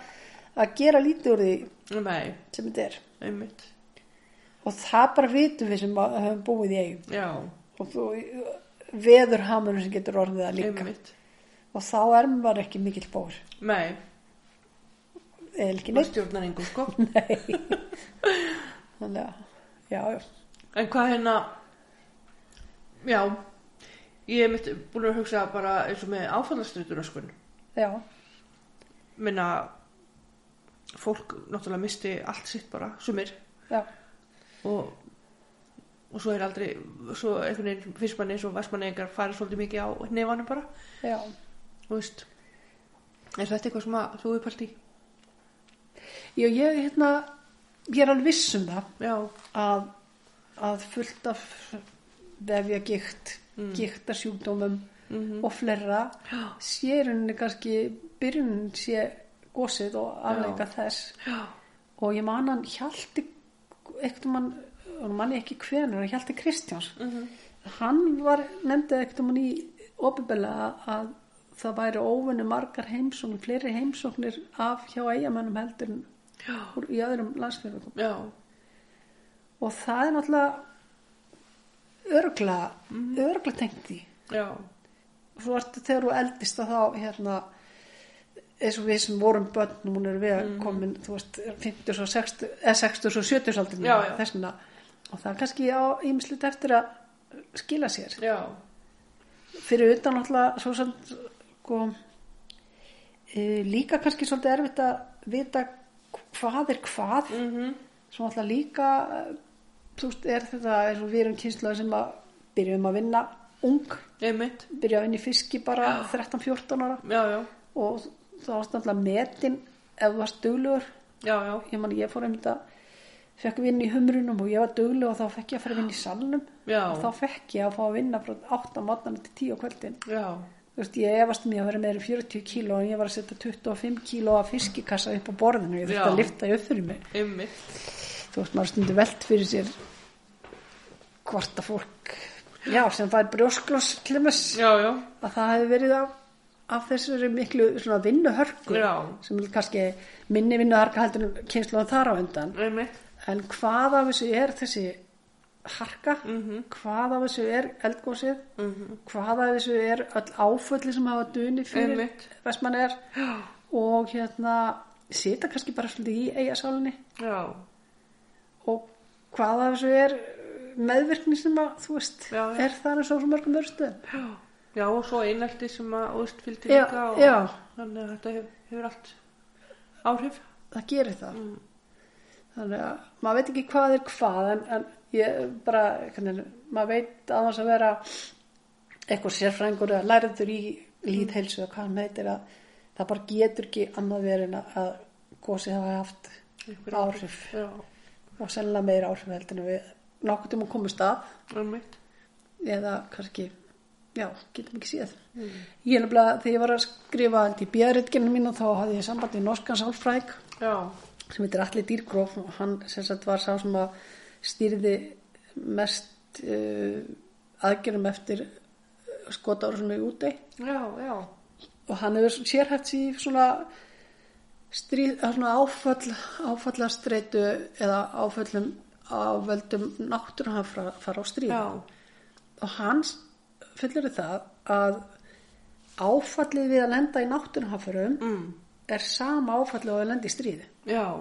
B: að gera lítið úr því
A: nei,
B: sem þetta er.
A: einmitt
B: Og það bara vitum við sem að, höfum búið í eigum
A: já,
B: og þú veður hamurum sem getur orðið það líka.
A: einmitt
B: Og þá er maður ekki mikill bór.
A: nei,
B: Eða ekki
A: maður
B: neitt.
A: stjórnar engu sko
B: Nei. Þannig að, já, já.
A: en hvað hérna já ég er mitt búin að hugsa bara eins og með áfallastuturöskun
B: Já,
A: minna fólk náttúrulega misti allt sitt bara, sumir
B: já,
A: og, og svo er aldrei svo einhvern veginn finnst manni eins og vestmannegar farið svolítið mikið á nefanum bara
B: já.
A: þú veist er þetta eitthvað sem að þú er pælt í
B: Já, ég, hérna, ég er alveg viss um það
A: já,
B: að, að fullt af vefja gikt, mm. giktarsjúkdómum og fleira
A: Mhm. Já.
B: sé í rauninni kannski byrjun sé gósið og afleika þess
A: já,
B: og ég man hann hjalti ekkert mann, og nú man ég ekki hvenur hann hjalti Kristjáns
A: Mhm.
B: hann var, nefndi ekkert mann í opiðbella að það væri óvinni margar heimsóknir, fleiri heimsóknir af hjá eigamennum heldur en
A: já,
B: úr- í öðrum landsfjörðum
A: já
B: og það er náttúrulega örgla mm. örgla tengt því
A: já,
B: svo ertu þegar þú eldist að þá hérna eins og við sem vorum börn núna erum við
A: Mhm.
B: mm. komin þú veist 50 og 60 eða 60 og 70 aldrin
A: Já, já.
B: þessna og það er kannski á ímislið eftir að skila sér
A: já,
B: fyrir utan náttúrulega svo sem sko e, líka kannski svolítið erfitt að vita hvað er hvað
A: mm -hmm.
B: svo alltaf líka eh, þú veist, er þetta eins og við erum kynsluð sem að byrjum að vinna ung,
A: einmitt
B: byrja að vinna í fiski bara 13-14 ára
A: já, já,
B: og þá varst alltaf metin ef þú varst duglegur
A: já, já,
B: ég man ég fór einmitt að fekk vinn í humrunum og ég var dugleg og þá fekk ég að fara að vinna í salnum
A: Já.
B: og þá fekk ég að fá að vinna frá 8 á mótnarna til 10 á kvöldin
A: já
B: þú veist, ég efast um ég að vera meira en 40 kíló en ég var að setja 25 kíló af fiskikassa upp á borðinu, ég þurfti
A: Já.
B: að lifta upp fyrir mig
A: Einmitt.
B: þú veist, maður stundur velt fyrir sér hvort að fólk já, sem fær brjóskloss klimus,
A: Já, já.
B: að það hefði verið af, af þessari miklu svona vinnuhörku
A: Já.
B: sem er kannski minni vinnuhörka heldur en kynsluðan þar á undan
A: Einmitt.
B: En hvað af þessu er þessi harka,
A: Mhm.
B: hvað af þessu er eldgósið, hvað af þessu er öll áfölli sem hafa duni fyrir
A: Einmitt.
B: vestmannir og hérna sita kannski bara svolítið í eigasálinni
A: Já,
B: og hvað af þessu er meðvirkni sem að, þú veist,
A: Já, já.
B: er það eins og svo mörgum örstöðum.
A: já. Já, og svo einaldi sem að óst fylgdi
B: Já,
A: líka og
B: já.
A: þannig að þetta hefur, hefur allt áhrif.
B: það gerir það
A: Mm.
B: þannig að maður veit ekki hvað er hvað en, en ég bara hvernig, maður veit aðeins að vera eitthvað sérfræðingur eða læriður í líðheilsu eða hvað hann heitir að það bara getur ekki annað verið en að gósið hafa haft
A: Einhver
B: áhrif
A: Já,
B: og sennilega meira áhrif heldur en við nokkuð tíma komumst að
A: einmitt.
B: eða kannski já, getum ekki séð ég er nefnilega, þegar ég var að skrifa held í björritkinu mín þá hafði ég sambandi í norskan sálfræk
A: Já,
B: sem heitir Alli Dýrgróf og hann sem sagt var sá sem að stýrði mest uh, aðgerðum eftir skotárusunni úti
A: já, já.
B: og hann hefur sérhæft sér í svona, stríð, eða svona áfall, áfallastreitu eða áföllum á völdum náttúru hann fara, fara á stríð
A: Já,
B: og hans fyllir það að áfallið við að lenda í náttúruhafurum
A: mm.
B: er sama áfallið og að lenda í stríði
A: já,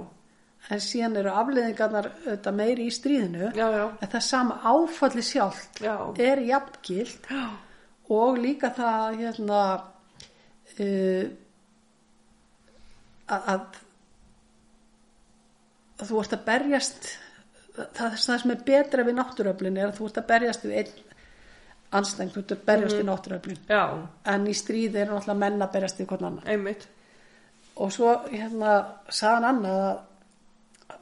B: en síðan eru afleðingarnar auðvitað meiri í stríðinu
A: já, já,
B: en það sama áfalli sjálft
A: já,
B: er jafngilt
A: já,
B: og líka það hérna uh, að, að að þú ert að berjast það, það sem er betra við náttúröflin er að þú ert að berjast við einn anstæng, þú ert að berjast við náttúröflin
A: já,
B: en í stríði eru náttúrulega menn að berjast við hvern annan
A: einmitt.
B: og svo hérna sagðan annað að,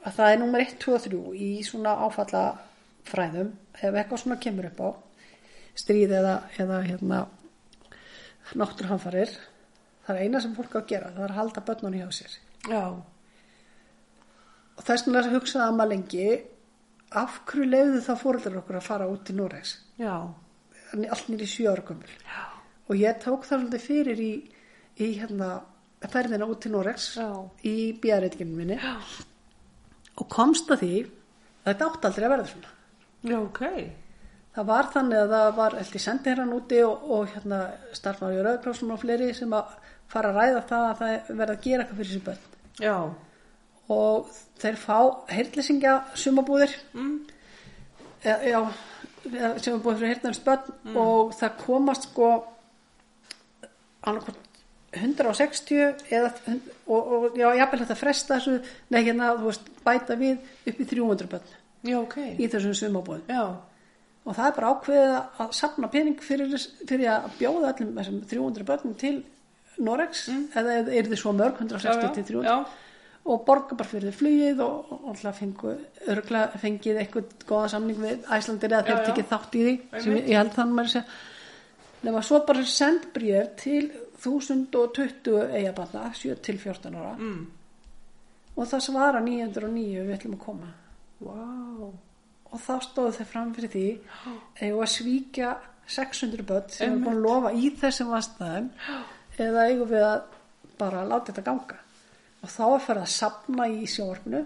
B: að það er nummer 1, 2 og 3 í svona áfallafræðum ef eitthvað svona kemur upp á stríð eða, eða hérna náttúrhanfarir það er eina sem fólk á að gera það er að halda börnun hjá sér
A: Já,
B: og þess vegna hugsaði amma lengi af hverju leiðu þá fóreldrar okkur að fara út til Noregs
A: já,
B: allt nýri sjö ára gömul
A: já,
B: og ég tók það svolítið fyrir í, í hérna ferðina út til Noregs
A: já,
B: í bíareitkinu minni
A: já,
B: og komst að því að þetta átti aldrei að verða svona.
A: já, ok.
B: Það var þannig að það var held ég sendi hérna úti og, og hérna starfmaður í Rauðkrósum og fleiri sem að fara að ræða það að það verða að gera eitthvað fyrir sér börn.
A: Já,
B: Og þeir fá heyrlesingja sumabúðir,
A: mm.
B: e, já, eða sumabúðir fyrir heyrlesingja börn og það komast sko annarkvort 160 eða, hund- og, og já, jafnvel þetta fresta þessu, nei hérna, þú veist, bæta við upp í 300 börn
A: já, ok.
B: í þessum sumabúðum.
A: Já,
B: og það er bara ákveðið að safna pening fyrir, fyrir að bjóða öllum þessum 300 börnum til Noregs eða er þið svo mörg
A: Mm. já,
B: 160 til
A: já,
B: 300
A: já,
B: og borga bara fyrir þið flugið og og alltaf fengu, örgla, fengið eitthvað góða samning við Æslandir eða
A: Já,
B: þeir
A: já.
B: tekið þátt í því sem ég, ég held þannig maður að segja nema svo bara send bréf til 1020 eigabanna 7 til 14 ára
A: mm.
B: og það svara 909 við ætlum að koma
A: Vá,
B: og þá stóðu þeir fram fyrir því eigum við að svíkja 600 börn sem við erum búin að
A: Einmitt.
B: lofa í þessum vastæðum eða eigum við að bara láta þetta ganga og þá er fyrir að sapna í sjónvarpinu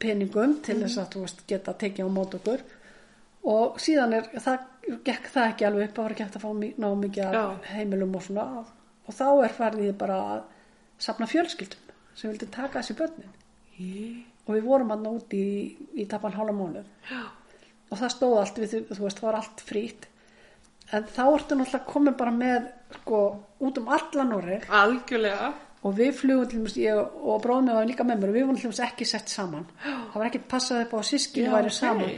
B: peningum til þess að þú veist geta tekið á mót okkur og síðan er það, gekk það ekki alveg upp að vera gett að fá mi- ná mikið af
A: Já.
B: heimilum og svona og þá er farið í bara að sapna fjölskyldum sem vildi taka þessi börnin
A: ég,
B: og við vorum hann úti í, í tapan hálfa mánuð
A: já,
B: og það stóð allt við, þú veist, það var allt frýtt en þá ertu náttúrulega komin bara með sko, út um alla Nóri
A: algjörlega.
B: og við flugum til dæmis, ég og bróðum var líka með mér og við vorum til dæmis ekki sett saman það var ekki passað upp á að
A: Já,
B: sískinu væri
A: ok.
B: saman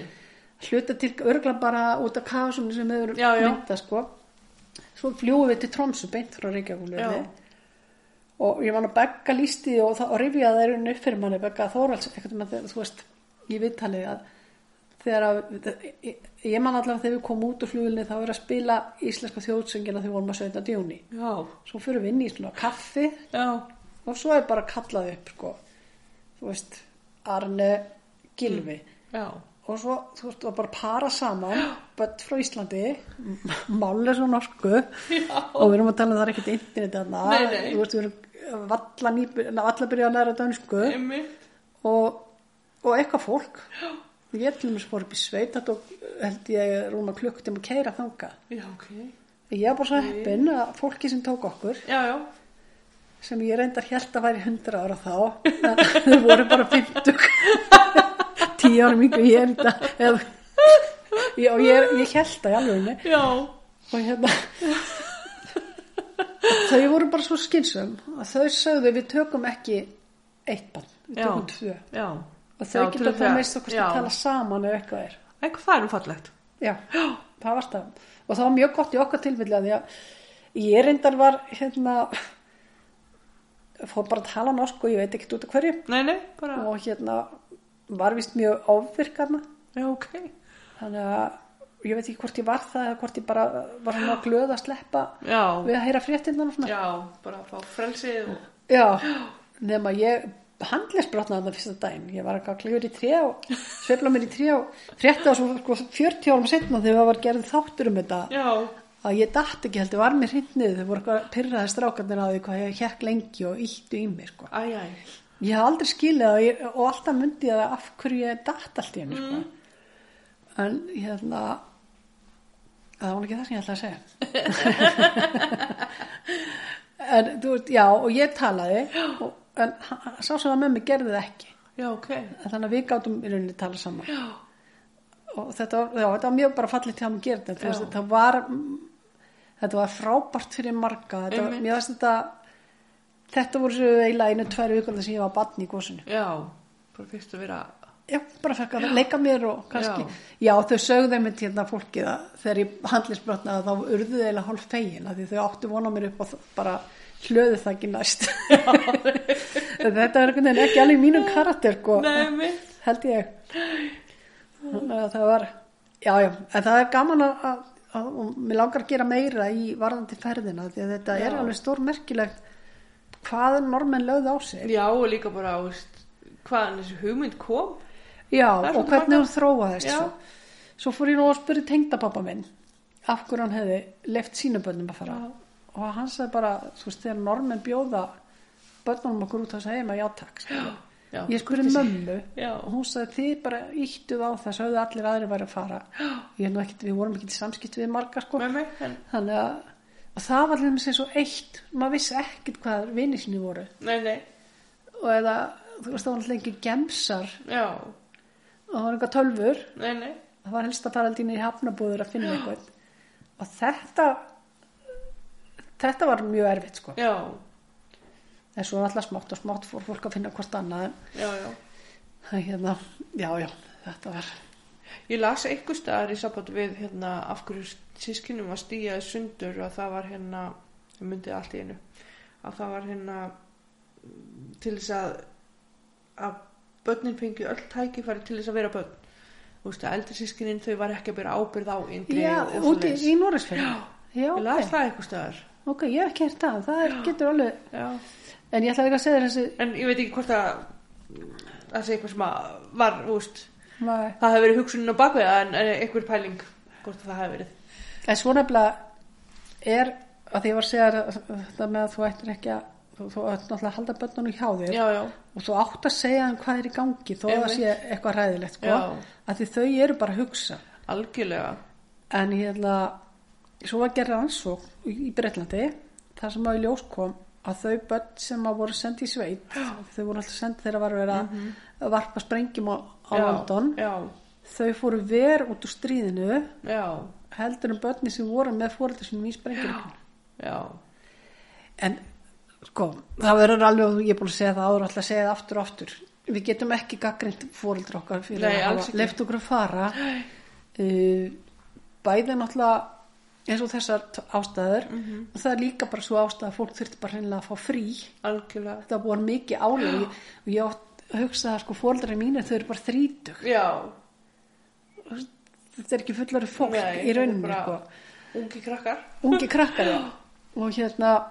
B: hluta til örgla bara út af kasunni sem hefur
A: Já, já.
B: mynda sko svo fljúum við til Tromsu beint frá Reykjavíkulöfni
A: Já.
B: og ég man að begga lísti og, það- og rifjaði þeir unni upp fyrir manni begga Þóralds, ekkert með þeir, þú veist, í viðtalið að þegar að, ég, ég man allavega þegar við komum út úr flugulni þá er að spila íslenska þjóðsöngina þegar við vorum að sveita djóni.
A: Já,
B: Svo fyrir við inn í svona kaffi
A: já,
B: og svo er bara kallað upp, sko, þú veist, Arne Gilvi.
A: já,
B: Og svo, þú veist, og bara para saman, börn frá Íslandi, mális og norsku
A: Já.
B: og við erum að tala um það er ekkert interneti þarna.
A: Nei, nei.
B: Þú veist, við erum valla, nýbyr, valla byrjað að læra dönsku
A: einmitt,
B: og, og eitthvað fólk ég til mér fór upp í sveit þetta og held ég rúma klukktum að keira þanga
A: já, ok,
B: ég var bara svo heppin að fólki sem tók okkur
A: já, já,
B: sem ég reyndar held að væri 100 ára þá en þau voru bara 50 10 árum yngur ég er í dag eða Já, og ég, ég held það í alveg
A: já,
B: og hérna þau voru bara svo skynsum að þau sagðu við tökum ekki eitt bann,
A: já,
B: við tökum tvö
A: já.
B: og þau
A: Já, til
B: geta
A: að
B: það
A: segja-
B: meist okkur
A: já.
B: að tala saman ef eitthvað er
A: Eitthvað það er um fallegt.
B: já, það var það og það var mjög gott í okkar tilfelli að því að ég reyndar var hérna fór bara að tala norsk og ég veit ekkert út af hverju
A: Nei, nei, bara,
B: og hérna var vist mjög ofvirkarna
A: já, ok,
B: þannig að ég veit ekki hvort ég var það eða hvort ég bara var svona glöð að sleppa
A: já,
B: við að heyra fréttindan og svona
A: já, bara að fá frelsið og,
B: Já, nema ég handlisbrotnaði þetta fyrsta daginn. Ég var eitthvað að klifur í tré og sveifla mér í tré og frétta og svo sko, 40 árum setna þegar það var gerðið þáttur um þetta
A: já,
B: að ég datt ekki heldur var mér hrynnið þau voru eitthvað pyrraði strákarnir að því hvað ég hekk lengi og íttu í mér sko.
A: æj, æj,
B: Ég haf aldrei skilið það og, ég, og alltaf myndi ég það af hverju ég datt allt í henni sko. En hérna, það var ekki það sem ég ætlaði að segja. en þú veist, já, og ég talaði, og, en hann- hann- sá sem var með mig gerði það ekki.
A: já, ok,
B: En Þannig að við gátum í rauninni að tala saman.
A: já,
B: Og þetta var, já, þetta var mjög bara fallið til að maður gerði þetta. Þú veist,
A: Já.
B: þetta var, mm, þetta var frábært fyrir marga. Þetta, var-
A: Einmitt.
B: mér veist þetta, þetta voru svo eiginlega einu, tvær vikurna sem ég var barn í gósinu.
A: já, bara fyrst að vera,
B: Já, bara fekk að leika mér og kannski, já, þau sögðu einmitt hérna fólkið að þegar ég handlisbrotnaði þá urðu þau eiginlega hálf fegin að því þau áttu vona mér upp og þ- bara hlöðu það ekki næst þetta er einhvern veginn ekki alveg í mínum karakter sko,
A: nei, einmitt,
B: held ég þannig að það var já, já, en það er gaman að, að, að og mér langar að gera meira í varðandi ferðina því að þetta er
A: Já.
B: alveg stór merkilegt hvað normenn lögðu á sig
A: já, og líka bara, veist, hvaðan þessi hugmynd kom,
B: Já,
A: Það er
B: og
A: svolítið
B: hvernig
A: magnað.
B: hún þróaðist
A: Já.
B: svo. Svo fór ég nú að spyrja tengdapappa minn af hverju hann hefði left sínu börnum að fara.
A: Já.
B: Og hann sagði bara, þú veist, þegar normen bjóða börnunum okkur út að segja maður já takk. skilurðu.
A: já,
B: Ég spurði mömmu
A: Já.
B: og hún sagði þið bara íttuð á það, sögðu allir aðri væri að fara. Ég er nú ekkit, við vorum ekkit í samskipt við marga sko.
A: með mig, en,
B: Þannig að og það var hljóðum sem svo eitt, maður vissi ekkit hvað vinni sinni voru.
A: nei, nei,
B: Og eða, þú veist, það var alltaf engin gemsar
A: já,
B: og það var einhver tölfur
A: nei, nei,
B: það var helsta faraldínu í hafnabúður að finna eitthvað og þetta þetta var mjög erfitt sko
A: já,
B: en svo alltaf smátt og smátt fór fólk að finna hvort annað en
A: já, já.
B: það er hérna, já já, þetta var
A: Ég las einhver staðar í samband við hérna, af hverju sískinum var stíjaði sundur og það var hérna, ég myndi það allt í einu, að það var hérna mm, til þess að, að börnin fengi öll tækifæri til þess að vera börn. Þú veist að eldri sískinin þau var ekki að byrja ábyrð á yngri
B: já,
A: og
B: úti
A: svoleiðis.
B: í Norrisfjörn já,
A: Ég las
B: ok,
A: það einhver staðar.
B: ok, ég hef ekki hert það það er, getur alveg,
A: Já.
B: en ég ætla ekki að segja þér þessi
A: En ég veit ekki hvort að það sé eitthvað sem að var, þú veist,
B: Nei.
A: það hefði verið hugsunin á bakvið það, en, en einhver pæling hvort að það hefði verið.
B: en svo nefnilega er að því ég var að segja þér að- þetta með að þú ættir ekki að þú, þú ættir náttúrulega að halda börnunum hjá þér
A: Já, já,
B: og þú átt að segja þeim hvað er í gangi þó að það
A: Einmitt.
B: sé eitthvað ræðilegt sko,
A: Já.
B: að því þau eru bara að hugsa
A: algjörlega.
B: en ég held að svo var gerðið ansók í Breitlandi þar sem að í ljós kom að þau börn sem að voru sendið í sveit þau voru alltaf sendið þegar var verið að varpa sprengjum á, á
A: Já,
B: London
A: já,
B: þau fóru ver út úr stríðinu
A: já,
B: heldur en börni sem voru með fóreldur sem í sprengjum
A: já,
B: en sko, það verður alveg ég er búin að segja það áður, alltaf að segja það aftur og aftur við getum ekki gaggrind fóreldra okkar fyrir
A: Nei,
B: að
A: alls ekki.
B: leift okkur að fara uh, bæði náttúrulega eins og þessar t- ástæður
A: Mhm.
B: og það er líka bara svo ástæð að fólk þurfti bara hreinlega að fá frí
A: algjörlega
B: þetta var mikið álega og ég átt að hugsa það sko fóreldra mínir þau eru bara þrítug
A: já,
B: þetta er ekki fullari fólk
A: Nei,
B: í rauninni
A: þetta er
B: sko.
A: bara- ungi krakkar
B: ungi krakkar já. og hérna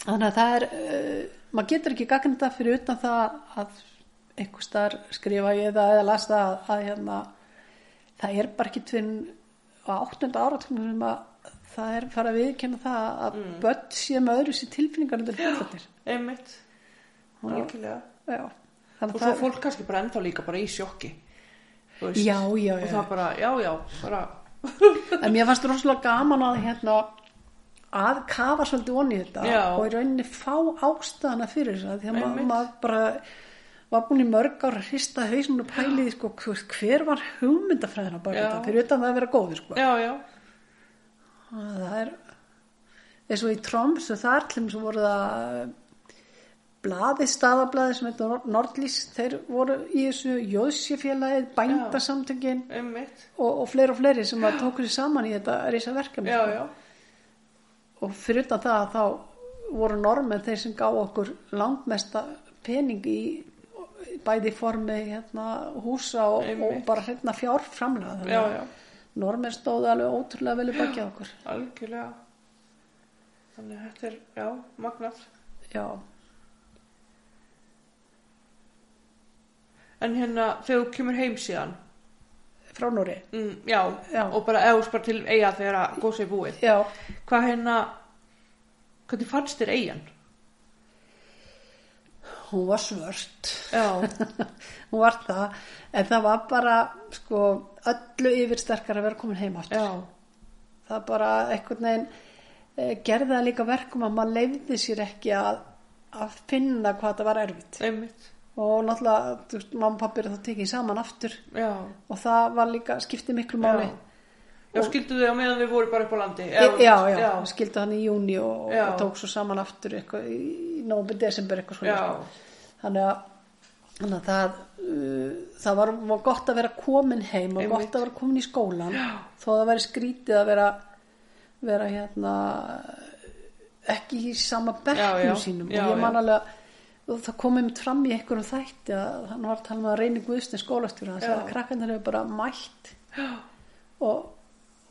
B: þannig að það er uh, maður getur ekki gagna þetta fyrir utan það að einhver starf skrifa ég það eða las það að, að hérna það er bara ekki tvinn á áttunda áratugum sem að það er fara að viðkenna það að mm. börn sé með öðru sér tilfinningar undir fjöldrættir
A: einmitt, algjörlega og
B: þannig
A: svo
B: að það
A: fólk kannski bara ennþá líka bara í sjokki þú veist.
B: Já, já,
A: og
B: já.
A: það bara, já, já, bara
B: en mér fannst rosalega gaman að hérna að kafa svolítið onni þetta
A: Já.
B: og í rauninni fá ástæðana fyrir þess að því að ma
A: Einmitt.
B: maður bara var búin í mörg ára að hrista hausinn og pæliði sko þú veist, hver var hugmyndafræðina bara
A: Já.
B: þetta fyrir utan það að vera góður sko Ah,
A: já, já,
B: það er eins og í Troms og þar til sem voru það blaði, staðablaði sem heitir Nor- Nordlís, þeir voru í þessu Jóðsjöfélagið, bændasamtökin
A: einmitt
B: og, og fleiri og fleiri sem að tóku sér saman í þetta reysa verkefni
A: já,
B: sko.
A: já,
B: og fyrir utan það að þá voru normen þeir sem gá okkur langmesta pening í bæði í formi hérna, húsa og, og
A: Einmitt.
B: bara hérna fjárframlega
A: já,
B: þannig
A: já,
B: að normen stóðu alveg ótrúlega vel í bakið á okkur
A: algjörlega þannig að þetta er, já, magnað
B: já,
A: en hérna, þegar þú kemur heim síðan
B: frá Núri
A: mm, já,
B: Já.
A: og bara eða spara til eiga þegar að góðs er búið
B: já,
A: hvað hérna hvernig fannst þér eigan?
B: hún var svört
A: já,
B: hún var það en það var bara sko, öllu yfirsterkar að vera komin heim aftur
A: já,
B: það bara einhvern veginn eh, gerði það líka verkum að maður leifði sér ekki að, að finna hvað það var erfitt
A: einmitt
B: og náttúrulega þú veist, mamma og pappi eru þá tekið saman aftur
A: já,
B: og það var líka, skipti miklu
A: Já.
B: máli
A: já skildu þau á meðan við voru bara upp á landi
B: já, já, já,
A: já,
B: skildi hann í júni og,
A: Já.
B: og tók svo saman aftur eitthvað í nómbi desember eitthvað svona
A: já.
B: sko. þannig að Þannig að það, uh, það var, var gott að vera komin heim og
A: Einmitt.
B: gott að vera komin í skólan þó að það væri skrítið að vera, vera hérna, ekki í sama
A: Já, já.
B: bekknum sínum
A: Já,
B: og ég man
A: já.
B: alveg að og það komið mitt fram í einhverjum þætti að hann var að tala með að reyni Guðstein skólastjóra þess að
A: Já.
B: krakkarnir hefur bara mætt og,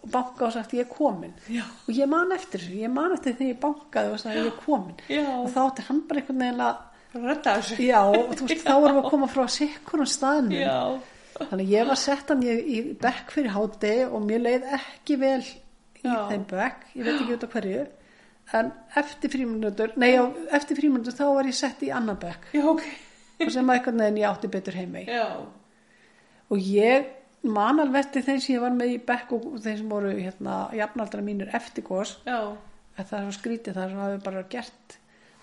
B: og banka og sagt ég er komin
A: Já.
B: og ég man eftir þessu, ég man eftir því þegar ég bankaði og sagði ég er komin
A: Já.
B: og þá átti hann bara einhvern veginn að
A: bara redda þessu
B: Já, og þú veist, þá vorum við að koma frá sikkunum staðnum.
A: Já,
B: Þannig að ég var settan í, í bekk fyrir háti og mér leið ekki vel í
A: Já.
B: þeim bekk, ég veit ekki út af hverju. En eftir fríminutur, nei, já, eftir fríminutur þá var ég sett í annan bekk
A: já, ok,
B: og sem að eitthvað neðin ég átti betur heimi.
A: já,
B: Og ég man alveg eftir þeim sem ég var með í bekk og þeim sem voru hérna, jafnaldra mínir eftir gos,
A: já,
B: að það var skrítið þar sem hafi bara gert,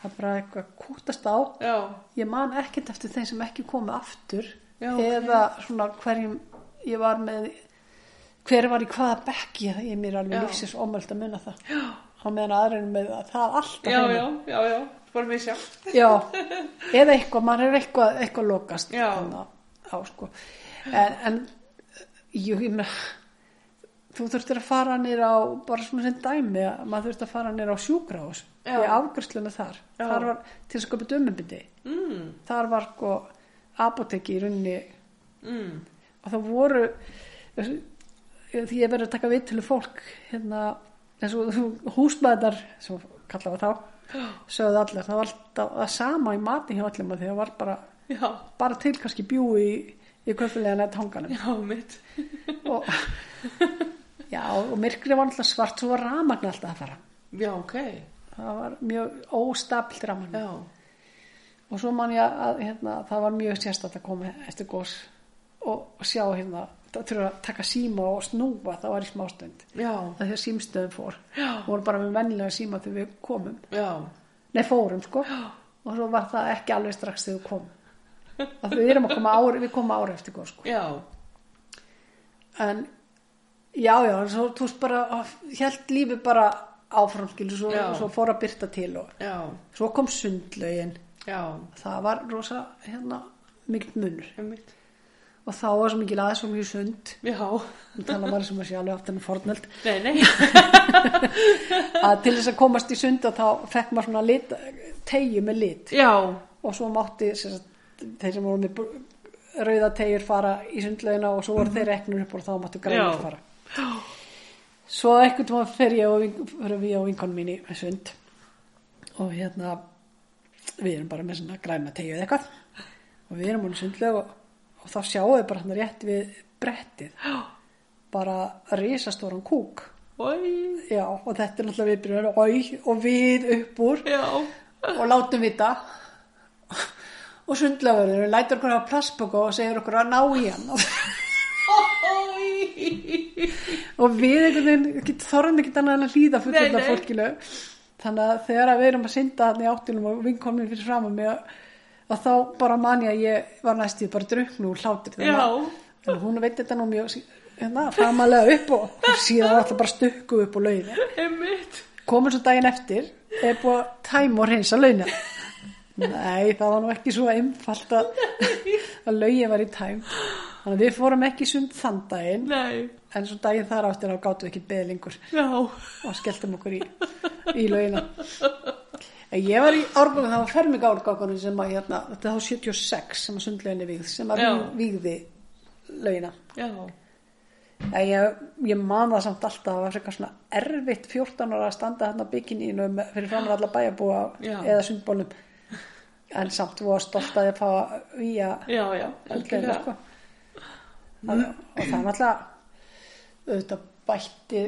B: það bara eitthvað kútast á
A: já,
B: ég man ekkert eftir þeim sem ekki komu aftur
A: Já, ok.
B: eða svona hverjum ég var með hver var í hvaða bekk ég, ég er mér alveg
A: Já.
B: lífsins ómöld að muna það já. á meðan aðrir eru með að það er alltaf
A: já,
B: heima.
A: já, já, já, bara mér sjálf,
B: já. eða eitthvað, maður er eitthvað, eitthvað lokast
A: Já.
B: þarna á, sko. en, en jú, ég með þú þurftir að fara nýr á bara svona sem dæmi, að maður þurftir að fara nýr á sjúkrahús
A: Já.
B: í afgjörslega þar
A: Já.
B: þar var til að sköpa dömubindi
A: mm,
B: þar var sko apoteki í rauninni
A: mm,
B: og það voru því ég verið að taka við til fólk hérna, eins og húsmaðar sem kallaði þá sögðu allir, það var alltaf það sama í mati hjá öllum að því það var bara
A: já,
B: bara til kannski bjúi í, í köfulega nettanganum
A: já, mitt,
B: og, já, og myrkri var alltaf svart svo var ramagn alltaf að fara
A: já, ok,
B: það var mjög óstabilt ramagn
A: já,
B: og svo man ég að hérna, það var mjög sérstætt að koma eftir gós og sjá hérna það þurfa að taka síma og snúa það var í smástund
A: já,
B: það þegar símstöðum fór og voru bara með vennilega síma þegar við komum
A: já,
B: nei fórum sko og svo var það ekki alveg strax þegar við komum og við erum að koma ári við komum ári eftir gós sko
A: já,
B: en já já en svo þú veist bara held lífi bara áfram skilu svo,
A: Já.
B: svo fór að byrta til og
A: já,
B: svo kom sundlaugin
A: já,
B: það var rosa hérna mikill munur
A: mitt,
B: og þá var svo mikið aðeins og mikið sund
A: já,
B: og tala bara sem að sé alveg aftur en fornöld
A: nei, nei,
B: að til þess að komast í sund og þá fekk maður svona lit, tegju með lit
A: já,
B: og svo mátti sem sagt, þeir sem voru með br- rauðategjur fara í sundlaugina og svo voru þeir reknur upp og þá máttu grænir
A: Já.
B: fara svo ekkert maður fer ég og vink- förum við og vinkon mín í sund og hérna við erum bara með svona græna tegju eða eitthvað og við erum hún sundlaug og, og þá sjáum við bara hann rétt við brettið bara risastóran kúk
A: Oj,
B: já og þetta er náttúrulega við byrjum að oi og við upp úr
A: já,
B: og látum vita og sundlaugurinn lætur okkur á plastbóka og segir okkur að ná í hann
A: oj,
B: og við einhvern veginn þorðum ekki annað en að hlýða fullölda
A: Nei, nei.
B: fólkinu þannig að þegar að við erum að synda hann í áttunum og vinkonum fyrir fram að mig að þá bara man ég að ég var næstíð bara druknu og hlátur
A: já,
B: þannig að hún veit þetta nú mjög sí- hérna, framalega upp og og síðan alltaf bara stukku upp og lauði
A: einmitt,
B: komur svo daginn eftir er búið að tæma og reynsa launa nei, það var nú ekki svo einfalt að, að laugin var í tæm þannig að við fórum ekki í sund þann daginn
A: nei,
B: en svo daginn þar áttir þá gátum við ekki beðið lengur
A: já,
B: og skelltum okkur í, í laugina En ég var í árgangu, það var ferming árgangunum sem að hérna, þetta er þá 76 sem að sundlauginni vígð, sem að
A: Já.
B: víg- vígði laugina
A: já,
B: En ég, ég man það samt alltaf að það var frekar svona erfitt 14 ára að standa hérna bikinínu fyrir framar alla bæjarbúa
A: Já.
B: eða sundbólum en samt voru stolt að ég fá að víja
A: já, já,
B: algjörlega
A: algjörlega,
B: sko. Það- og það er náttúrulega auðvitað bætti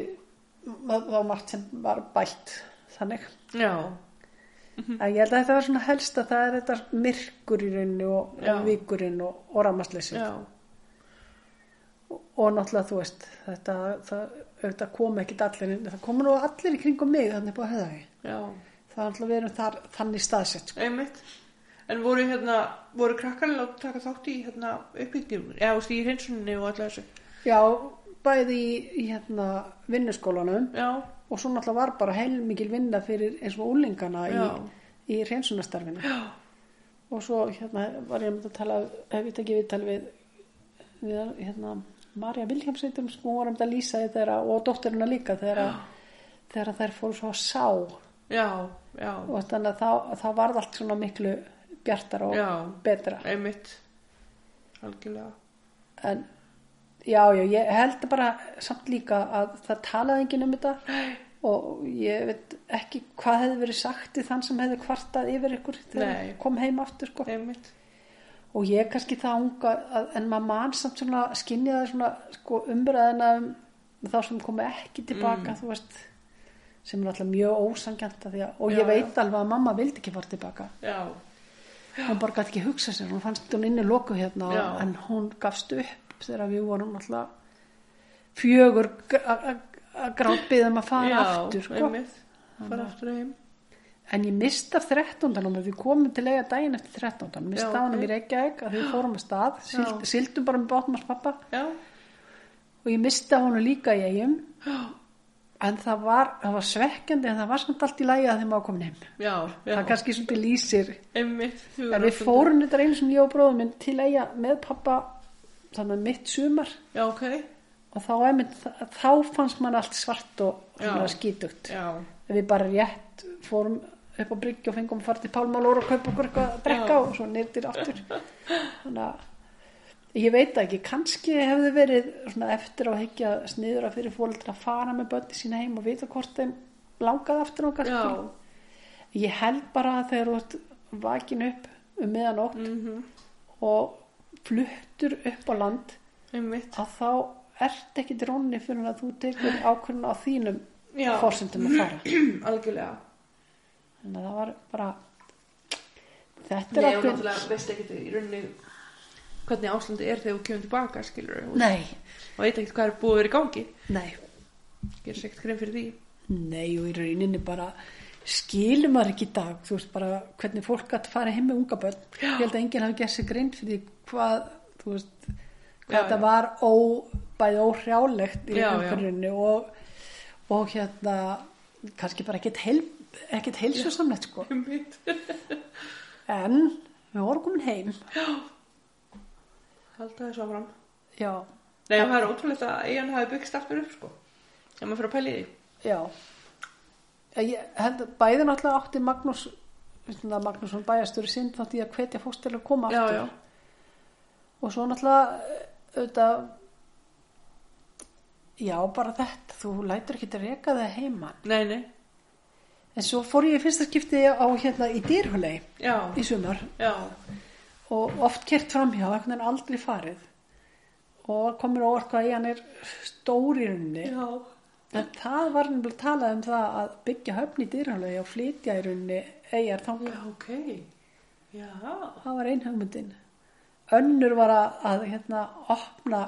B: það það var margt sem var bætt þannig
A: já, Mhm.
B: að ég held að þetta var svona helst að það er þetta myrkur í rauninni og
A: Já.
B: vikurinn og, og rammasleysi
A: já,
B: og náttúrulega þú veist þetta, það, þetta kom ekki allir inn, það komur nú allir í kringum mig þannig búið að höfða ekki
A: já,
B: það er náttúrulega við erum þar, þannig staðsett sko.
A: einmitt, en voru hérna, voru krakkarinn látt taka þátt í hérna uppbyggjum, eða þú veist, í hreinsuninni og alltaf þessu,
B: sko. já, bæði í, í hérna, vinnuskólanum
A: já,
B: og svo náttúrulega var bara heilmikil vinna fyrir eins og úlingana í,
A: Já.
B: í reynsunastarfinu
A: já,
B: og svo hérna var ég að mynda að tala hef ég tekið viðtal við, við hérna, Marja Viljámsveitum sem hún var að mynda að lýsa því þeirra og dótturina líka þegar, að, þegar þær fóru svo að sá
A: já, já,
B: og þannig að það, það varð allt svona miklu bjartar og
A: Já.
B: betra
A: einmitt, algjörlega,
B: en já, já, ég held bara samt líka að það talaði enginn um þetta og ég veit ekki hvað hefði verið sagt í þann sem hefði kvartað yfir ykkur þegar
A: Nei.
B: hann kom heim aftur sko.
A: einmitt,
B: og ég er kannski það unga að, en maður mann samt svona skinjaði svona sko, umræðina um þá sem komi ekki
A: Mm.
B: tilbaka þú veist sem er alltaf mjög ósangjant að, og
A: Já,
B: ég veit alveg að mamma vildi ekki fara tilbaka
A: já,
B: hún bara gæti ekki hugsa sér, hún fannst hún inni loku hérna
A: Já.
B: en hún gafst upp þegar við vorum alltaf fjögur grátbyðum að fara
A: já,
B: aftur sko.
A: einmitt, fara aftur heim,
B: en ég mista 13. númer, við komum til eiga daginn eftir 13. mista
A: Já,
B: honum í
A: ok.
B: Reykjavík að við fórum að stað, sild, sildum bara með bátum hans pappa
A: já,
B: og ég mista honum líka í eigum
A: já,
B: en það var, það var svekkjandi en það var samt allt í lægi að þeim að komin heim
A: já, já,
B: það kannski svolítið lýsir
A: einmitt,
B: En við
A: hugarástandi.
B: fórum þetta einu sem ég og bróðum minn til eiga með pappa þannig að mitt sumar
A: já, ok,
B: og þá, einmitt, þá fannst mann allt svart og svona
A: Já.
B: skítugt.
A: já,
B: En Við bara rétt fórum upp á bryggju og fengum að fara til Pálmalóra og kaupa okkur eitthvað að drekka
A: Já.
B: og svo nýrtir aftur. Þannig að ég veit það ekki, kannski hefði verið svona eftir á hekja sniður að fyrir fóreldra að fara með bönni sína heim og vita hvort þeim langaði aftur og
A: já,
B: Ég held bara að þegar þú ert vakin upp um miðanótt
A: mhm,
B: og fluttur upp á land
A: einmitt,
B: að þá ert ekki drónni fyrir að þú tekur ákvörðun á þínum
A: Já.
B: fórsendum að fara
A: algjörlega.
B: þannig að það var bara þetta
A: Nei,
B: er
A: og
B: ákvörðun
A: náttúrulega veist ekki í rauninni hvernig áslandi er þegar þú kemur tilbaka, skilur við.
B: nei,
A: Og veit ekki hvað er búið að vera í gangi.
B: nei,
A: Ég er segt grein fyrir því.
B: nei og í rauninni bara skilum maður ekki í dag þú veist bara hvernig fólk að fara heim með unga börn ég held að enginn hafi gert sér greint fyrir því hvað þú veist hvað
A: Já,
B: þetta
A: já.
B: var ó, bæði óhrjálegt í
A: Já, já.
B: umhverjunni og, og hérna kannski bara ekkert heil, ekkert heilsusamlegt sko
A: Einmitt.
B: en við vorum komin heim
A: Halda þessu áfram.
B: já,
A: Nei, og það er ótrúlegt að eigin hafi byggst aftur upp, sko. Ef maður fyrir að pæli því.
B: já ég held að bæði náttúrulega átti Magnús hérna, Magnússon bæjastur sinn þátti ég að hvetja fólk til að koma
A: Já,
B: aftur
A: já.
B: og svo náttúrulega eh, auðvitað já bara þetta þú lætur ekki að reka það heima
A: Nei, nei,
B: en svo fór ég í fyrsta skipti á hérna í dýrhulei
A: já,
B: í sumar
A: já,
B: og oft kert framhjá, einhvern veginn aldrei farið og komur óvart hvað í hann er stór í rauninni
A: já,
B: en það var nefnilega talað um það að byggja höfn í dýrhalegi og flytja í rauninni eigjar þangað
A: já, ok, já,
B: það var ein hugmyndin önnur var að, að hérna opna,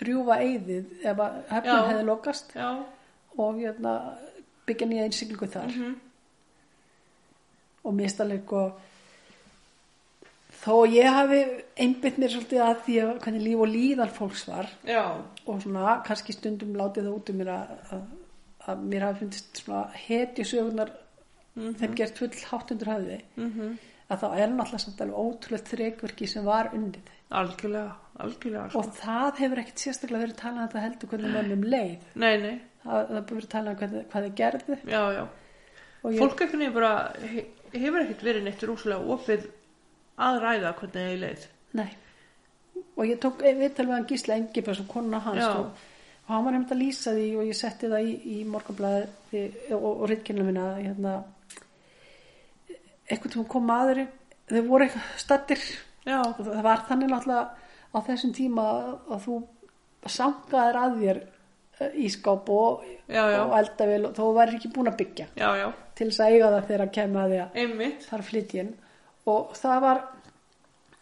B: rjúfa eigðið ef að höfnin
A: Já.
B: hefði lokast
A: já,
B: og hérna byggja nýja einsiglingu þar
A: mhm,
B: og mistaleg og sko, þó ég hafi einbytt mér svolítið að því að hvernig líf og líðan fólks var
A: já,
B: og svona kannski stundum látið það út um mér að, að, að mér hafi fundist svona hetju sögunar þeim gert full hátt undir höfði
A: mhm,
B: að þá er náttúrulega samt alveg ótrúlega þrekverki sem var undið
A: algjörlega, algjörlega, sko.
B: og það hefur ekkit sérstaklega verið talað um þetta heldur hvernig mönnum leið
A: nei, nei,
B: það það hefur verið talað um hvernig, hvað þið gerðu
A: já, já,
B: og ég,
A: fólk ekkert bara, he, hefur ekkert verið neitt rúslega opið að ræða hvernig það er leið,
B: nei og ég tók eh, viðtal við hann Gísla Engibjörn sem konuna hans
A: Já.
B: og, og hann var nefnd að lýsa því og ég setti það í, í morgunblæði og, og reytkjörnum minna hérna, eitthvað tíma kom maður þau voru eitthvað stattir
A: já,
B: og það var þannig náttúrulega á þessum tíma að þú sangaðir að þér eh, í skáp og,
A: Já, já.
B: og eldavél og þó væri ekki búin að byggja
A: já, já,
B: til þess að eiga það þegar að kemja að því að
A: einmitt,
B: þar flytjinn og það var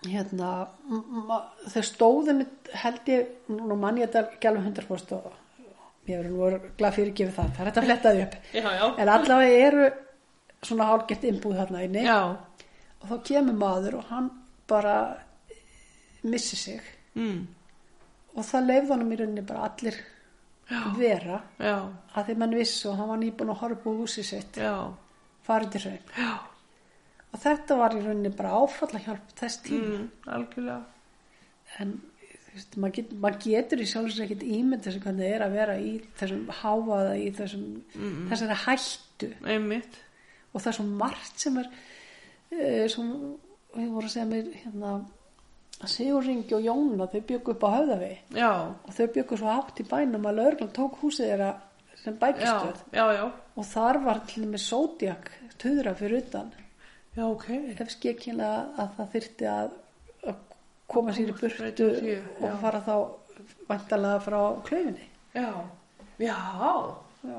B: hérna m- m- þau stóðum held ég, nú mann ég þetta ekki alveg 100% og ég verður voru glað fyrir gefið það, það er þetta að fletta því upp
A: já, já,
B: en allavega eru svona hálgett innbúð þarna inni
A: já,
B: og þá kemur maður og hann bara missir sig
A: mhm,
B: og það leifði honum í rauninni bara allir vera
A: já,
B: að því menn vissu og hann var nýbúin að horfa úr húsi sitt
A: já,
B: farið til raun
A: já,
B: og þetta var í rauninni bara áfalla hjálp þess tíma
A: mhm, algjörlega,
B: en þú veist, maður, get, maður getur í sjálfsins ekkit ímynd þessu hvernig það er að vera í þessum háfaða í þessum þessari hættu
A: einmitt,
B: og það er svo margt sem er eh, sem við vorum að segja mér hérna að Sigur Ringi og Jóna þau byggu upp á höfðavegi
A: já,
B: og þau byggu svo hátt í bænum að lögreglan tók húsið þeirra
A: já,
B: sem bækistöð
A: já, já,
B: og þar var til með sódjak töðra fyrir utan
A: já, ok,
B: ef skekina að það þyrfti að, að koma sér í burtu
A: Breyta sér, já.
B: og fara þá vantalega frá klöfinni
A: já, já,
B: já,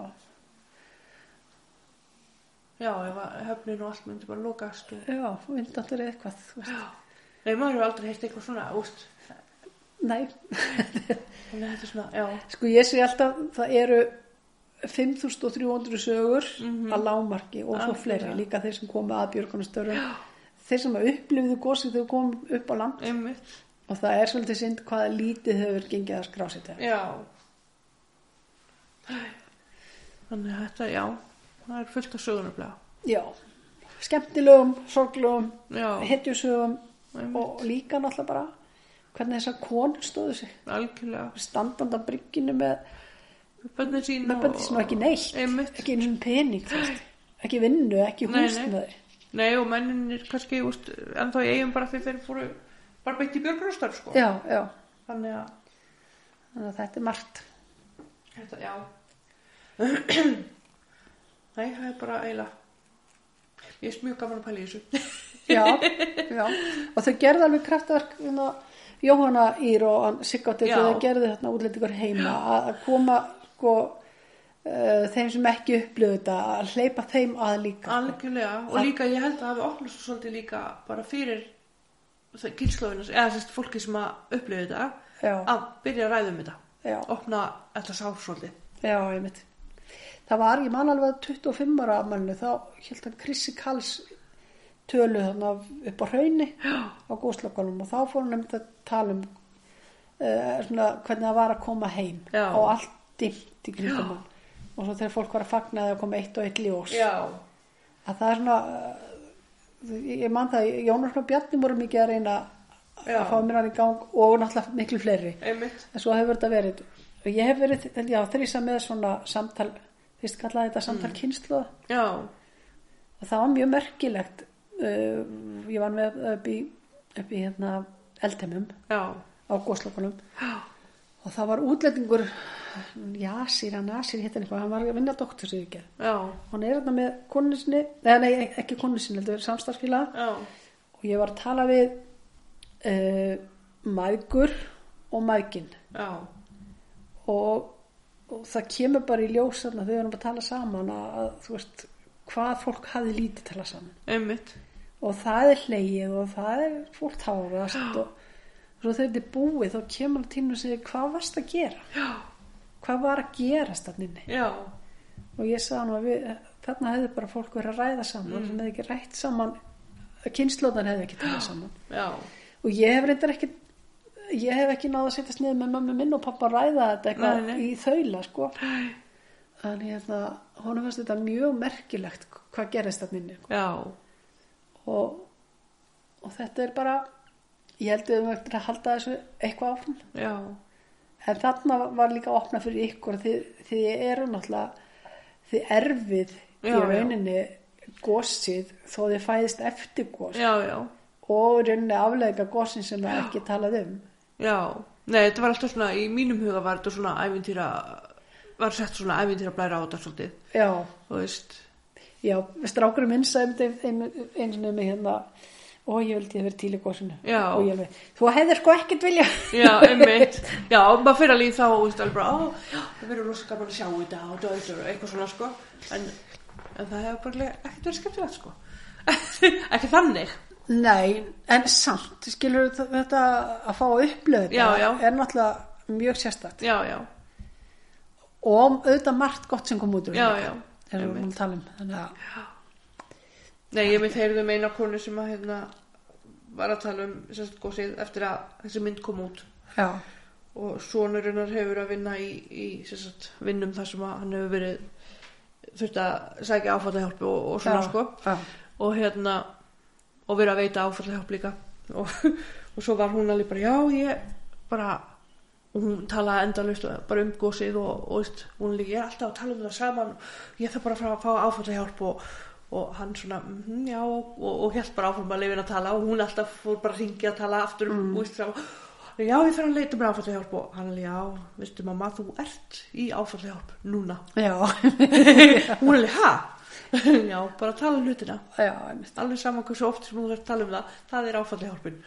A: já, ef að höfnin og allt myndi bara lokast og,
B: já vindáttur eða eitthvað þú veist.
A: já, nei, maður hefur aldrei heyrt eitthvað svona, úst,
B: nei,
A: þannig að þetta er svona, já,
B: sko ég sé alltaf það eru 5300 sögur að lágmarki og svo
A: Algjörlega.
B: fleiri, líka þeir sem komu að björgunastörun þeir sem upplifðu gósið þegar komum upp á land
A: einmitt,
B: og það er svolítið synd hvaða lítið hefur gengið að skrá sér þetta
A: já, þannig að þetta, já, það er fullt af sögunarblega,
B: já, skemmtilegum, sorglegum
A: já,
B: hetjusögum
A: einmitt,
B: og líka náttúrulega bara hvernig þessar konur stóðu sig
A: algjörlega,
B: standandi á brygginu með
A: bönni sín
B: með bændi sem ekki neitt
A: einmitt,
B: ekki einu svona pening þú veist. ekki vinnu, ekki
A: Nei,
B: húsnaði
A: nei, og menninir kannski, úst, ennþá í eigum bara því þeir fóru, bara beitt í björgrústar, sko,
B: já, já,
A: þannig að,
B: þannig að þetta er margt
A: Þetta, já. Nei, það er bara eiginlega. Ég er mjög gaman að pæla í þessu.
B: já, já, og þau gerðu alveg kraftverk hérna, Jóhanna Ír og hann Siggátti
A: Já.
B: þau gerðu þarna útlendingur heima að að koma sko, uh, þeim sem ekki upplöðu þetta að hleypa þeim að líka
A: Algjörlega. Og líka, ég held að það hafi opnast svo svolítið líka bara fyrir kynslóðinu, eða sérst fólki sem að upplifa þetta,
B: já,
A: að byrja að ræða um þetta.
B: já.
A: Opna þetta sá svolítið.
B: Já, ég mitt. Það var, ég man alveg að 25 ára afmælinu, þá held hann Krissi Kalls tölu þarna upp á hraunni á góðslökunum og þá fór hann nefnd að tala um uh, svona, hvernig það var að koma heim
A: Já.
B: og allt dimmt í kringum hann og svo þegar fólk var að fagna það að koma eitt og eitt ljós
A: Já.
B: að það er svona eh, ég- ég man það, Jónas og Bjarni voru mikið að reyna
A: Já.
B: að fá mér hann í gang og náttúrulega miklu fleiri
A: Einmitt.
B: En svo hefur þetta verið, og ég hef verið, held ég, á þrýsa með svona samtal, fyrst kallaði þetta samtal mm.
A: Já.
B: og það var mjög merkilegt. Uh, ég var með upp í, upp í hérna eldheimum
A: Já.
B: á góðslökunum og það var útlendingur Jasir, hann Jasir hittan eitthvað hann var að vinna doktor sem ég gerð
A: já,
B: hann er þarna með konu sinni nei, nei ekki konu sinni, heldur samstarfsfélaga
A: já,
B: og ég var að tala við uh, mægur og mægin
A: já,
B: og, og það kemur bara í ljós þarna þau erum að tala saman að, að þú veist hvað fólk hafi lítið tala saman
A: einmitt,
B: og það er hlegið og það er fólk tárast og svo þegar þetta er búið þá kemur hann tíma og segir hvað varst að gera
A: já,
B: hvað var að gerast þarna inni
A: já,
B: og ég sagði hann að við, þarna hefði bara fólk verið að ræða saman sem hefði ekki rætt saman kynnslóðan hefði ekki talað saman
A: já,
B: og ég hef reyndar ekki ég hef ekki náða að setjast niður með mömmu minn og pappa að ræða þetta eitthvað
A: Nei, nei.
B: í þaula sko en hérna, honum fannst þetta mjög merkilegt hvað gerist þarna inni
A: já,
B: og, og þetta er bara ég held við um eftir að halda þessu eitthvað áfram
A: já,
B: en þarna var líka að opna fyrir ykkur því, því ég eru náttúrulega því erfið
A: Já,
B: í
A: já.
B: rauninni gósið þó þið fæðist eftir gós
A: já, já,
B: og í rauninni aflega gósin sem það er ekki talað um
A: já, nei, þetta var alltaf svona, í mínum huga var þetta svona ævintýra, var sett svona ævintýra blæra á þetta svolítið,
B: já,
A: þú veist,
B: já, strákurinn minn sagði einu sinni með hérna og ég vildi að vera til í gósinu
A: Já.
B: og ég alveg, þú hefðir sko ekkert vilja
A: já, einmitt, já, maður fyrir að líð þá, þú veist, alveg bara, ó, já, það verður rosa gaman að sjá þetta og döldur og eitthvað svona, sko, en, en það hefur bara ekkert verið skemmtilegt, sko, ekki þannig,
B: Nei, en samt, skilur þetta að fá að upplöðu þetta
A: Já, já.
B: er náttúrulega mjög sérstætt
A: já, já,
B: og auðvitað margt gott sem kom út úr
A: já,
B: því,
A: já,
B: þegar við erum að tala um þannig að,
A: Nei, ég mynd heyrðu um eina konu sem að hérna var að tala um sérst gósið eftir að þessi mynd kom út
B: já,
A: og sonur hennar hefur að vinna í, í sérst vinnum þar sem að hann hefur verið þurft að sækja áfallahjálp og, og svona
B: já,
A: sko
B: já,
A: og hérna og verið að veita áfallahjálp líka og, og svo var hún alveg bara já ég bara og hún talaði endalaust og bara um gósið og, og veist, hún líka ég er alltaf að tala um það saman ég þarf bara að fara að fá áfallahjálp og, og hann svona mm, já og, og held bara áfram að leifin að tala og hún alltaf fór bara að ringja að tala aftur um mm. veist, þá, já ég þarf að leita mér áfallahjálp og hann alveg já, veistu mamma þú ert í áfallahjálp núna
B: já,
A: hún alveg ha já bara tala um hlutina
B: já, einmitt.
A: alveg saman hversu oft sem hún verður að tala um það það er áfalli hjálpin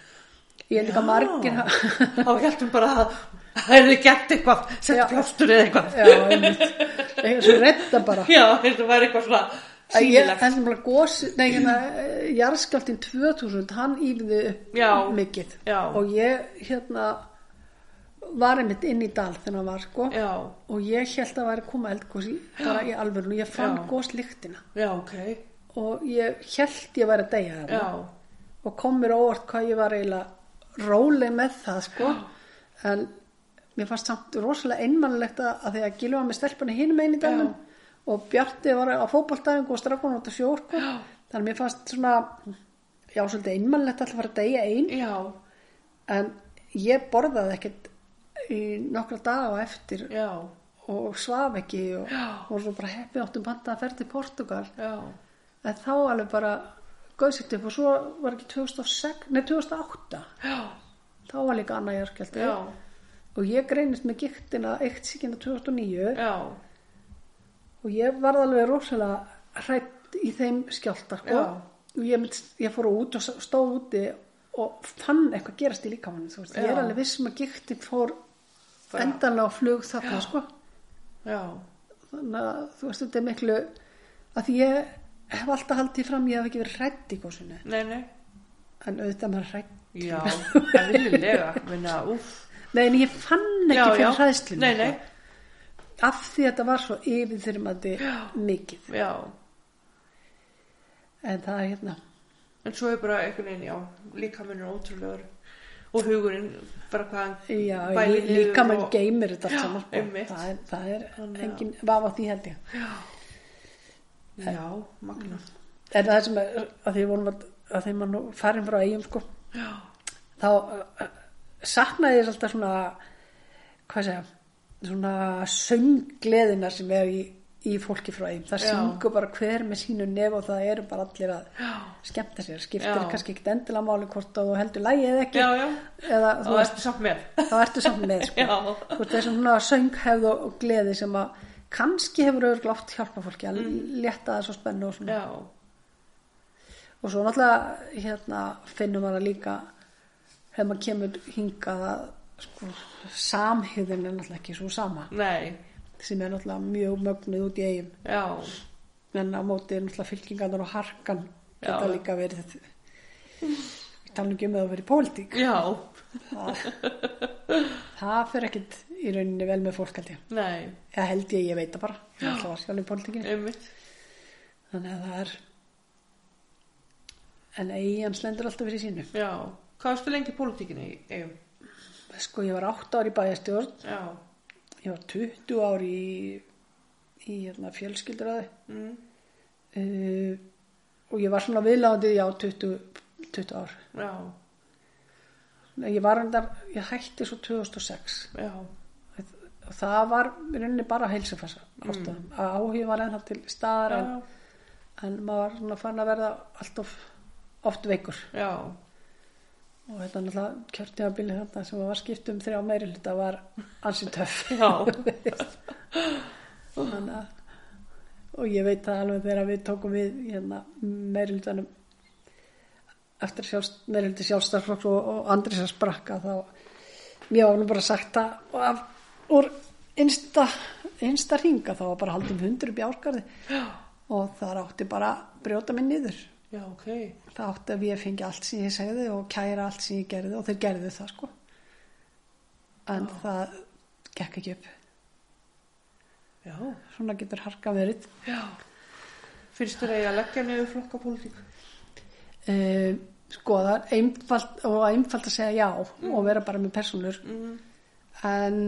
B: ég er líka margir já,
A: þá hjæltum bara að það er þið gert eitthvað, sett
B: Já.
A: plástur eða eitthvað
B: einmitt eitthvað svo redda bara
A: já, þetta var eitthvað svona
B: Að Ég
A: sýnilegt
B: held bara gos, nei, hérna, jarðskjálftin 2000, hann ífði upp
A: Já.
B: mikið
A: Já.
B: og ég, hérna, var einmitt inn í dal þegar hann var, sko
A: já,
B: og ég held að væri að koma eldgos í, bara í alvörun og ég fann
A: Já.
B: goslíktina
A: já, ok
B: og ég held ég væri að deyja
A: já,
B: það og kom mér á óvart hvað ég var eiginlega róleg með það, sko en mér fannst samt rosalega einmannlegt að að því að gilfa með stelpunni hinum einu dælum og Bjarti var á fótballtæfingu og strafkunum út að sjór, sko þannig að mér fannst svona já, svolítið einmannlegt alltaf að fara að deyja ein
A: já,
B: en ég borðaði ekkert í nokkra daga á eftir
A: já
B: og svaf ekki og,
A: Já.
B: og svo bara heppið áttum panta að ferð til Portugal
A: já,
B: en þá alveg bara gauðsikt upp og svo var ekki 2006, nei 2008
A: já,
B: þá var líka annað jörgjaldi
A: já,
B: og ég greinist með giktina eitt síkina 2009
A: já
B: og ég varð alveg rosalega hrætt í þeim skjálta sko.
A: Já.
B: og ég, mynd, ég fór út og stóð úti og fann eitthvað gerast í líkamann þú veist, ég
A: Já.
B: er alveg vissum að giktin fór
A: Bara-
B: endanlega á flug þarna sko
A: já,
B: þannig að þú veist þetta er miklu að því ég hef alltaf haldið fram ég hef ekki verið hrætt í góðsunni
A: nei, nei
B: en auðvitað maður hrætt
A: já, eðlilega minna, úff
B: nei en ég fann ekki
A: já, já,
B: fyrir hræðslinu
A: nei, nei,
B: sko, af því að þetta var svo yfirþyrmandi mikið
A: já
B: en það er hérna
A: en svo er bara einhvern veginn, já, líka minn er ótrúlegur og hugurinn, bara hvað hann
B: já,
A: bælir
B: lí- líka
A: niður
B: mann
A: og-
B: geymir þetta allt saman
A: einmitt.
B: sko. það er, það
A: Þannig að-
B: er engin vafa á því held ég
A: já, magna
B: en það sem er að því vonum að, að því mann farin frá eigum sko
A: já,
B: þá uh, saknaði ég alltaf svona hvað segja svona sönggleðina sem er í í fólki frá einn það
A: Já.
B: syngur bara hver með sínu nef og það eru bara allir að
A: Já.
B: skemmta sér skiptir
A: Já.
B: kannski ekkit endilega máli hvort að þú heldur lægið eða ekki
A: Já, já.
B: eða
A: Og
B: þú
A: það
B: veist,
A: ertu samt með.
B: þá ertu saman með sko.
A: Já.
B: hvort þessum svona sönghefð og, og gleði sem að kannski hefur auðvitað oft hjálpa fólki að létta þessu spennu og
A: Mm.
B: svona
A: Já.
B: og svo náttúrulega hérna, finnum maður líka þegar maður kemur hingað að, sko, samhýðin er náttúrulega ekki svo sama
A: Nei.
B: sem er náttúrulega mjög mögnuð út í eigin
A: Já.
B: en á móti er náttúrulega fylkingarnar og harkan geta
A: Já.
B: líka verið þetta við talum ekki um að það verið pólitík
A: Já.
B: það, það fer ekkit í rauninni vel með fólk held ég
A: Nei.
B: eða held ég, ég veit það bara ég ætla að var sjálf í pólitíkinni
A: Einmitt.
B: þannig að það er en eigin slendur alltaf fyrir sínu
A: Já. Hvað varstu lengi í pólitíkinni í eigum?
B: sko ég var 8 ár í bæjarstjórn
A: Já.
B: ég var 20 ár í í hérna, fjölskylduræði
A: Mm.
B: uh, og ég var svona viðláðandi já 20, 20 ár
A: Já.
B: Nei, ég var enda, ég hætti svo 2006
A: Já.
B: og það var í rauninni bara heilsufæsa ástæðum, að áhugi var ennþá til staðar en,
A: Já.
B: en maður var svona fann að verða alltof oft veikur
A: Já.
B: og þetta er náttúrulega kjörtíðabili þarna sem var skipt um þrjá meiri hluta var ansi töff
A: Já.
B: Þannig að- og ég veit það alveg þegar við tókum við hérna, meiri hlutanum eftir sjálfst, meiri hluti sjálfstaflokks og, og andri sem sprakka þá mér var nú bara sagt að af, úr einsta einsta ringa þá var bara haldum hundur upp í árgarði og þar átti bara að brjóta mig niður
A: Já, ok.
B: það átti að ég fengi allt sem ég segði og kæra allt sem ég gerði og þeir gerðu það sko en það gekk ekki upp
A: Já.
B: svona getur harka verið
A: Já. Finnst þér að ég að leggja niður flokkapólitík?
B: e, sko það er einfalt og einfalt að segja já og vera bara með personur
A: Mm.
B: en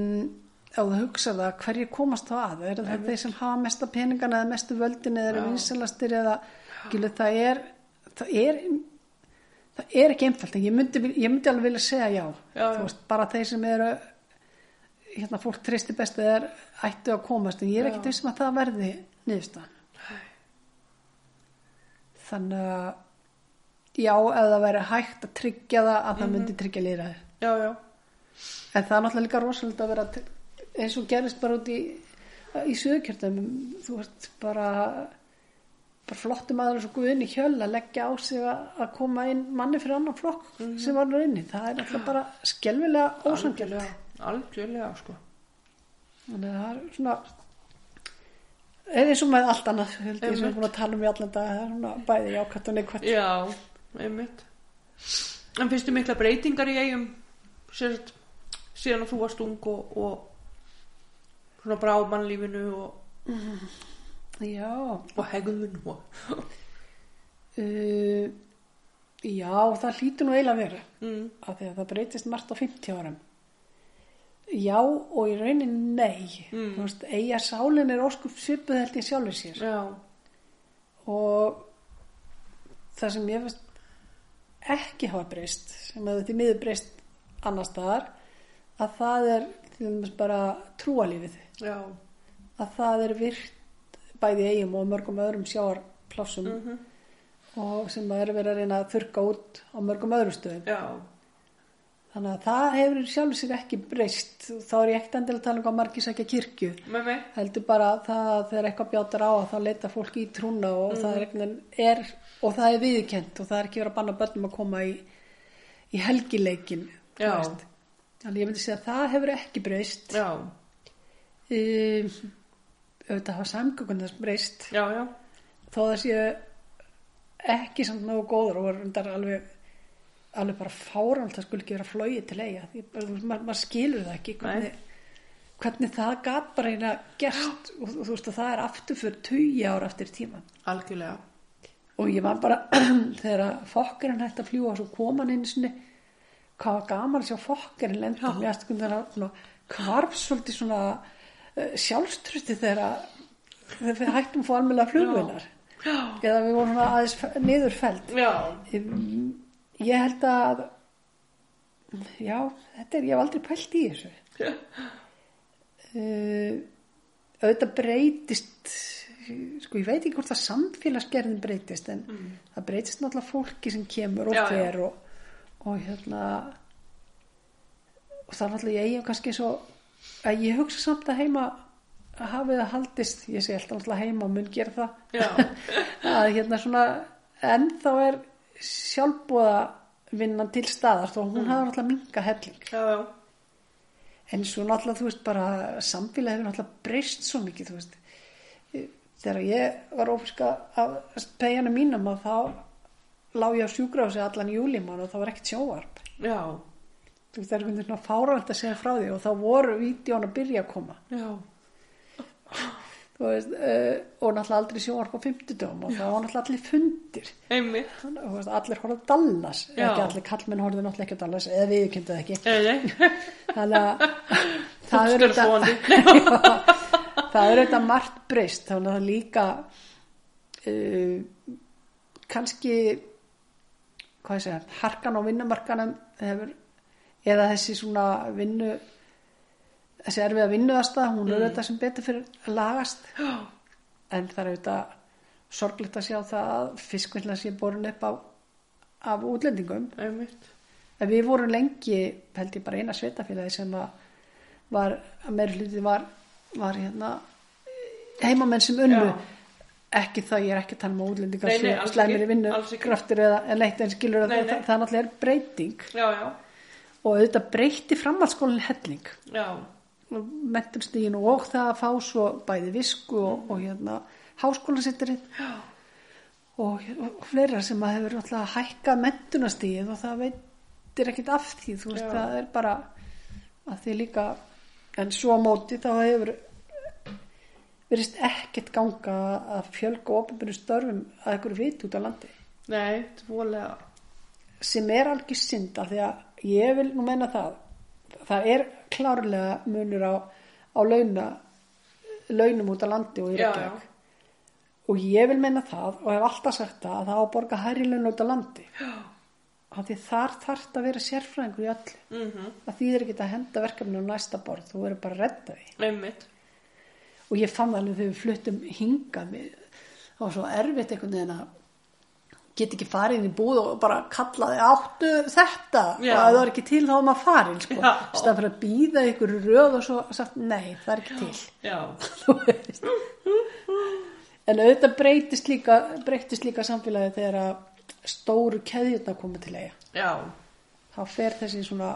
B: ef þú hugsa það hverju komast þá að eru það þeir sem hafa mesta peningana eða mestu völdin eða eru
A: Já.
B: vinsalastir eða gilu, það er það er það er ekki einfalt en ég myndi, vil- ég myndi alveg vilja segja já,
A: Já, já.
B: Þú veist, bara þeir sem eru hérna fólk treysti best eða er ættu að komast en ég er
A: Já.
B: ekkit vissum að það verði niðurstaðan
A: Nei.
B: þannig að já, ef það væri hægt að tryggja það að það
A: Mhm.
B: myndi tryggja lýraði
A: Já, já.
B: En það er náttúrulega líka rosalega að vera til, eins og gerist bara út í, í söðurkjörnum, þú ert bara, bara flottum aður eins og guðinni hjöl að leggja á sig að, að koma inn manni fyrir annan flokk
A: Mhm.
B: sem var nú inni. Það er náttúrulega bara skelfilega ósangjörlega.
A: Algjörlega, sko.
B: Þannig að það er svona, eða eins og með allt annað, held ég sem
A: Einmitt.
B: er búin að tala um í allan dag, það er svona bæði jákvæmt og neikvæmt.
A: Já, einmitt. En finnst þið mikla breytingar í eigum sérst, síðan að þú varst ung og, og svona brá mannlífinu og,
B: Já,
A: og hegðun og...
B: uh, já, það hlýtur nú eiginlega að vera.
A: Mm,
B: af því að það breytist margt á 50 árum já og í raunin nei
A: Mm.
B: Þú veist, eiga sálin er óskup svipuð held ég sjálfur sér
A: já,
B: og það sem ég veist ekki hafa breyst sem hefði því miður breyst annar staðar að það er til dæmis bara trúalífið
A: já,
B: að það er virt bæði í eigum og mörgum öðrum sjáarplássum og sem það er verið að reyna að þurka út á mörgum öðrum stöðum
A: já,
B: Þannig að það hefur sjálfur sér ekki breyst. Þá er ég ekkert endilega að tala um hvað margir sækja kirkju.
A: með mig,
B: Heldur bara að það að þegar eitthvað bjátar á að þá leita fólk í trúna og það er, einhvern veginn- er og það er viðkjönt og það er ekki verið að banna börnum að koma í, í helgileikin. þú
A: Já.
B: veist. Þannig að ég myndi segja að það hefur ekki breyst.
A: já,
B: Um, auðvitað hafa samgökun þess breyst
A: já, já,
B: þó það séu ekki samt nógu góður og er undar alveg alveg bara fáralt að skuli ekki vera flóið til eiga því bara, þú veist, maður, maður skilur það ekki hvernig, hvernig það gat bara eina gerst og, og þú veist að það er aftur fyrir tugi ára eftir tíma
A: algjörlega,
B: og ég var bara þegar að fokkerinn hætti að fljúa svo kom hann einu sinni hvað var gaman að sjá fokkerinn lenda mér eftir hvernig það svona, hvarf svolítið svona uh, sjálfstrusti þegar að- þegar við hættum að fá almennlega flugvinar
A: já,
B: eða við vorum svona aðeins f- niðurfeld
A: já,
B: ég held að já, þetta er, ég hef aldrei pælt í þessu uh, auðvitað breytist sko ég veit ekki hvort það samfélagsgerðin breytist en það breytist náttúrulega fólki sem kemur og
A: Mm. Já, já.
B: fer og, og hérna og það er náttúrulega ég er kannski svo að ég hugsa samt að heima að hafi það haldist ég segi alltaf náttúrulega heima og mun gera það
A: já,
B: að hérna svona en þá er sjálfbúða vinnan til staðar þó hún mm. hafði náttúrulega minga helling
A: já, já,
B: en svo náttúrulega þú veist bara samfélagi hefur náttúrulega breyst svo mikið þú veist þegar ég var ófiska að peyjana mínum að þá lá ég á sjúkrafsi allan júlimann og þá var ekkert sjóvarp
A: já,
B: þú veist það er einhvern veginn svona fáralt að segja frá því og þá voru vídjón að byrja að koma
A: já,
B: þú veist uh, og náttúrulega aldrei sjóvarp á fimmtudöfum og þá var náttúrulega allir fundir
A: einmitt,
B: Þannig að, þú veist, allir horfðu á Dallas
A: Já.
B: ekki allir kallmenn horfðu náttúrulega ekki á Dallas eða við kynntuð ekki
A: nei, nei,
B: þannig að það er
A: Uppskurðfóandi.
B: þetta það er þetta margt breyst þannig að líka uh, kannski hvað ég segja, harkan á vinnumarkanum hefur eða þessi svona vinnu þessi erfiða vinnuðasta hún er auðvitað sem betur fyrir að lagast
A: já,
B: en það er auðvitað sorglegt að sjá það að fiskvinna sé borin upp af, af útlendingum
A: einmitt,
B: en við vorum lengi held ég bara eina sveitafélagi sem að var, að meira hluti var var hérna heimamenn sem unnu
A: Já.
B: ekki það, ég er ekki að tala um að útlendingar
A: Nei, nei,
B: séu
A: alls
B: slæmir
A: ekki,
B: í vinnu,
A: alls ekki.
B: kraftur eða en eitt en skilur að
A: Nei,
B: það,
A: nei.
B: það, náttúrulega er breyting
A: já, já,
B: og auðvitað breytti framhaldsskólinn helling
A: já,
B: mentunstígin og það að fá svo bæði visku og, og hérna háskólasitturinn og, og fleira sem að hefur alltaf hækkað mentunastígin og það veitir ekkit af því þú veist
A: Já.
B: það er bara að því líka en svo á móti þá hefur verist ekkit ganga að fjölga ofinbjörnum störfum að einhverju vit út á landi
A: nei, þetta er volega,
B: sem er algjör synd af því að ég vil nú menna það það er klárlega munur á, á launa launum út á landi og í
A: Já,
B: Reykjavík og ég vil menna það og hef alltaf sagt það að það á að borga hærri laun út á landi Já. af því þar þarf það að vera sérfræðingur í öllu
A: mhm,
B: að því þeir geta að henda verkefni á næsta borð þú verður bara að redda því
A: einmitt,
B: og ég fann alveg þegar við fluttum hingað við, það var svo erfitt einhvern veginn að get ekki farið inn í búð og bara kallaði áttu þetta
A: Já.
B: og ef það var ekki til þá var maður farin sko.
A: Já.
B: stað fyrir að býða ykkur röð og svo sagt nei, það er ekki til
A: já,
B: Þú veist. en auðvitað breytist líka, breytist líka samfélagi þegar að stóru keðjurna koma til eiga
A: já,
B: þá fer þessi svona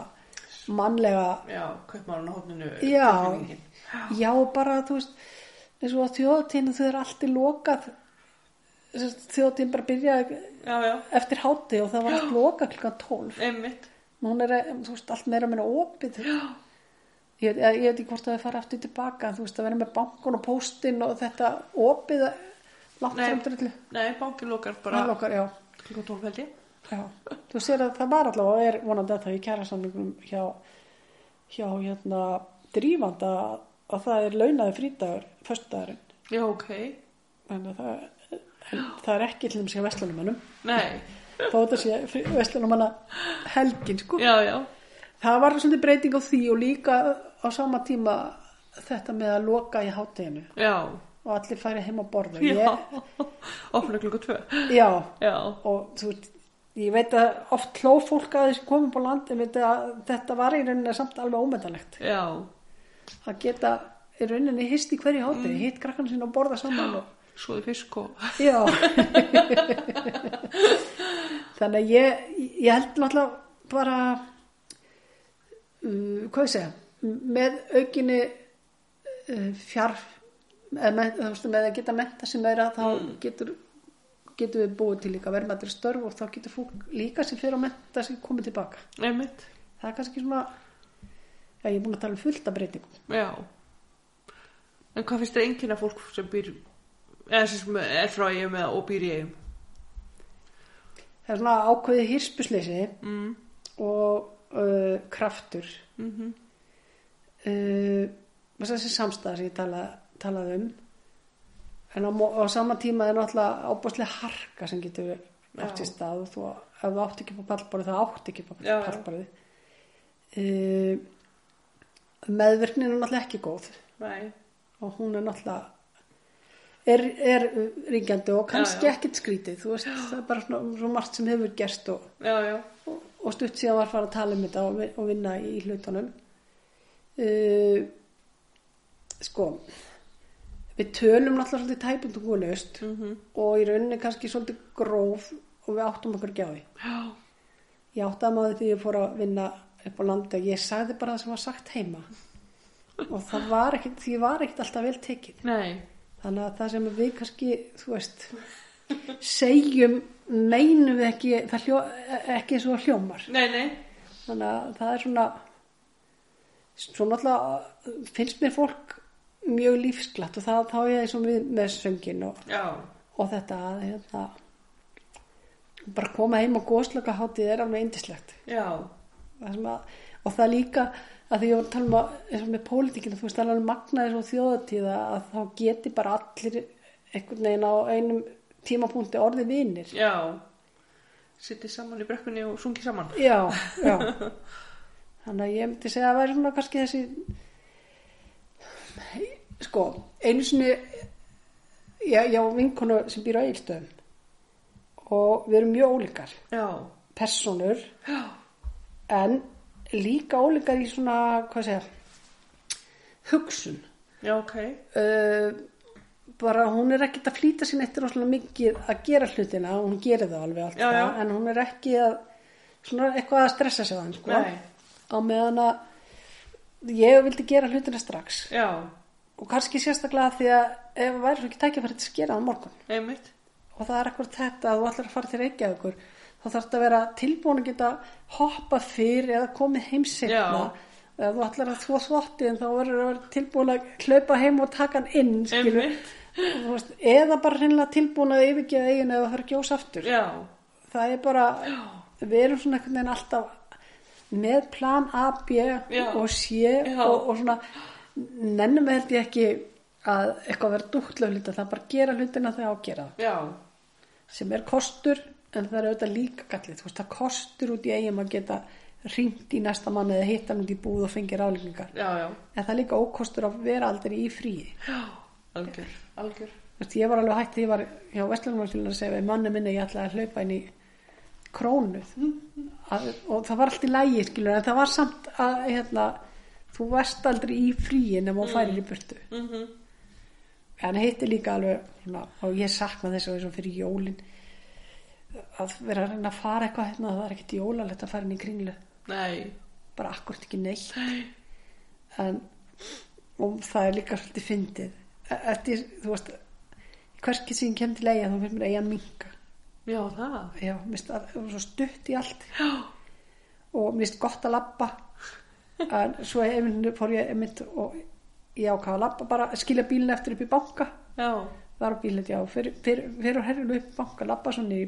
B: mannlega
A: já, kaupmárun á hófninu,
B: já, já bara þú veist eins og á þjóðatíðinu þau eru allt í lokað þjóðatíðin bara byrjaði
A: já, já,
B: eftir háti og það var allt lokað klukkan 12
A: einmitt,
B: núna er eh, þú veist, allt meira meina opið já. Ég, veit- ég veit ekki hvort að þau fara aftur tilbaka en þú veist að vera með bankun og póstinn og þetta opið eh, langt
A: Nei.
B: fram drullu
A: nei, banki lokar bara,
B: lokar, já,
A: klukkan 12 held ég,
B: já. þú sér að það var allavega og er vonandi að það í kæra samlingum hjá, hjá hérna drífanda að það er launaði frítagur föstudagurinn
A: já, ok,
B: þannig að það, en það er ekki til þess að vestlunumannum
A: nei,
B: þá þetta sé vestlunumanna helgin sko
A: já, já,
B: það var svolítið breyting á því og líka á sama tíma þetta með að loka í hátteginu
A: já,
B: og allir færi heim að borða
A: já,
B: Ég,
A: opna klukkan 2,
B: já
A: já,
B: og þú veist ég veit að oft hló fólk að þessi komum á land en veit að þetta var í rauninni samt alveg ómetanlegt
A: já,
B: að geta í rauninni hist í hverju hátegi
A: Mm.
B: hitt krakkan sinna og borða saman og
A: svoði fisk og,
B: Já Þannig að ég, ég held náttúrulega bara um, hvað ég segja m- með aukinni uh, fjár eða með, þú veist, með að geta menta sem meira þá getur getum við búið til líka verðmættir störf og þá getur fólk líka sem fyrir að menta sem komið tilbaka.
A: einmitt,
B: Það er kannski svona já, ég er búin að tala um fullt af breytingum.
A: já, en hvað finnst þér enginn að fólk sem býr, eða sem er frá eigum eða og býr í E eigum,
B: Það er svona ákveðið hirspusleysi
A: mm,
B: og uh, kraftur
A: mm
B: uh, þessi samstæða sem ég tala, talaði um en á, mó- á sama tíma er náttúrulega ábúrslega harka sem getur átt í
A: Já.
B: stað og þú, ef þú átt ekki upp á pallborðið þá átt ekki upp á
A: Já, já.
B: pallborðið uh, meðvirknin er náttúrulega ekki góð
A: nei,
B: og hún er náttúrulega er, er ringjandi og kannski
A: Já, já.
B: ekkert skrítið þú veist, það er bara svona, svo margt sem hefur gerst og,
A: já, já,
B: og, og stutt síðan var fara að tala um þetta og, vi- og vinna í hlutunum uh, sko við tölum náttúrulega svolítið tæpundungulaust mm -hmm. og í rauninni kannski svolítið gróf og við áttum okkur ekki á því
A: já,
B: Ég áttaði maður því ég fór að vinna upp á landi að ég sagði bara það sem var sagt heima og það var ekkit, því ég var ekkit alltaf vel tekið.
A: nei,
B: Þannig að það sem við kannski, þú veist, segjum, meinum við ekki, það hljó, e- ekki svo hljómar.
A: nei, nei,
B: Þannig að það er svona, svona alltaf, finnst mér fólk mjög lífsglatt og það þá er ég eins og við með söngin og,
A: já,
B: og þetta að hérna, bara koma heim og góðslöka hátíð er alveg indislegt.
A: já,
B: Það sem að, og það er líka að því ég var að tala um að, eins og með pólitíkina, þú veist, það er alveg magnaðir og þjóðatíða að þá geti bara allir einhvern veginn á einum tímapunkti orðið vinir.
A: já, sittið saman í brekkunni og sungið saman.
B: Já, já. Þannig að ég myndi segja að væri svona kannski þessi, sko, einu sinni, ég, ég á vinkonu sem býr á eilstöðum og við erum mjög ólíkar
A: Já,
B: personur
A: já,
B: en líka ólíkar í svona, hvað segja, hugsun.
A: já, ok,
B: Uh, bara hún er ekkert að flýta sín eftir rosalega mikið að gera hlutina, hún gerir það alveg alltaf,
A: Já, já.
B: en hún er ekki að, svona eitthvað að stressa sig þann, sko.
A: Nei.
B: Á meðan að ég vildi gera hlutina strax
A: já,
B: og kannski sérstaklega því að ef það væri svo ekki tækja fyrir að skera það á morgun
A: einmitt,
B: og það er akkur þetta að þú ætlar að fara til Reykjavíkur þá þarf þetta að vera tilbúin að geta hoppað fyrr eða komið heim seinna
A: Já.
B: eða þú ætlar að þvó þvottið en þá verður að vera tilbúin að hlaupa heim og taka hann inn skilur.
A: Einmitt.
B: Og þú veist, eða bara hreinlega tilbúin að yfirgeða eigin eða það þarf að gjósa aftur
A: já,
B: það er bara, við erum svona einhvern veginn alltaf með plan A, B
A: Já.
B: og C
A: Já.
B: og, og svona nennum við held ég ekki að eitthvað vera dúktlega hluta það er bara að gera hlutina þegar á að gera það
A: já,
B: sem er kostur en það er auðvitað líka gallið þú veist það kostur út í eigum að geta ringt í næsta mann eða hitta hann út í búð og fengið rálingar
A: já, já,
B: en það er líka ókostur að vera aldrei í fríi
A: já, algjör, algjör,
B: Þú veist, ég var alveg hægt því ég var hjá Vestlunumálfélagin að segja við manni minni ég ætla að hlaupa inn í krónu að, og það var allt í lægi skilur en það var samt að hérna, þú verst aldrei í fríi nema og færir í burtu
A: mhm,
B: en hitt er líka alveg svona, og ég sakna þess að þessum fyrir jólin að vera að reyna að fara eitthvað hérna, það er ekkert jólalegt að fara inn í kringlu
A: nei,
B: bara akkurat ekki neitt
A: nei,
B: en, og það er líka svolítið fyndið E- eftir, þú veist hverski sem ég kem til eiga þá finnst mér eiga minka
A: já, það,
B: já, minnst að það var svo stutt í allt
A: já,
B: og minnst gott að labba en svo einmitt fór ég einmitt og ég ákvað að labba bara skilja bílinn eftir upp í banka
A: já,
B: var á bílet, já, fyrir, fyrir, fyrir herrinu upp banka, lappa svona í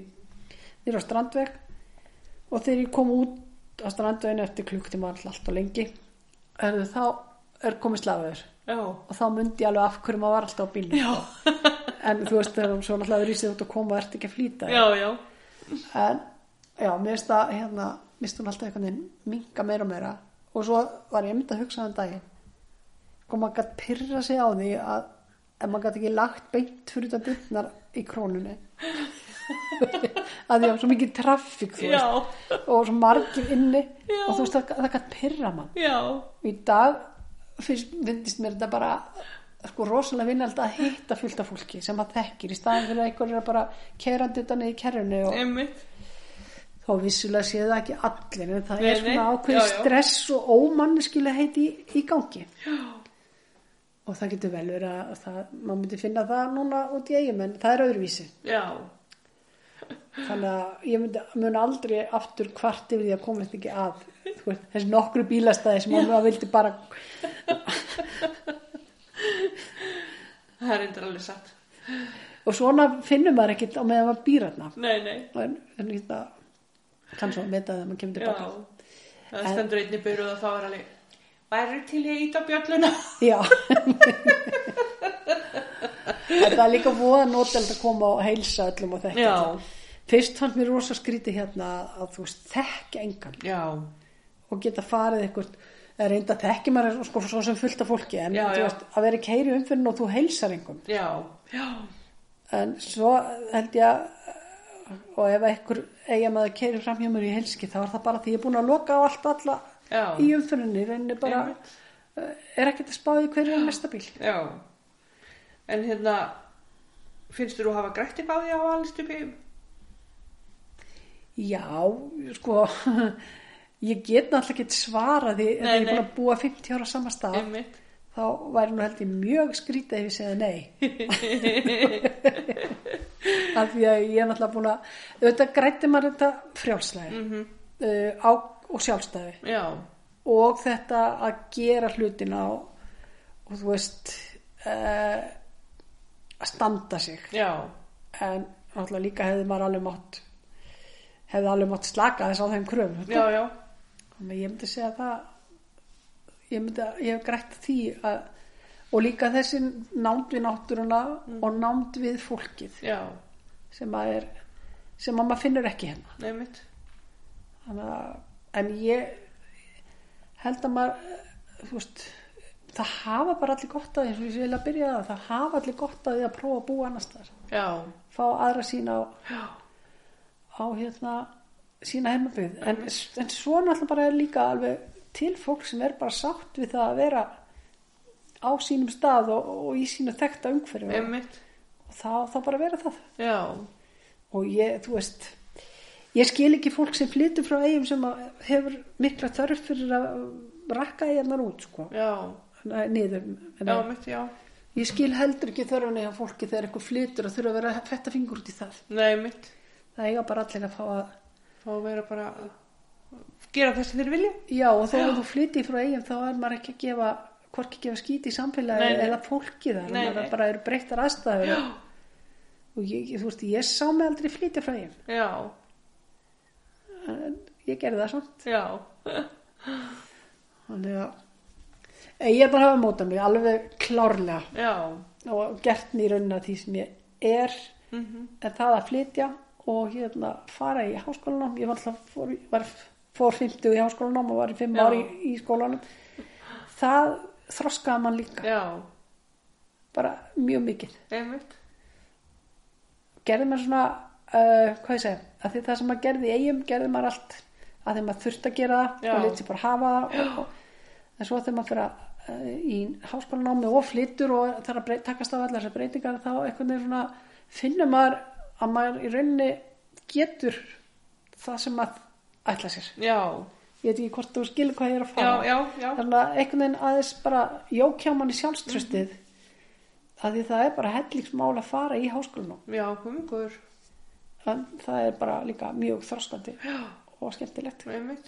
B: nýr á strandveg og þegar ég kom út á strandveginu eftir klukktum alltaf allt og lengi herrðu, þá er komið slagur
A: já,
B: og þá myndi ég alveg af hverju maður var alltaf á bílnum
A: já,
B: en þú veist þegar hún svo alltaf rýsið út og koma og ert ekki að flýta
A: já, já,
B: en já, mér finnst það hérna, mér finnst hún alltaf einhvern veginn minga meira og meira og svo var ég mynd að hugsa þann daginn og maður gætt pyrra sig á því að ef maður gætt ekki lagt beint fyrir þetta byrnar í krónunni að því að svo mikið traffík þú
A: já,
B: veist og svo margir inni
A: Já.
B: og þú veist það, það gætt pyrra mann
A: já,
B: og í dag finnst, finnst mér þetta bara sko rosalega vinnald að hitta fullt af fólki sem að þekkir í staðan fyrir að einhverjir er bara kerandi þetta niður í kerrunni og
A: einmitt,
B: þá vissulega sé það ekki allir en það
A: Nei,
B: er svona
A: nei,
B: ákveð
A: já, já.
B: stress og ómanniskilega heiti í, í gangi já. og það getur vel verið að það, maður myndi finna það núna út í eigum en það er öðruvísi
A: já,
B: þannig að ég myndi, mun aldrei aftur kvart yfir því að komast ekki að Þú veist, þessi nokkru bílastæði sem maður vildi bara
A: það er endur alveg satt,
B: og svona finnum maður ekkit á meðan maður býr hérna
A: nei, nei,
B: en, en ég það kannski að meta það að maður kemur
A: já,
B: tilbaka
A: það stendur einni byrjuð og þá er alveg, væri til ég ít á bjölluna,
B: Já En það er líka voða notalegt að koma og heilsa öllum og þekka
A: Já.
B: öllum. Fyrst fannst mér rosa skrítið hérna að þú veist þekka engan
A: já,
B: og geta farið eitthvað Það er reynda þekki maður sko svo sem fullt af fólki en
A: Já,
B: þú
A: já.
B: Veist, að vera í keiri umfyrin og þú heilsar engum.
A: já, já,
B: En svo held ég að- og ef einhver eiga maður keiri fram hjá mér í helski þá er það bara því ég er búin að loka á allt alla
A: já,
B: í umfyrinni rauninni bara eh, er ekkert að spáði hverju er næsta bíl.
A: já. En hérna, finnst þú hafa grætt eitthvað á því að hafa alist upp í?
B: Já, sko ég get náttúrulega ekki svarað því ef
A: Nei,
B: ég er búin
A: nei.
B: að búa 50 ára á sama stað
A: Einmitt.
B: þá væri nú held ég mjög skrítið ef ég segði nei af því að ég er náttúrulega búin að auðvitað grætti maður þetta frjálslega
A: Mhm.
B: uh, á, og sjálfstæði
A: Já,
B: og þetta að gera hlutin á og þú veist uh, að standa sig
A: já,
B: en náttúrulega líka hefði maður alveg mátt hefði alveg mátt slaka þess á þeim kröfum
A: já, já,
B: Þannig að ég myndi segja það ég myndi að ég hef grætt því að, og líka þessi nánd við náttúruna og nánd við fólkið
A: já,
B: sem að er sem að maður finnur ekki hérna
A: einmitt.
B: Þannig að, en ég held að maður eh, þú veist það hafa bara allir gott að því eins og ég vil að byrja það það hafa allir gott að því að prófa að búa annars þar
A: Já,
B: fá aðra sína á,
A: já,
B: á hérna sína heimaböð en, en svo náttúrulega bara er líka alveg til fólk sem er bara sátt við það að vera á sínum stað og, og í sínu þekta umhverfi og,
A: einmitt.
B: og þá, þá bara vera það
A: Já,
B: og ég, þú veist ég skil ekki fólk sem flytur frá eigum sem að hefur mikla þörf fyrir að rakka eignar út sko,
A: já,
B: Nei, niður
A: já,
B: Nei.
A: einmitt, já.
B: ég skil heldur ekki þörfunni af fólki þegar eitthvað flytur og þurfa að vera að fetta fingur út í það
A: Nei, einmitt.
B: það eiga bara allir að fá að
A: Þá vera bara gera það sem þeir vilja.
B: Já, og þó að þú flytti frá eigum þá er maður ekki að gefa, hvorki gefa skíti í samfélagi
A: Nei, nei.
B: eða fólki þar,
A: Nei,
B: maður
A: nei.
B: bara eru breyttar aðstæður
A: Já.
B: og ég, þú veist, ég sá mig aldrei flytja frá eigum
A: Já,
B: en ég gerði það samt
A: já,
B: þannig að en ég bara hafa mótað mig alveg klárlega
A: já,
B: og gert mér raunna því sem ég er en það að flytja og hérna fara í háskólanum ég var alltaf fór, í- var, fór 50 í háskólanum og var í 5
A: Já.
B: ári í, í skólanum það þroskaði mann líka
A: já,
B: bara mjög mikið
A: einmitt.
B: gerði maður svona uh, hvað ég segja, að því það sem maður gerði í eigum gerði maður allt, að því maður þurfti að gera það
A: Já.
B: og lítið bara hafa það og, og, en svo þegar maður fyrir að uh, í háskólanámi og flyttur og þarf að breyt, takast á allar þessar breytingar þá einhvern veginn svona finnur maður að maður í rauninni getur það sem maður ætla sér
A: Já,
B: ég veit ekki hvort þú skilur hvað ég er að fara
A: já, já, já,
B: þannig að einhvern veginn aðeins bara jókjá manni sjálfströstið mm
A: Mhm.
B: að því það er bara hellingsmál að fara í háskólanum
A: já, komingur,
B: en það er bara líka mjög þorstandi og skemmtilegt
A: einmitt.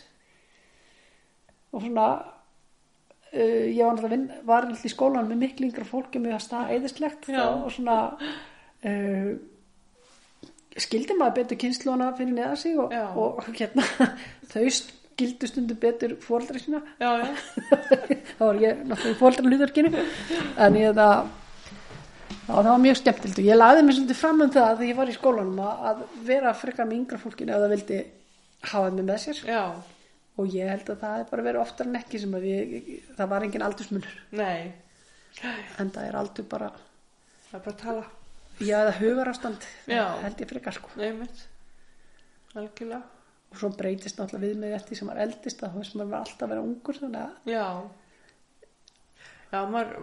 B: og svona uh, ég var náttúrulega vinn, var náttúrulega í skólan með miklu yngra fólki mjög að staða eðislegt
A: Já.
B: og svona uh, skildi maður betur kynnslóna fyrir neða sig og,
A: Já.
B: og hérna þau skildu stundu betur fóreldra sína
A: Já, já,
B: þá var ég náttúrulega í fóreldra hlutverkinu en ég það Já, það var mjög skemmtilegt og ég lagði mér svolítið fram um það þegar ég var í skólanum að, að vera frekar með yngra fólkinu ef það vildi hafa mig með sér
A: já,
B: og ég held að það er bara verið oftar en ekki sem að ég, það var engin aldursmunur
A: nei,
B: en það er aldur bara
A: það er bara að tala,
B: já eða hugarástand
A: Já.
B: held ég frekar sko
A: einmitt, algjörlega,
B: og svo breytist náttúrulega við mig eftir sem maður eldist að þú veist maður var alltaf að vera ungur þannig að
A: já. Já, maður,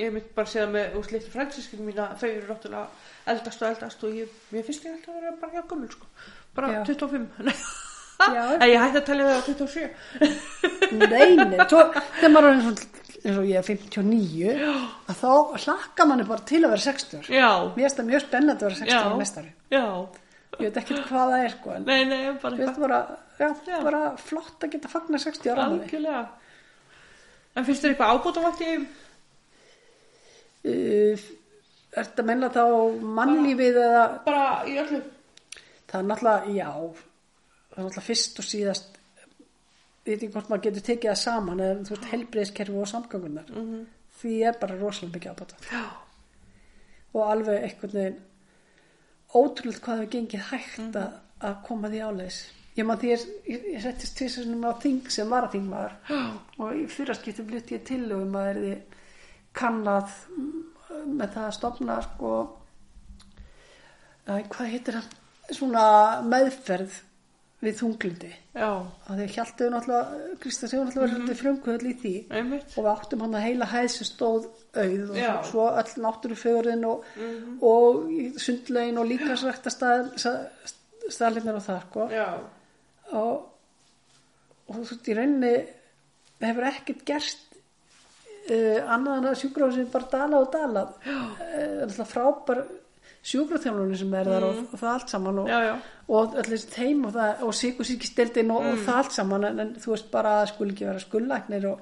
A: ég mynd bara að segja með úr litlu frænsískinu mína, þau eru náttúrulega eldast og eldast og ég, mér finnst ég alltaf að vera bara hjá gömul, sko, bara
B: Já.
A: 25,
B: Já.
A: en ég hætti að tala það á 27,
B: Nei, nei, svo, þegar maður er eins og, eins og ég er 59 að þá hlakka manni bara til að vera 60
A: já,
B: mér finnst það mjög spennandi að vera 60
A: Já.
B: í mestari
A: já,
B: ég veit ekkert hvað það er sko en
A: nei, nei, bara
B: Við
A: eitthvað.
B: veitum bara, já,
A: Já.
B: bara flott að geta fagnar 60 ára afmæli.
A: Algjörlega. En finnst þér eitthvað ábútavalt í þeim?
B: uh, Ertu að menna þá mannlífið eða
A: Bara í öllu?
B: það er náttúrulega, já það er náttúrulega fyrst og síðast ég veit ekki hvort maður getur tekið það saman en þú veist, helbriðiskerfi og samgöngunar
A: Mhm.
B: -hmm. því er bara rosalega mikið ábata
A: Já.
B: og alveg einhvern veginn ótrúlega hvað hefur gengið hægt að, að koma því áleis ég Ég maður því ég, ég, ég settist tvissunum á þing sem var að þingmaður og í fyrraskiptum flytti ég til og maður er kannað mm, með það að stopna sko að, hvað heitir hann svona meðferð við þunglindi
A: já,
B: að því hjaltið náttúrulega Kristján Sigur náttúrulega var haldið frumkvöld í því
A: Mhm. einmitt
B: og við áttum hann að heila hæð sem stóð auð og
A: Já. Mhm.
B: svo öll náttúrufegurinn og, og sundlegin og líka srækta staðlinir og það sko.
A: já,
B: og, og þú veist í rauninni hefur ekkert gerst uh, annað en að sjúkrahúsin bara dala og dala uh, frábær sjúkraþjálfunni sem er þar og, og það allt saman og,
A: Mm. já, já,
B: og öll þessi teim og, það- og sikursíkisteldin og,
A: Mm.
B: og það allt saman en, en þú veist bara að skul ekki vera skullæknir og,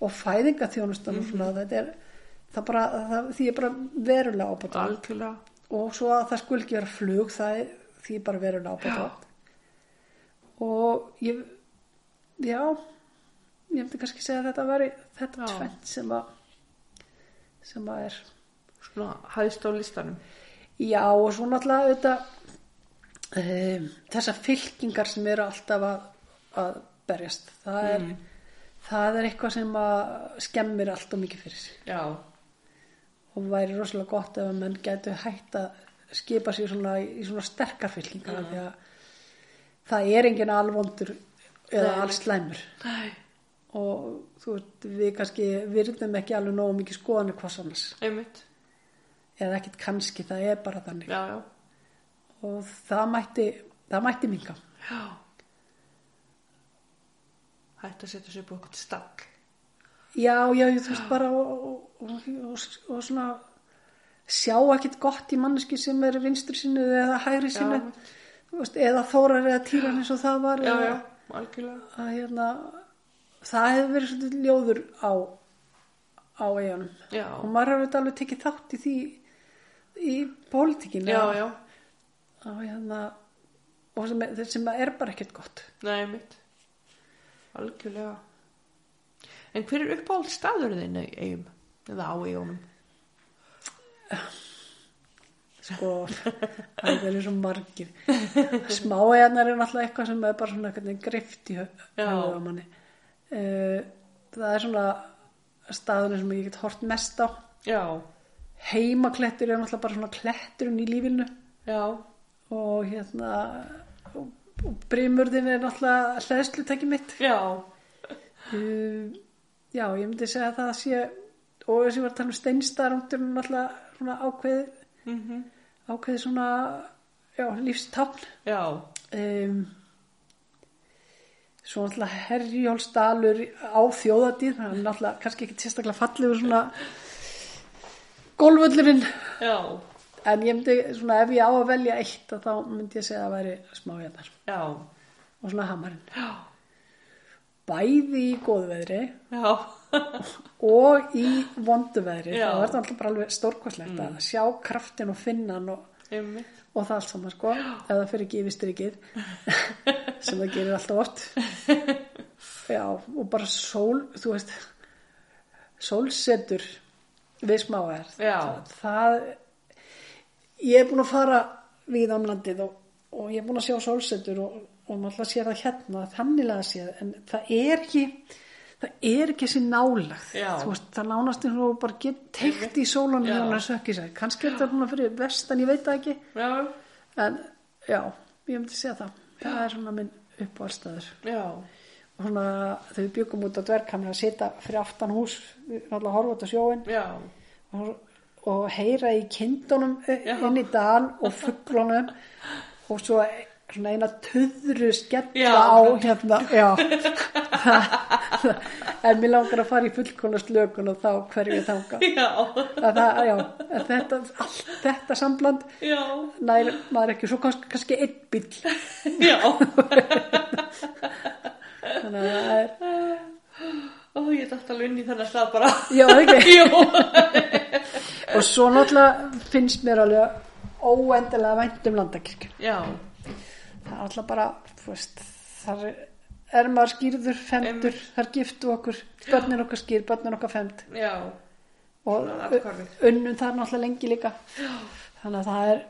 B: og fæðingaþjónustan og
A: Mm-hmm.
B: svona þetta er það bara, það, því er bara verulega ábætt
A: algjörlega
B: og svo að það skul ekki vera flug það er því er bara verulega ábætt og ég já ég myndi kannski segja að þetta veri þetta
A: Já.
B: tvennt sem að sem að er
A: svona hæðst á listanum
B: Já og svo náttúrulega þetta um, þessar fylkingar sem eru alltaf að, að berjast það er, það er eitthvað sem að skemmir allt og mikið fyrir sig
A: já,
B: og væri rosalega gott ef að menn gætu hætt að skipa sér svona, í svona sterkar fylkingar mm. því að það er enginn alvondur eða
A: Nei.
B: allslæmur
A: nei,
B: og þú veist, við kannski virðum ekki alveg nógu mikið skoðanir hvers annars
A: einmitt
B: eða ekkert kannski, það er bara þannig
A: já, já,
B: og það mætti, það mætti minga
A: já hætt að setja sér upp á okkur stall
B: Já, já, ég þú veist bara og, og, og, og svona sjá ekkert gott í manneski sem er vinstri sinni eða hægri sinni
A: einmitt.
B: þú veist, eða þórar eða týran eins og það var
A: já,
B: eða,
A: já, algjörlega
B: Að, hérna, það hefur verið svolítið ljóður á á eigunum
A: Já.
B: og maður hefur þetta alveg tekið þátt í því í pólitíkinu
A: já, já,
B: Að, hérna, og sem, er- sem er bara ekkert gott
A: nei, einmitt algjörlega en hver er uppáhald staður þinn í eigum, eða á eigunum
B: sko, það eru svo margir smáeðnar er náttúrulega eitthvað sem er bara svona hvernig grift í
A: Já.
B: höfðu á manni uh, það er svona staðunum sem ég get hort mest á
A: já,
B: heimaklettur er náttúrulega bara svona kletturinn í lífinu
A: já,
B: og hérna og, og brimurðin er náttúrulega hlæðslutæki mitt
A: já
B: uh, já, ég myndi segja að það sé og þess að ég var að tala um steinstaðarúndurinn náttúrulega svona ákveð
A: mhm,
B: ákveðið svona já, lífstafn
A: já,
B: um, svo náttúrulega Herjólfsdalur á þjóðatíð hann er náttúrulega kannski ekki sérstaklega fallegur svona golföllurinn
A: já,
B: en ég myndi svona ef ég á að velja eitt að þá myndi ég segja að það væri smájarnar
A: já,
B: og svona hamarinn
A: já,
B: bæði í góðu veðri
A: já,
B: og í vondu veðri
A: Já. Mm.
B: það verður náttúrulega bara alveg stórkostlegt að sjá kraftin og finnan og
A: einmitt,
B: og það allt saman sko ef það fyrir ekki yfir strikið sem það gerir alltaf oft já og bara sól þú veist sólsetur við smáðar
A: Já.
B: það ég er búin að fara við um landið og, og ég er búin að sjá sólsetur og, og maður alltaf sér það hérna þanniglega séð en það er ekki það er ekki þessi nálagt
A: Já.
B: þú veist það nánast eins og þú bara get teikt í sólanum
A: Já.
B: hjá hann að sökki sér kannski er þetta núna fyrir vestan, ég veit það ekki
A: já,
B: en já, ég myndi segja það það er svona minn uppáhaldstæður
A: já,
B: og svona þegar við byggum út á dverkamna að sita fyrir aftan hús náttúrulega horfa út á sjóin
A: já,
B: og, og heyra í kindunum
A: Já.
B: inn í dal og fuglunum og svo svona eina töðru skella
A: Já.
B: á hérna já en mér langar að fara í fullkonast lögun og þá hverju þanga
A: já,
B: að það, já, að þetta, allt þetta sambland
A: já,
B: nær maður ekki svo kannski, kannski einn bíl
A: já,
B: þannig að það er,
A: ó, ég dætt alveg inn í þennan stað bara,
B: já, það er ekki
A: jú,
B: og svo náttúrulega finnst mér alveg óendilega vænt um landakirkju
A: já,
B: það er alltaf bara, þú veist þar er maður skýrður femtur,
A: Einmitt.
B: þar giftu okkur börnin okkar skýr, börnin okkar femd
A: já,
B: og
A: Svona athvarfið.
B: unnum þar náttúrulega lengi líka þannig að það er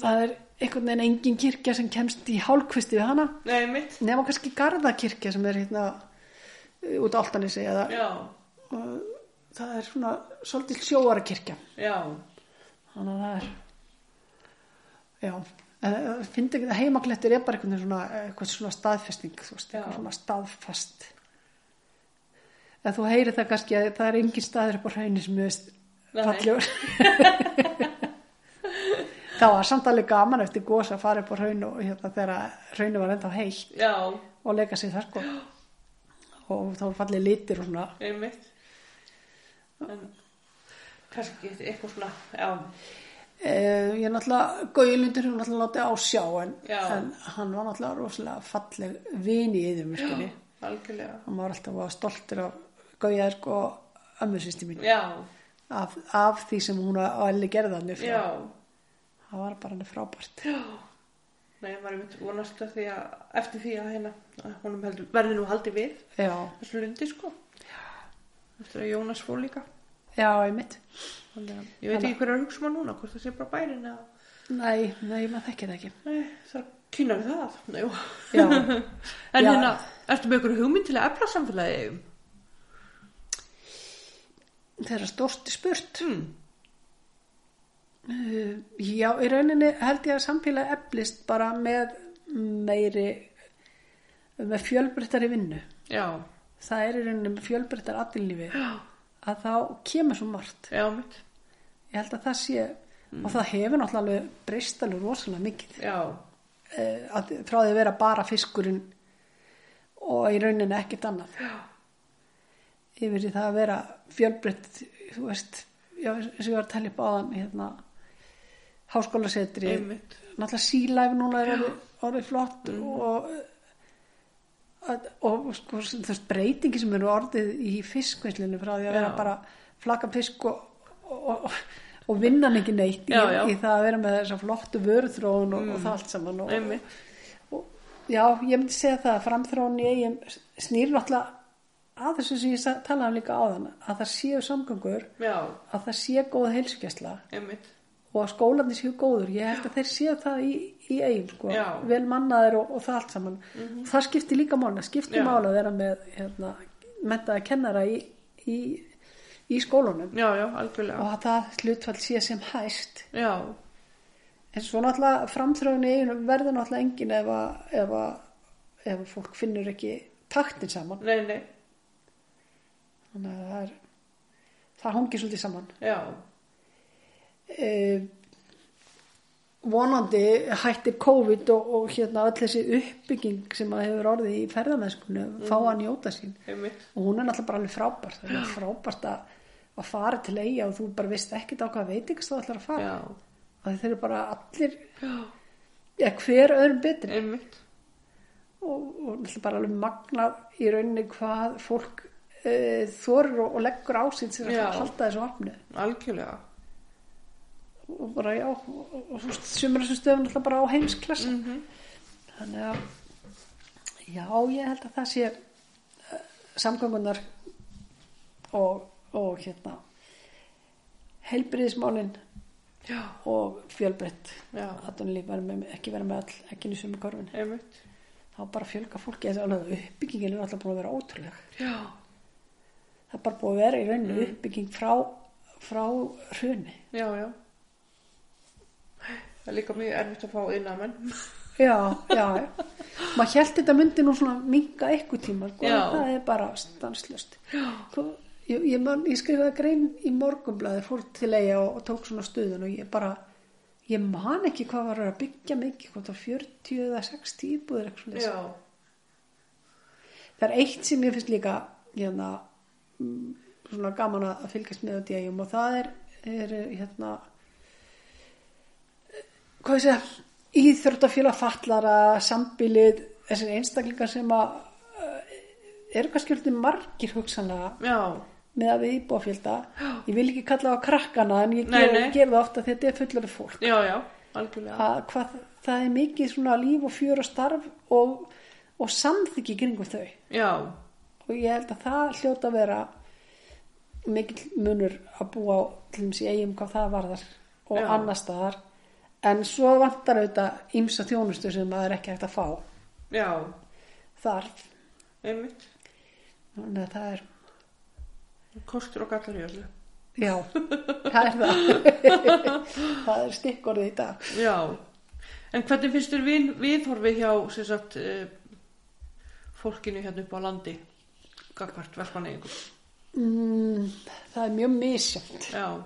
B: það er einhvern veginn engin kirkja sem kemst í hálkvisti við hana
A: Nei, mitt.
B: nema kannski Garðakirkja sem er hérna eh, út á Altanesi eða
A: Já,
B: og það er svona svolítið sjóara kirkja
A: já,
B: þannig að það er já en finnst ekki það heimaklettir er bara einhvern veginn svona, einhvern svona staðfesting þú veist,
A: Já.
B: einhvern svona staðfast en þú heyrir það kannski að það er engin staður upp á hraunni sem er
A: Nei.
B: fallegur það var samt alveg gaman eftir gósa að fara upp á hraun og hérna þegar hraunni var ennþá heilt
A: já,
B: og leika sér þar sko og þá var fallið litir og svona
A: einmitt. En kannski eitthvað svona, já,
B: Eh, ég er náttúrulega, Gauðlundur hefur náttúrulega látið á sjá en,
A: Já.
B: en hann var náttúrulega rosalega falleg vini í þeim myrkunni.
A: algjörlega.
B: Hann var alltaf voða stoltur af Gauðar og ömmu sýsti mín
A: Já,
B: af, af því sem hún og Elli gerði hann upp frá.
A: já,
B: Það var bara hann frábært.
A: já. Nei, maður er mitt vonast að því að, eftir því að hérna, að honum heldur, verði nú haldið við,
B: Já,
A: þessu lundi sko. Eftir að Jónas fór líka.
B: já, einmitt.
A: Þannig að, ég veit ekki hverju að hugsa maður núna, hvort það sé bara bærin eða,
B: Nei, nei, maður þekkir það ekki.
A: nei, það kynna við það. Nei, jú.
B: Já,
A: en
B: Já.
A: hérna, ertu með ykkur hugmynd til að efla samfélagið?
B: þeirra stórt spurt.
A: Hmm.
B: Uh, já, í rauninni held ég að samfélag eflist bara með meiri, með fjölbreyttari vinnu.
A: Já,
B: það er í rauninni með fjölbreyttar aðlífi
A: já,
B: að þá kemur svo margt
A: já, mitt,
B: ég held að það sé og það hefur náttúrulega alveg breyst alveg rosalega mikið
A: já,
B: eh, að, frá því að vera bara fiskurinn og í rauninni ekkert annað já. yfir í það að vera fjölbreytt þú veist, já, eins og ég var að tala upp áðan hérna háskólasetri
A: einmitt,
B: náttúrulega sílæf núna er orðið, orðið flott
A: Mm.
B: og að, og sko þú veist breytingi sem eru orðið í fiskvinslinu frá því að vera
A: Já.
B: bara flakka fisk og, og, og, og vinna hann ekki neitt í,
A: Já, já.
B: í það að vera með þessa flottu vöruþróun og, og það allt saman og,
A: einmitt,
B: og, já, ég myndi segja það að framþróun í eigin snýr náttúrulega að þessu sem ég sa- talaði um líka áðan að það séu samgöngur
A: já,
B: að það sé góð heilsugæsla
A: einmitt,
B: og að skólanir séu góður ég held að þeir séu það í, í eigin sko.
A: Já. Mhm.
B: vel mannaðir og, og það allt saman það skiptir líka máli, það skiptir
A: Já.
B: máli að vera með hérna, mentaða kennara í, í, í skólanum
A: já, já, algjörlega,
B: og að það hlutfall sé sem hæst
A: já,
B: en svo náttúrulega framþröðun í eiginu verður náttúrulega engin ef að, ef að, ef að fólk finnur ekki taktin saman
A: nei, nei,
B: þannig að það er það hangir svolítið saman
A: já,
B: eh, vonandi hættir COVID og, og hérna öll þessi uppbygging sem að hefur orðið í ferðamennskunni
A: Mm.
B: fá að njóta sín
A: einmitt,
B: og hún er náttúrulega bara alveg frábært það er frábært að, að fara til eiga og þú bara veist ekkit á hvað veitingast þú ætlar að fara
A: já,
B: að þeir eru bara allir
A: já,
B: ja, hver öðrum betri
A: einmitt,
B: og, og náttúrulega bara alveg magnað í rauninni hvað fólk e, þorir og, og leggur á sín sem
A: Já.
B: að halda þessu opnu
A: algjörlega,
B: og bara já og, og, og þú veist, sumir þessu stöðum náttúrulega bara á heimsklassa
A: mhm,
B: Þannig að, já, ég held að það sé eh, samgöngunar og, og hérna, heilbriðismálin
A: já,
B: og fjölbreytt.
A: Já.
B: Þannig að verðum ekki verið með all, ekki nýsum í korfinu.
A: einmitt,
B: Þá bara fjölga fólki, þessi alveg uppbyggingin er alltaf búin að vera ótrúleg.
A: já,
B: Það er bara búin að vera í rauninu uppbygging frá, frá hruni.
A: já, já, það er líka mjög erfitt að fá innamenn,
B: Já, já, já. Maður held þetta myndi nú svona minga eitthvað tíma, sko,
A: Já.
B: en það er bara stanslust. Þú, ég, ég, man, ég skrifaði grein í morgumblaði, fór til eiga og, og tók svona stuðun og ég bara, ég man ekki hvað var að byggja mikið, hvað það var 40 eða 60 íbúður eitthvað svona.
A: já,
B: Það er eitt sem ég finnst líka, hérna, mm, svona gaman að að fylgjast með á dægjum og það er, er hérna, hvað ég segja, íþjórtafélag fallara, sambílið, þessir einstaklingar sem að eh, eru kannski hluti margir hugsanlega
A: já,
B: með að við íbúafjölda ég vil ekki kalla á krakkana en ég
A: Nei,
B: ger,
A: nei.
B: ger það ofta þetta er fullari fólk
A: já, já, algjörlega,
B: að hvað, það er mikið svona líf og fjör og starf og, og samþyggi kringum þau
A: já,
B: og ég held að það hljóta að vera mikill munur að búa á, til dæmis í eigum hvað það varðar og
A: Já.
B: annar staðar en svo vantar auðvitað ímsa þjónustu sem maður er ekki hægt að fá
A: já,
B: þar
A: einmitt
B: þannig að það er
A: kostur og gallar í öllu
B: já, það er það það er stikkorðið í dag
A: Já, en hvernig finnst þér við, viðhorfi hjá sem sagt, eh, fólkinu hérna upp á landi gagvart verðmanneigum?
B: mm, það er mjög misjönd
A: Já,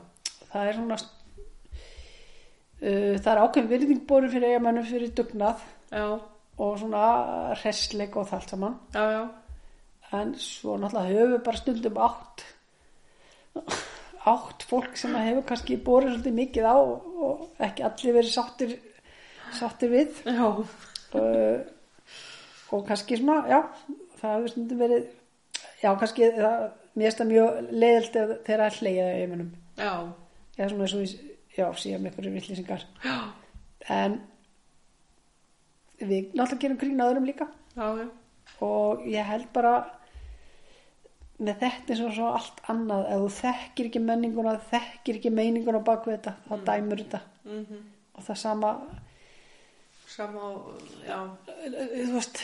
B: það er svona uh, það er ákveðin virðing borin fyrir eigamönnum fyrir dugnað
A: já,
B: og svona hressleik og það allt saman
A: já, já,
B: en svo náttúrulega höfum við bara stundum átt átt fólk sem að hefur kannski borið svolítið mikið á og ekki allir verið sáttir sáttir við
A: já,
B: uh, og kannski svona, já það hefur stundum verið já, kannski það, mér finnst það mjög leiðilt ef- þegar að hleyja eiginmennum
A: já,
B: eða svona eins og ég, já, síðan með einhverju villýsingar
A: já,
B: en við náttúrulega gerum grín að öðrum líka
A: já, já,
B: og ég held bara með þetta eins og svo allt annað ef þú þekkir ekki menninguna þekkir ekki meininguna á bakvið þetta þá dæmur þetta
A: mm
B: og það sama
A: sama, og- já,
B: eh, þú veist,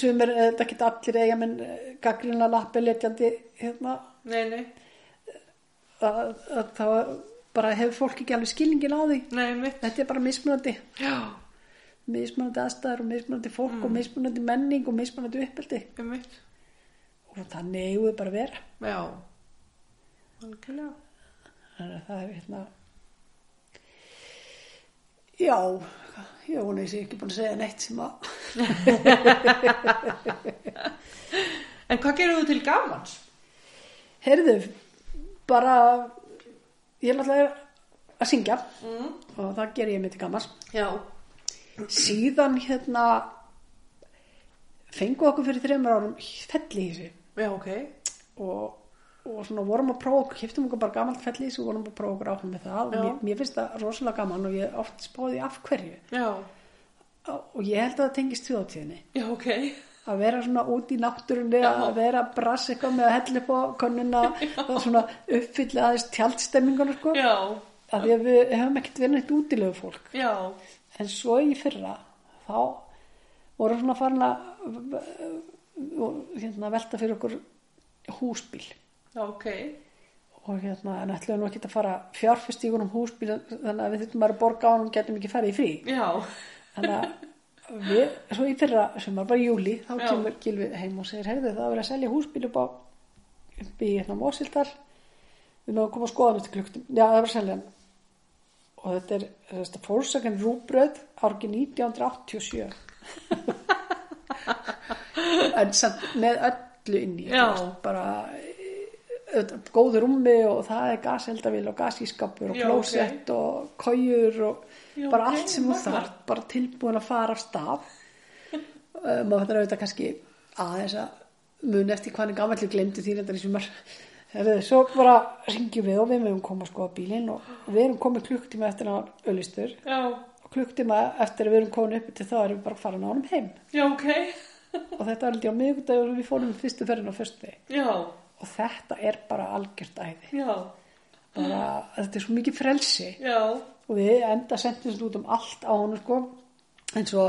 B: sumir eh, þetta geta allir eiga menn gaggrina lappi letjandi hérna
A: nei, nei,
B: að, að þá bara hefur fólk ekki alveg skilningin á því
A: nei, mitt,
B: þetta er bara mismunandi
A: já,
B: mismunandi aðstæður og mismunandi fólk og mismunandi menning og mismunandi uppeldi
A: mitt,
B: og þannig eigum við bara að vera
A: já, algjörlega,
B: Þannig að það er hérna Já, ég vona ég sé ekki búin að segja neitt sem að
A: En hvað gerum þú til gamans?
B: Heyrðu, bara ég er náttúrulega að syngja
A: Mm.
B: og það ger ég mér til gamars
A: Já,
B: Síðan hérna fengu okkur fyrir þreymur árum fellihísi
A: já, ok,
B: og, og svona vorum að prófa okkur kiptum okkur bara gamalt fellihísi og vorum að prófa okkur áfram með það
A: Já.
B: og mér, mér finnst það rosalega gaman og ég hef oft spáði af hverju
A: já,
B: og ég held að það tengist þjóðtíðinni
A: já, ok,
B: að vera svona út í náttúrunni að vera að brasa eitthvað með að hella upp á konuna og svona uppfylla aðeins tjaldstemminguna sko
A: já,
B: að því að við hefum ekkert verið neitt útilegu fólk
A: já,
B: en svo í fyrra þá voru svona farin að hérna, velta fyrir okkur húsbíl
A: já, ok,
B: og hérna en ætlum við nú ekki að fara fjárfest í um húsbíl þannig að við þurfum bara að borga á hann og getum ekki farið í frí
A: já,
B: þannig að við, svo í fyrra sumar, bara í júli, þá
A: Já.
B: kemur Gilvi heim og segir, heyrðu það er verið að selja húsbíl upp á upp í hérna Mósildal við náðum að koma að skoða hann eftir klukktum já það er verið að selja hann og þetta er þetta fórsakan rúbröð árgi 1987 en samt með öllu inn í
A: Já.
B: þú veist, bara eh, góður rúmi og það er gaseldavíl og gasískapur og
A: Já, ok.
B: klósett og kójur og
A: Já,
B: bara
A: ok,
B: allt sem þú
A: magnað.
B: þarft bara tilbúin að fara af stað Uh, maður þetta auðvitað kannski aðeins að muni eftir hvað hann er gamall og glemdi því þetta í sumar Herðu, svo bara ringjum við og við mögum koma að skoða bílinn og við erum komið klukktíma eftir að hann öllistur
A: já,
B: og klukktíma eftir að við erum komin upp til þá erum við bara farin á honum heim
A: já, ok,
B: og þetta var held ég á miðvikudag og við fórum fyrstu ferðin á fyrstu
A: já,
B: og þetta er bara algjört æði
A: já,
B: bara, þetta er svo mikið frelsi
A: já,
B: og við enda sendum sér út um allt á hann sko. en svo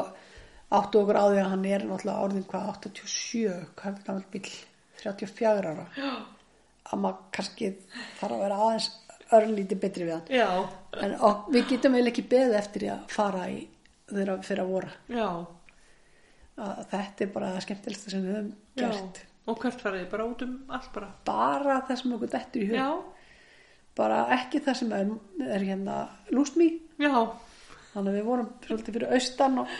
B: áttu okkur á því að hann er náttúrulega orðin hvað 87, hvað er gammal bíl 34 ára að maður kannski þarf að vera aðeins örlítið betri við hann
A: já,
B: en og, við getum eiginlega ekki beðið eftir því að fara í þeirra fyrir að voru
A: já,
B: að þetta er bara það skemmtilegsta sem við höfum
A: já.
B: gert
A: Og hvert farið, þið? bara út um allt bara.
B: bara það sem okkur dettur í hug
A: Já,
B: bara ekki það sem er, er hérna lúsmi
A: já,
B: þannig að við vorum svolítið fyrir austan og,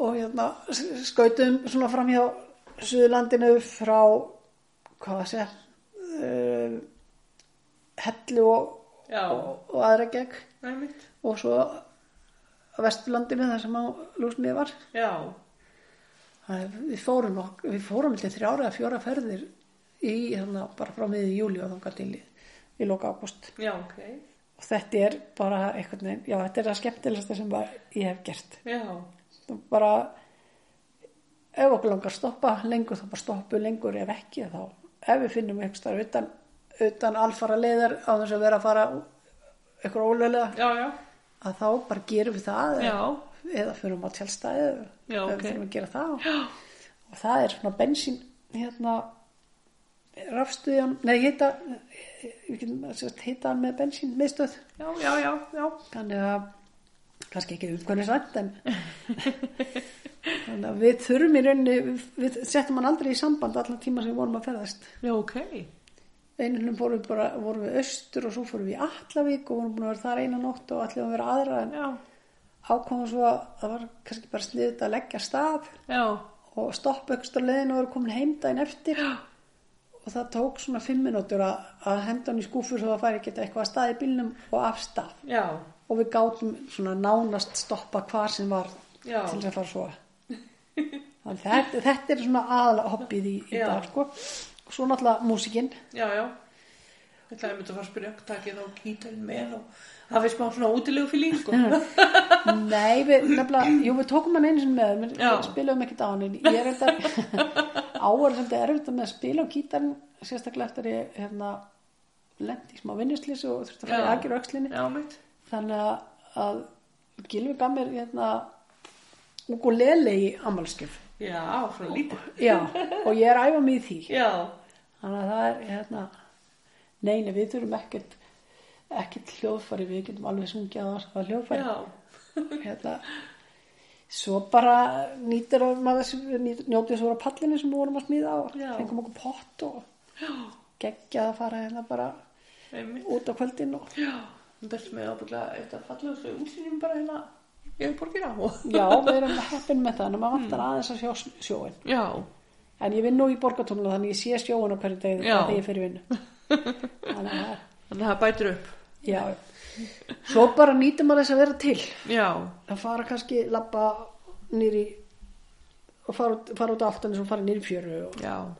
B: og hérna, s- skautum svona fram hjá Suðurlandinu frá hvað að segja uh, hellu og,
A: Já.
B: og, og aðra gegg
A: einmitt,
B: og svo Vesturlandinu þar sem á lúsnið var
A: já,
B: Það er- við fórum, nok- við fórum til þrjára eða fjóra ferðir í hérna, bara frá miðið júli og þangar til í, í loka ágúst
A: já, ok,
B: og þetta er bara einhvern veginn, já þetta er það skemmtilegsta sem bara ég hef gert
A: já,
B: Það bara ef okkur langar að stoppa lengur þá bara stoppu lengur ef ekki þá ef við finnum einhvers þar utan, utan alfara leiðar á þess að vera að fara einhver ólega
A: já, já,
B: að þá bara gerum við það eða-
A: Já,
B: eða fyrir á tjálstæði
A: Já,
B: eða
A: ok.
B: fyrir að gera það Já. og það er svona bensín hérna rafstuðjan, nei heita heita hann með bensín miðstöð
A: já, já, já, já.
B: þannig að kannski ekki umhverfisvænt en þannig að við þurfum í rauninni við, við settum hann aldrei í samband allan tíma sem við vorum að ferðast
A: Já, ok.
B: einu hlum fórum við bara, vorum við austur og svo fórum við í Allavík og vorum búin að vera þar eina nótt og allir að vera aðra en
A: Já,
B: ákváðum svo að það var kannski bara sniðut að leggja af stað
A: já,
B: og stoppa ykkur á leiðin og vera komin heim daginn eftir og það tók svona fimm minútur að, að henda hann í skúfur svo að færi geta eitthvað að staði bílnum og af stað
A: já,
B: og við gátum svona nánast stoppa hvar sem var
A: Já.
B: til þess að fara svo þannig þetta, þetta er svona aðalega hobbið í, í
A: Já.
B: dag sko. og svo náttúrulega músikinn
A: já, já. Ég ætlaði að mynda að fara að spyrja, takk ég þá gítarinn með og hafið smá svona útilegu fíling, sko.
B: nei, við nefnilega, jú við tókum hann einu sinni með við
A: Já.
B: spilaðum ekkert á hann en ég er þetta áar sem þetta er þetta með að spila á gítarinn sérstaklega eftir ég hérna lendi í smá vinnuslýs og þurfti að fara
A: Já.
B: í aðgjur aukslinni
A: Já, mitt.
B: þannig að- að Gylfi gaf mér hérna ukulele í ammálskjöf
A: Já, svona lítið.
B: Já, og ég er að æfa mig í því.
A: Já,
B: Þannig að það er, hérna, neini, við þurfum ekkert, ekkert hljóðfæri, við getum alveg sungið á það hljóðfæri.
A: já,
B: Hérna, svo bara nýtir að maður þessi, nýt- njótið svo á pallinu sem við vorum að smíða og
A: Já.
B: fengum okkur pott og geggjað að fara hérna bara
A: einmitt.
B: út á kvöldin og
A: Já, hún berst með ábygglega eitt af fallegustu útlýnum bara hérna í borgina. og-
B: já, við erum heppin með það, en maður
A: Mm.
B: vantar aðeins að sjó, sjóin.
A: Já,
B: En ég vinn nú í borgartónlega þannig ég sé sjóin á hverju degi
A: Já.
B: þegar ég fyrir vinnu. Þannig að það er
A: þannig að það bætir upp.
B: Já, svo bara nýtum maður þess að vera til
A: Já,
B: að fara kannski labba nýri og fara, út- fara út á aftanis og fara nýri fjöru og,
A: já,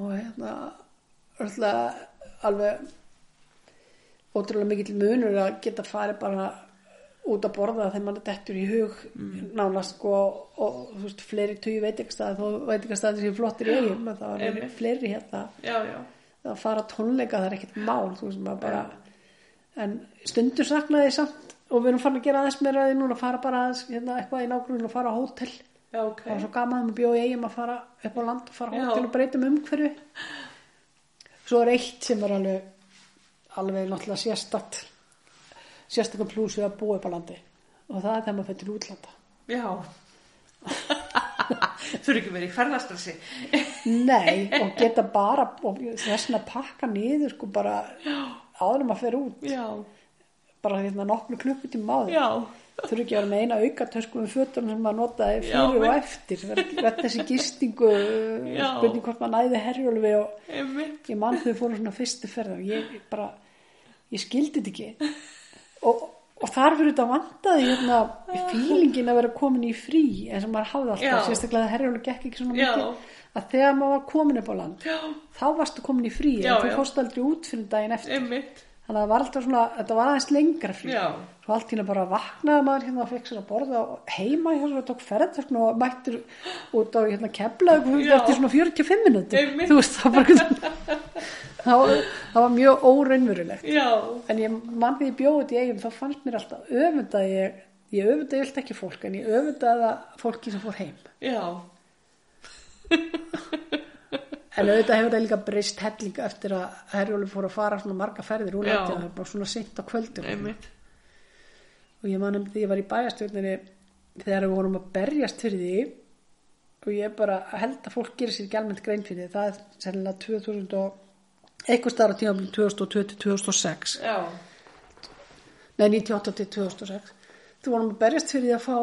B: og hérna öll alveg ótrúlega mikill munur að geta farið bara út að borða þegar mann er dettur í hug nánast sko og þú veist fleiri tugi veitingastæði þó veitingastæði sem flottir í eigum en það er
A: einmitt.
B: fleiri hérna
A: já, já.
B: að fara á tónleika það er ekkert mál þú veist maður bara en stundur saknaði ég samt og við erum farin að gera aðeins meira að því núna fara bara aðeins hérna, eitthvað í nágrunum og fara á hótel
A: Já, ok.
B: það var svo gaman að við bjóði eigum að fara upp á land og fara á
A: Já.
B: hótel og breytum umhverfi svo er eitt sem er alveg alveg náttúrulega sérstatt sérstakka plús við að búa upp á landi og það er þegar maður fyrir til útlanda
A: Já. Þurfi ekki verið í ferðastrassi.
B: Nei, og geta bara og þessna pakka niður sko bara áður en maður fer út
A: Já,
B: bara hérna nokkru klukkutíma áður
A: já,
B: þurfi ekki að vera með eina aukatösku með fötunum sem maður notaði
A: Já,
B: fyrir og
A: mitt.
B: eftir verð þessi gistingu uh,
A: Já.
B: spurning hvort maður næði herjólfi og
A: einmitt.
B: ég mann þau fóru svona fyrstu ferð og ég bara, ég skildi þetta ekki og, og þar fyrir þetta vantaði hérna fílingin að vera komin í frí eins og maður hafði alltaf,
A: Já.
B: sérstaklega að herjólfi gekk ekki svona
A: Já.
B: mikið að þegar maður var komin upp á land
A: Já,
B: þá varstu komin í frí
A: Já,
B: en þú
A: já.
B: fórst aldrei út fyrir daginn eftir
A: einmitt.
B: þannig að það var alltaf svona, þetta var aðeins lengra frí
A: Já.
B: svo allt hérna bara vaknaði maður hérna og fekk sér að borða og heima hérna og tók ferðtökn og mættur út á hérna keflaug
A: Já.
B: eftir svona 45 minútur
A: Einmitt.
B: þú veist það var bara það, var- það var mjög óraunverulegt
A: Já,
B: en ég mann því ég bjóði þetta í eigum þá fannst mér alltaf öfundaði ég ég öfundaði vilt ekki fólk en ég öfundaði það fólki sem fór heim
A: já,
B: En auðvitað hefur það líka breyst helling eftir að Herjóli fór að fara svona marga ferðir úr
A: Já.
B: landið, það er bara svona seint á kvöldum.
A: einmitt.
B: Og ég manum því ég var í bæjastjórninni þegar við vorum að berjast fyrir því og ég bara held að fólk gerir sér gælmönd grein fyrir því. Það er sennilega 2000 og eitthvað starf á tímafélum 2020-2006
A: Já,
B: nei 98-2006 þú vorum að berjast fyrir því að fá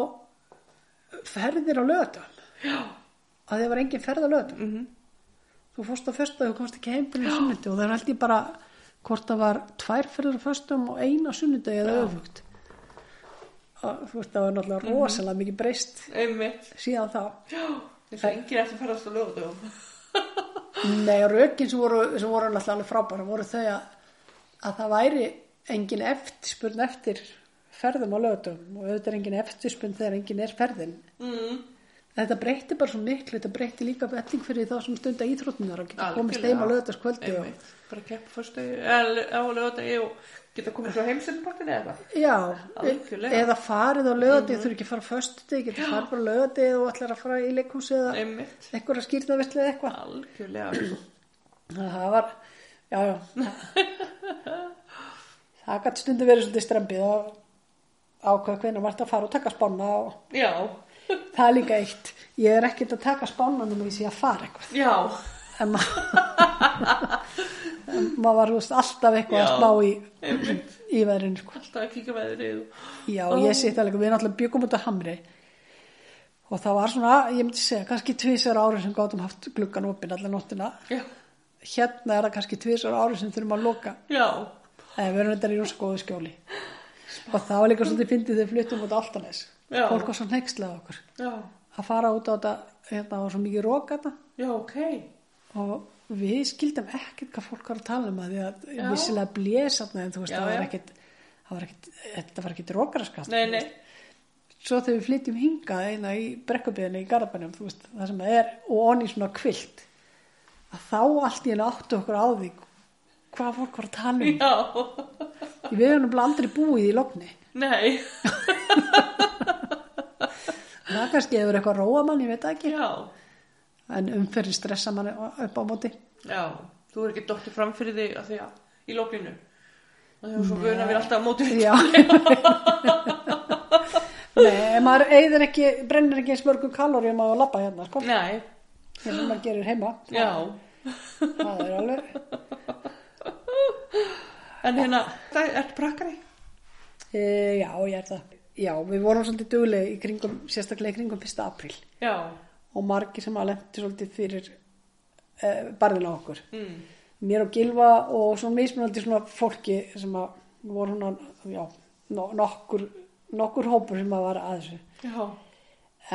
B: ferðir á lögatum
A: já,
B: að það var engin ferð á lögatum -hmm. þú fórst á föstu og komst ekki heim fyrir sunnundi og það er held ég bara hvort það var tvær ferðir á föstum og eina sunnundi eða öfugt og, þú veist það var náttúrulega rosalega mikið breyst
A: einmitt.
B: síðan þá
A: Já, þess að enginn eftir ferðast á lögutum.
B: nei og rökin sem voru, sem voru náttúrulega alveg frábæra voru þau að, að það væri engin eftirspurn eftir ferðum á lögatum og auðvitað er engin eftirspurn þegar engin er ferðin
A: Mm,
B: Þetta breytti bara svo miklu, þetta breytti líka velling fyrir þá sem stunda íþróttunar að geta komist
A: Algjörlega.
B: heim á lögataskvöldi og
A: Einmitt. bara keppa fyrstu á lögadegi og geta komið frá heimsendpartin eða eitthvað
B: Já,
A: Algjörlega. Mm.
B: eða farið á lögadegi, þú eru ekki að fara á föstudegi, getur farið bara á lögadegi og ætlar að fara í leikhúsi eða
A: einmitt,
B: einhverja skýrnaverslu eða eitthvað.
A: algjörlega sko.
B: Það var, já, já. það gæti stundu verið svolítið strempið og ákveða hvernig var þetta að fara og taka spána og
A: já,
B: það er líka eitt. Ég er ekkert að taka spána nema ég sé að fara eitthvað.
A: já
B: En maður, en maður var þú veist, alltaf eitthvað
A: Já.
B: að slá í,
A: einmitt,
B: í veðrinu sko.
A: alltaf að kíka veðrið og-
B: Já,
A: Ó.
B: ég sitt alveg, við náttúrulega byggum út að hamri og það var svona, ég myndi segja, kannski tvisar ári sem gátum haft gluggan opinn allar nóttina.
A: já,
B: Hérna er það kannski tvisar ári sem þurfum að loka.
A: já,
B: Nei, við erum þetta í rosa góðu skjóli. Og það var líka svolítið fyndið þegar við fluttum út á Altanes.
A: Já.
B: Fólk var svo nextlað okkur.
A: já,
B: Að fara út á þetta, hérna það var svo mikið rók þetta
A: já, ok
B: og við skildum ekkert hvað fólk var að tala um að því að
A: Já.
B: vissilega blésatna en þú veist,
A: Já,
B: það var
A: já.
B: ekkert, það var ekkert, þetta var ekkert rókaraskast.
A: nei, nei,
B: Svo þegar við flytjum hingað eina í brekkubiðinu í Garabænum, þú veist, það sem er og onni svona kvilt, að þá allt í henni áttu okkur á því hvað fólk var að tala um.
A: já
B: Við hefum nefnilega aldrei búið í lofni.
A: nei,
B: Það kannski hefur eitthvað róa mann, ég veit það ekki.
A: já,
B: En umferðin stressa mann upp á móti.
A: já þú er ekki dóttir fram fyrir þig að því að í lókinu og þegar svo vöna við alltaf á móti
B: Já. Nei, maður eyðir ekki, brennir ekki eins mörgum kalórium á að labba hérna, sko.
A: nei,
B: Þegar maður gerir heima.
A: já
B: Það er alveg.
A: En hérna, það ertu prakkari?
B: E, já, ég er það. Já, við vorum svolítið dugleg í kringum, sérstaklega í kringum 1. apríl.
A: Já.
B: Og margir sem að lendi svolítið fyrir e, barðin á okkur.
A: Mm.
B: Mér og Gilva og svona mismunandi svona fólki sem að voru hún já, no, nokkur, nokkur hópur sem að var að þessu.
A: Já.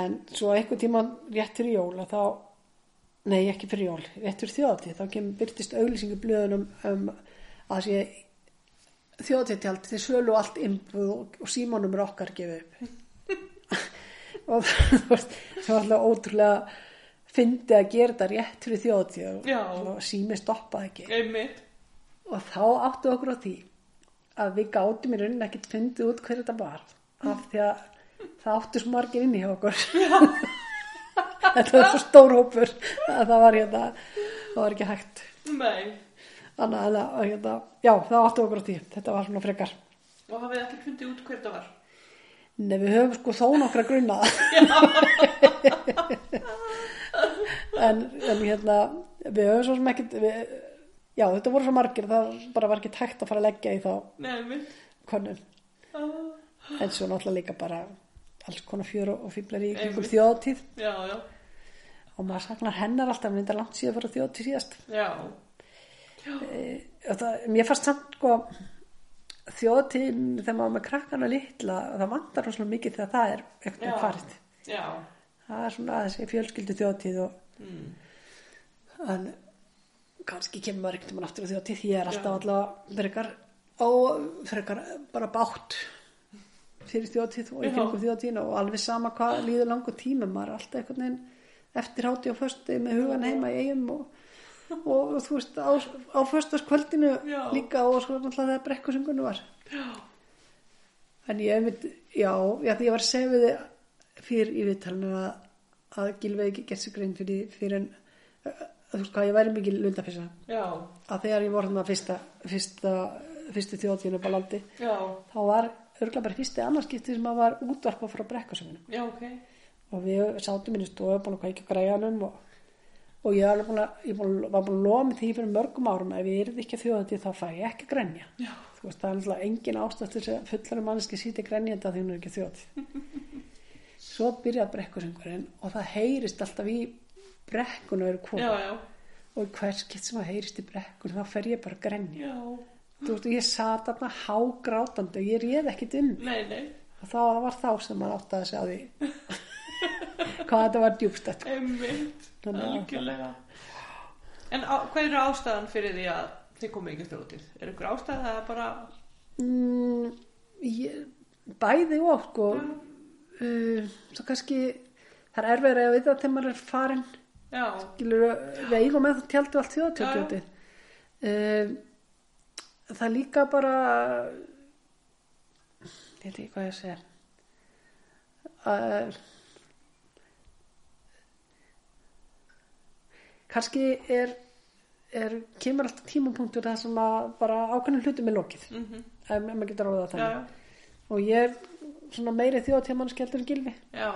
B: En svo einhvern tíman rétt fyrir jól að þá, nei ekki fyrir jól, rétt fyrir þjóðatíð, þá kemur byrtist auglýsingu blöðunum um að sé þjóðatíðtjald, þeir sölu allt innbúð og, og símónum er okkar gefið upp. og það var, það var alltaf ótrúlega fyndi að gera þetta rétt fyrir þjóðatíð og-
A: Já.
B: og sími stoppaði ekki.
A: Einmitt.
B: Og þá áttu okkur á því að við gátum í rauninni ekkert fundið út hver þetta var af því að það áttu svo margir inn í hjá okkur. þetta var svo stór hópur að það var, hérna, það var ekki hægt.
A: Nei.
B: Þannig að það- að hérna, já, það áttu okkur á því. Þetta var svona frekar.
A: Og hafið ekki fundið út hver það var?
B: Nei, við höfum sko þó nokkra grunna en, en hérna við höfum svo sem ekkert við, já, þetta voru svo margir það bara var ekki hægt að fara að leggja í þá
A: Nei, einmitt.
B: konum
A: Ah.
B: en svo náttúrulega líka bara alls konar fjör og fýblar í kringum
A: Einmitt.
B: þjóðatíð
A: Já, já.
B: og maður saknar hennar alltaf, en þetta er langt síðan fyrir þjóðatíð síðast
A: Já.
B: Og það, mér fannst samt sko þjóðatíðin þegar maður var með krakkana litla það vantar rosalega mikið þegar það er
A: Já.
B: eitthvað farið
A: Já.
B: það er svona aðeins í fjölskyldu þjóðatíð og
A: Mm.
B: en kannski kemur maður ekkert um aftur á þjóðatíð því ég er alltaf
A: Já.
B: allavega frekar á frekar bara bátt fyrir þjóðatíð og í
A: Já.
B: kringum þjóðatíðin og alveg sama hvað líður langur tíma maður er alltaf einhvern veginn eftir hátíð og föstu með hugan heima í eigum og, og, þú veist á, á föstaskvöldinu
A: Já.
B: líka og svo náttúrulega þegar brekkusungunni var
A: Já.
B: En ég mynd, já, já, því ég var að segja við þið fyrr í viðtalinu að, að Gylfi hefði ekki gert sér grein fyrir, því fyrir en, að, þú veist hvað, ég væri mikil lundafissa.
A: Já.
B: Að þegar ég voru þarna fyrsta, fyrsta, fyrstu þjóðtíðinu upp á landi,
A: Já.
B: þá var örgla bara fyrsti annarskipti sem að var útvarpa frá brekkarsöfnum.
A: Já, ok.
B: Og við sátum minni stofu, búin að kveikja á græjanum og, og ég, var alveg búin að, ég búin, var búin að lofa mig því fyrir mörgum árum að ef ég yrði ekki þjóðtíð þá fæ ég ekki grænja
A: Já.
B: þú veist, það er náttúrulega engin ástætt þess að fullari manneski sýti grenjandi að því hún er ekki þjóð svo byrjað brekkusöngurinn og það heyrist alltaf í brekkuna eru
A: Já,
B: koma
A: já.
B: og hvers gett sem að heyrist í brekkuna þá fer ég bara að grenja
A: Já.
B: þú veist, og ég sat þarna hágrátandi og ég réð ekkit um
A: Nei, nei.
B: og þá var þá sem maður átti að segja því hvað þetta var djúbstætt
A: Einmitt.
B: Þannig að-
A: Algjörlega. En á, hvað eru ástæðan fyrir því að þið komið ekki þjótið? Er ykkur ástæða að bara...
B: Mm, ég, bæði og sko
A: Já.
B: uh, svo kannski það er erfið að við það þegar maður er farinn
A: já,
B: skilur við eigum með það tjaldi og allt þjóðatjóðdjóti um, það er líka bara ég veit ekki hvað ég að segja að kannski er, er kemur alltaf tímapunktur það sem að bara ákveðnum hlutum er lokið
A: mm
B: ef ef maður getur ráðað
A: já,
B: þannig og ég er svona meiri þjóðatjóðmannskjaldur en gilfi
A: já,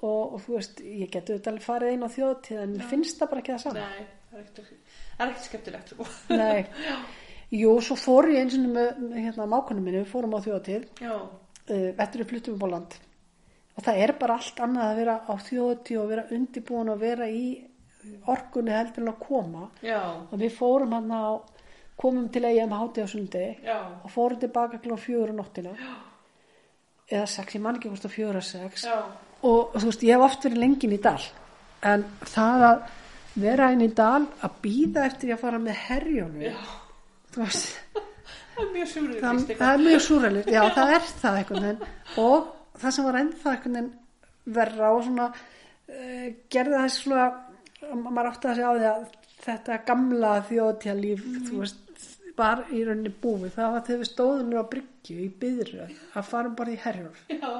B: og, og þú veist, ég getur þetta alveg farið inn á þjóðatíð en mér finnst það bara ekki það
A: já,
B: sama
A: nei, það er ekkert, það er ekkert skemmtilegt, sko.
B: Nei. Jú, svo fór ég eins og með, með hérna, mákunum minni, við fórum á þjóðatíð
A: Já,
B: uh, eftir við fluttum upp á land og það er bara allt annað að vera á þjóðatíð og vera undirbúin og vera í orkunni heldur en að koma
A: já,
B: og við fórum hann á komum til eiga um hátíð á sundi
A: já,
B: og fórum tilbaka klá fjögur á nóttina eða sex, ég man ekki hvort að fjögur að sex
A: já,
B: og þú veist, ég hef oft verið lengin í dal en það að vera inn í dal að býða eftir ég að fara með herjónu
A: já,
B: þú veist,
A: það er mjög sjúrið,
B: það,
A: fyrst
B: það
A: eitthvað.
B: er mjög súrælið já, það er það einhvern veginn og það sem var ennþá einhvern veginn verra og svona uh, gerði það svona að maður átti að segja á því að þetta gamla þjóðtja líf
A: Mm.
B: þú veist, var í rauninni búið það var þegar við stóðum nú á bryggju í byðru að farum bara í herjólf
A: Já,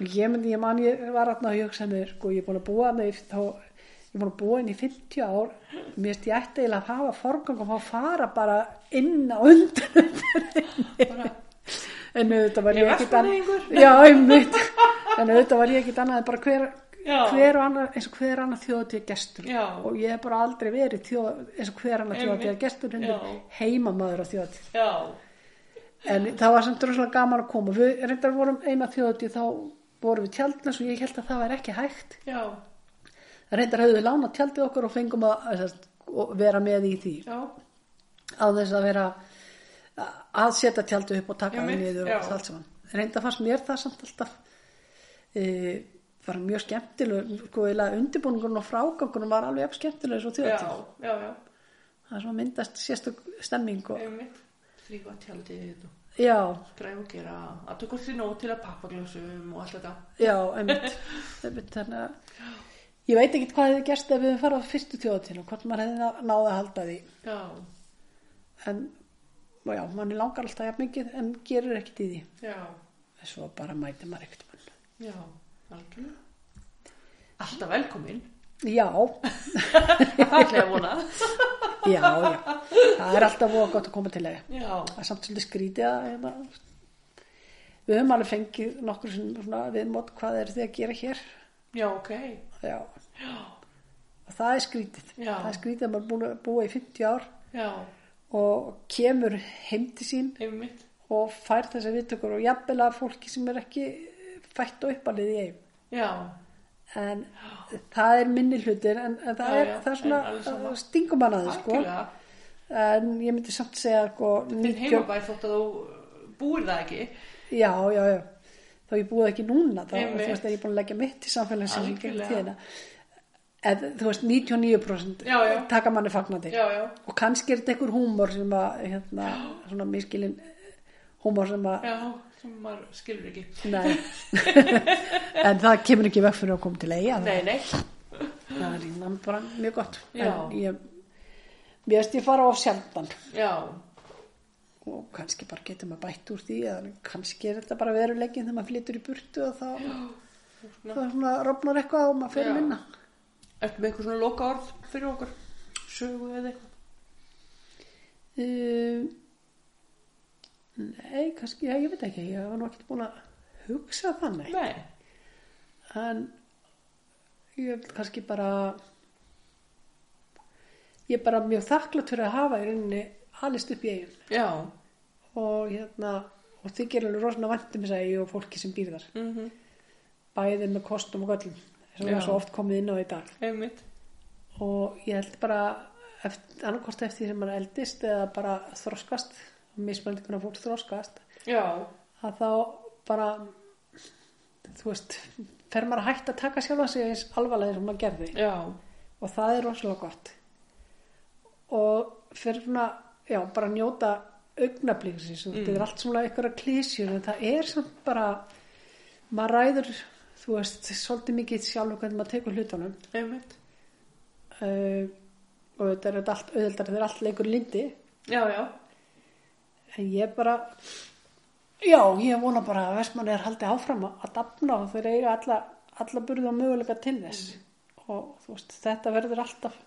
B: Ég, myndi, ég man, ég var aðna að hugsa mér, sko, ég er búin að búa hana í, þá, ég er búin að búa inn í 50 ár, mér veist ég ætti eiginlega að hafa forgang og fá að fara bara inn á undan
A: bara,
B: en auðvitað var ég
A: Ég er
B: ekkit annað-
A: Vestmannaeyingur.
B: já, einmitt en auðvitað var ég ekkit annað en bara hver,
A: Já.
B: hver og annar, eins og hver annar þjóðatíð gestur
A: Já.
B: og ég hef bara aldrei verið þjóð, eins og hver annar
A: Einmitt.
B: þjóðatíð gestur en
A: Já.
B: heimamaður á þjóðatíð
A: já,
B: en það var samt rosalega gaman að koma við reyndar vorum eina þjóðatíð þá vorum við tjaldna svo ég held að það var ekki hægt
A: já,
B: reyndar höfðum við lánað tjaldið okkur og fengum að, að, að vera með í því
A: já,
B: á þess að vera að setja tjaldið upp og taka það
A: Einmitt,
B: niður
A: já.
B: og allt saman. Reynda fannst mér það samt alltaf e, var mjög skemmtileg sko, eiginlega undirbúningunum og frágangunum var alveg jafn skemmtileg svo
A: já,
B: þjóðatíð.
A: já, já,
B: Það er svona myndast sérstök stemming og,
A: einmitt, þrýfa tjaldið og
B: já,
A: græfa og gera, að tökur því nóg til að pappaglásum og allt þetta.
B: já, einmitt, einmitt þannig að ég veit ekkit hvað hefði gerst ef við hefðum farað á fyrstu þjóðatíð og hvort maður hefði náða að halda því
A: Já,
B: en og já, manni langar alltaf jafn mikið en gerir ekkit í því.
A: já,
B: Svo bara mæti maður ekkert mann.
A: já, algjörlega. Alltaf velkomin,
B: Já,
A: fallega vona.
B: já, já, það er alltaf voða gott að koma til eiga
A: Já,
B: það er samt svolítið skrítið að hérna, við höfum alveg fengið nokkur sinnum svona viðmót hvað er þið að gera hér
A: já, ok,
B: já, og það er skrítið
A: Já.
B: það er skrítið að maður er búin að búa í 50 ár
A: já,
B: og kemur heim til sín
A: einmitt,
B: og fær þessar viðtökur og jafnvel að fólki sem er ekki fætt og uppalið í eigum
A: já,
B: en það er minni hlutir en, en það,
A: Já,
B: er,
A: já,
B: það er
A: en alveg
B: svona
A: sama.
B: uh, stingum hann að það sko
A: algjörlega.
B: en ég myndi samt segja sko,
A: Þinn
B: 90
A: heimabær þótt að þú búir það ekki.
B: Já, já, já. Þá ég búið það ekki núna, þá þú
A: Einmitt.
B: veist að ég er búin að leggja mitt í samfélagsins í gegnum
A: Algjörlega.
B: tíðina. En þú veist, 99%
A: Já, já.
B: taka manni fagnandi.
A: Já, já,
B: Og kannski er þetta einhver húmor sem að, hérna, svona miskilin húmor sem að,
A: já, sem maður skilur ekki.
B: nei. en það kemur ekki veg fyrir að koma til eiga.
A: Nei, nei,
B: Það er hérna bara mjög gott.
A: Já.
B: En ég, mér veist ég fara á sjaldan
A: já,
B: og kannski bara getur maður bætt úr því eða kannski er þetta bara veruleikin þegar maður flytur í burtu og þá það er svona rofnar eitthvað og maður fyrir
A: Já.
B: minna
A: ertu með eitthvað svona loka orð fyrir okkur? Sögu eða eitthvað?
B: um, nei, kannski, já, ég veit ekki ég var nú ekkert búin að hugsa þannig
A: Nei,
B: en ég held kannski bara ég er bara mjög þakklátt fyrir að hafa í rauninni alist upp í eigin
A: já,
B: og hérna og þið gerir alveg rosalega vantum þess að ég og fólki sem býr þar
A: mhm,
B: bæði með kostum og göllum sem
A: Já.
B: er svo oft komið inn á í dag
A: einmitt,
B: og ég held bara annarkort eftir því sem maður eldist eða bara þroskast mismændi hvernig fólk þroskast
A: já,
B: að þá bara þú veist fer maður að hægt að taka sjálfa sig eins alvarlega sem maður gerði
A: já,
B: og það er rosalega gott og fyrir svona já, bara að njóta augnablíksins mm. þetta er allt svona einhverja klísjur en það er samt bara maður ræður þú veist, svolítið mikið sjálfur hvernig maður tekur hlutunum
A: einmitt.
B: uh, og þetta er þetta allt auðvildar þegar allt leikur lindi
A: Já, já,
B: en ég bara já, ég vona bara að Vestmann er haldið áfram að dafna og þeir eiga alla, alla burða og möguleika til þess og þú veist, þetta verður alltaf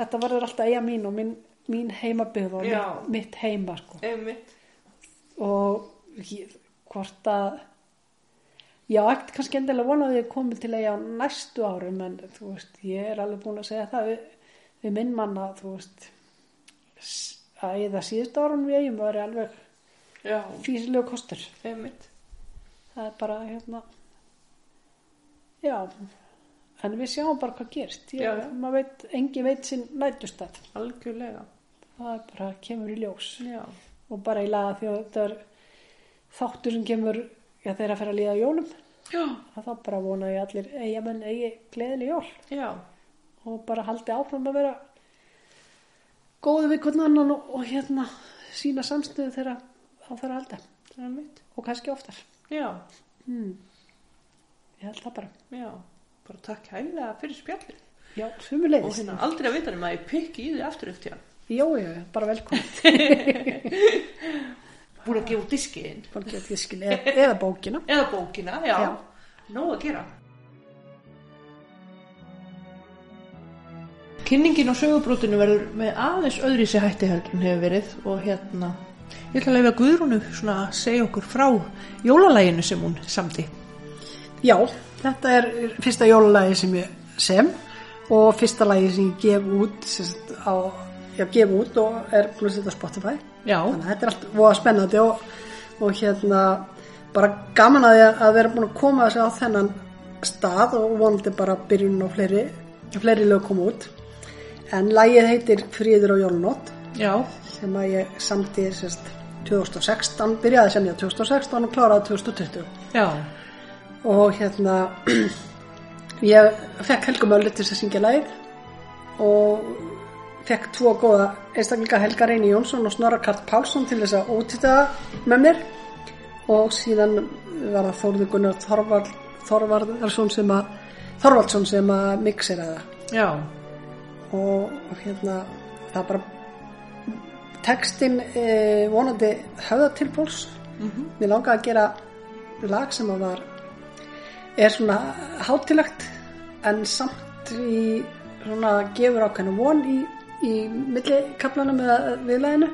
B: þetta verður alltaf eiga mín og mín, mín heimabyggð og
A: Já.
B: mitt, mitt heima sko.
A: einmitt.
B: og ég, hvort að Já, ekkert kannski endilega vonaði ég komið til eiga á næstu árum en þú veist, ég er alveg búin að segja það við, við minn manna, þú veist, s- að eða síðustu árum við eigum var alveg
A: Já,
B: físilegu kostur.
A: einmitt.
B: Það er bara, hérna, já, en við sjáum bara hvað gerst. Ég,
A: Já, já.
B: Maður veit, engi veit sinn nættustætt.
A: Algjörlega.
B: Það er bara, kemur í ljós.
A: Já,
B: Og bara í laga því að þetta er þáttur sem kemur, já, þeir að fara að líða á jólum.
A: já,
B: að þá bara vona ég allir eiga menn eigi gleðileg jól
A: já.
B: og bara haldi áfram að vera góðu við hvernig annan og, og hérna sína samstöðu þegar á þarf að halda
A: einmitt.
B: og kannski oftar
A: Já,
B: hmm. ég held það bara
A: já. Bara takk hæglega fyrir spjallið.
B: já,
A: Og
B: sumulegis
A: hérna aldrei að vita nema að ég pikki í því aftur eftir hann.
B: já, já, bara velkomin
A: Búin að gefa út diskiðinn.
B: Bara geta ég skil- eða, eða bókina
A: Eða bókina, já.
B: Já.
A: Nóg að gera. Kynningin á sögubrútinu verður með aðeins öðri sér hætti heldur en hefur verið og hérna, ég ætla að lefa Guðrúnu svona að segja okkur frá jólalæginu sem hún samti.
B: já, þetta er fyrsta jólalagi sem ég sem og fyrsta lagi sem ég gef út sérst, á, já, gef út og er búin að setja á Spotify
A: Já,
B: þannig að þetta er allt voða spennandi og, og hérna bara gaman að, ég- að vera búin að koma þessi á þennan stað og vonandi bara byrjun og fleiri, fleiri lög koma út en lagið heitir Fríður og Jólnót
A: já,
B: sem að ég samti sérst 2016, byrjaði sem ég 2016 og kláraði 2020
A: já,
B: og hérna ég fekk Helgum Öllu til þess að syngja lagið og fekk tvo góða einstaklinga Helga Reyni Jónsson og Snorra Karl Pálsson til þess að útita með mér og síðan var það Þórður Gunnar Þorvald, Þorvaldsson sem að Þorvaldsson sem að mixera það
A: já,
B: og hérna það bara textin eh, vonandi höfða til fólks mér langaði að gera lag sem að var er svona hátilegt en samt í svona gefur ákveðna von í, í millikaplanum eða viðlæðinu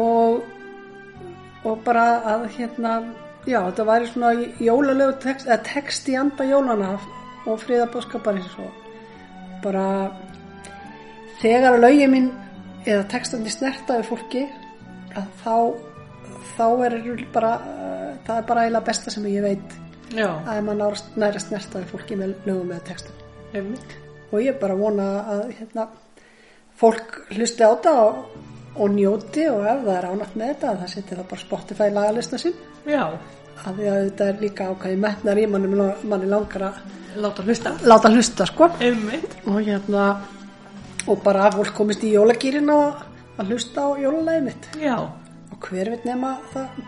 B: og og bara að hérna já þetta væri svona jólalegu text, eða text í anda jólana og friða bóðskaparins og bara þegar að lögin mín eða textandi snertaði fólki að þá þá er bara eh, það er bara eiginlega besta sem ég veit
A: já,
B: að ef maður nárast- nær að snertaði fólki með lögum eða textum
A: einmitt,
B: og ég bara vona að hérna, fólk hlusti á þetta og, og njóti og ef það er ánægt með þetta að það setja það bara á Spotify lagalista sinn
A: já,
B: af því að þetta er líka ákvæði metnar í mannum manni langar að
A: láta hlusta,
B: láta hlusta sko
A: einmitt,
B: og hérna og bara að fólk komist í jólagýrin og að hlusta á jólalæði mitt
A: já,
B: og hver veit nema það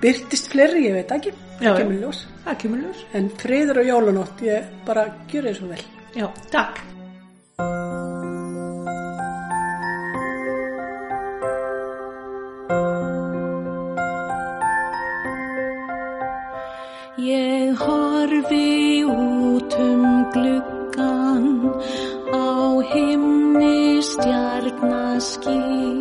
B: byrtist fleiri, ég veit ekki
A: Já, já.
B: ekki mjög ljós
A: það kemur ljós,
B: en friður og jólanótt, ég bara gjör þér svo vel
A: já, takk.
C: Ég horfi út um gluggan á himni stjarnaskýr um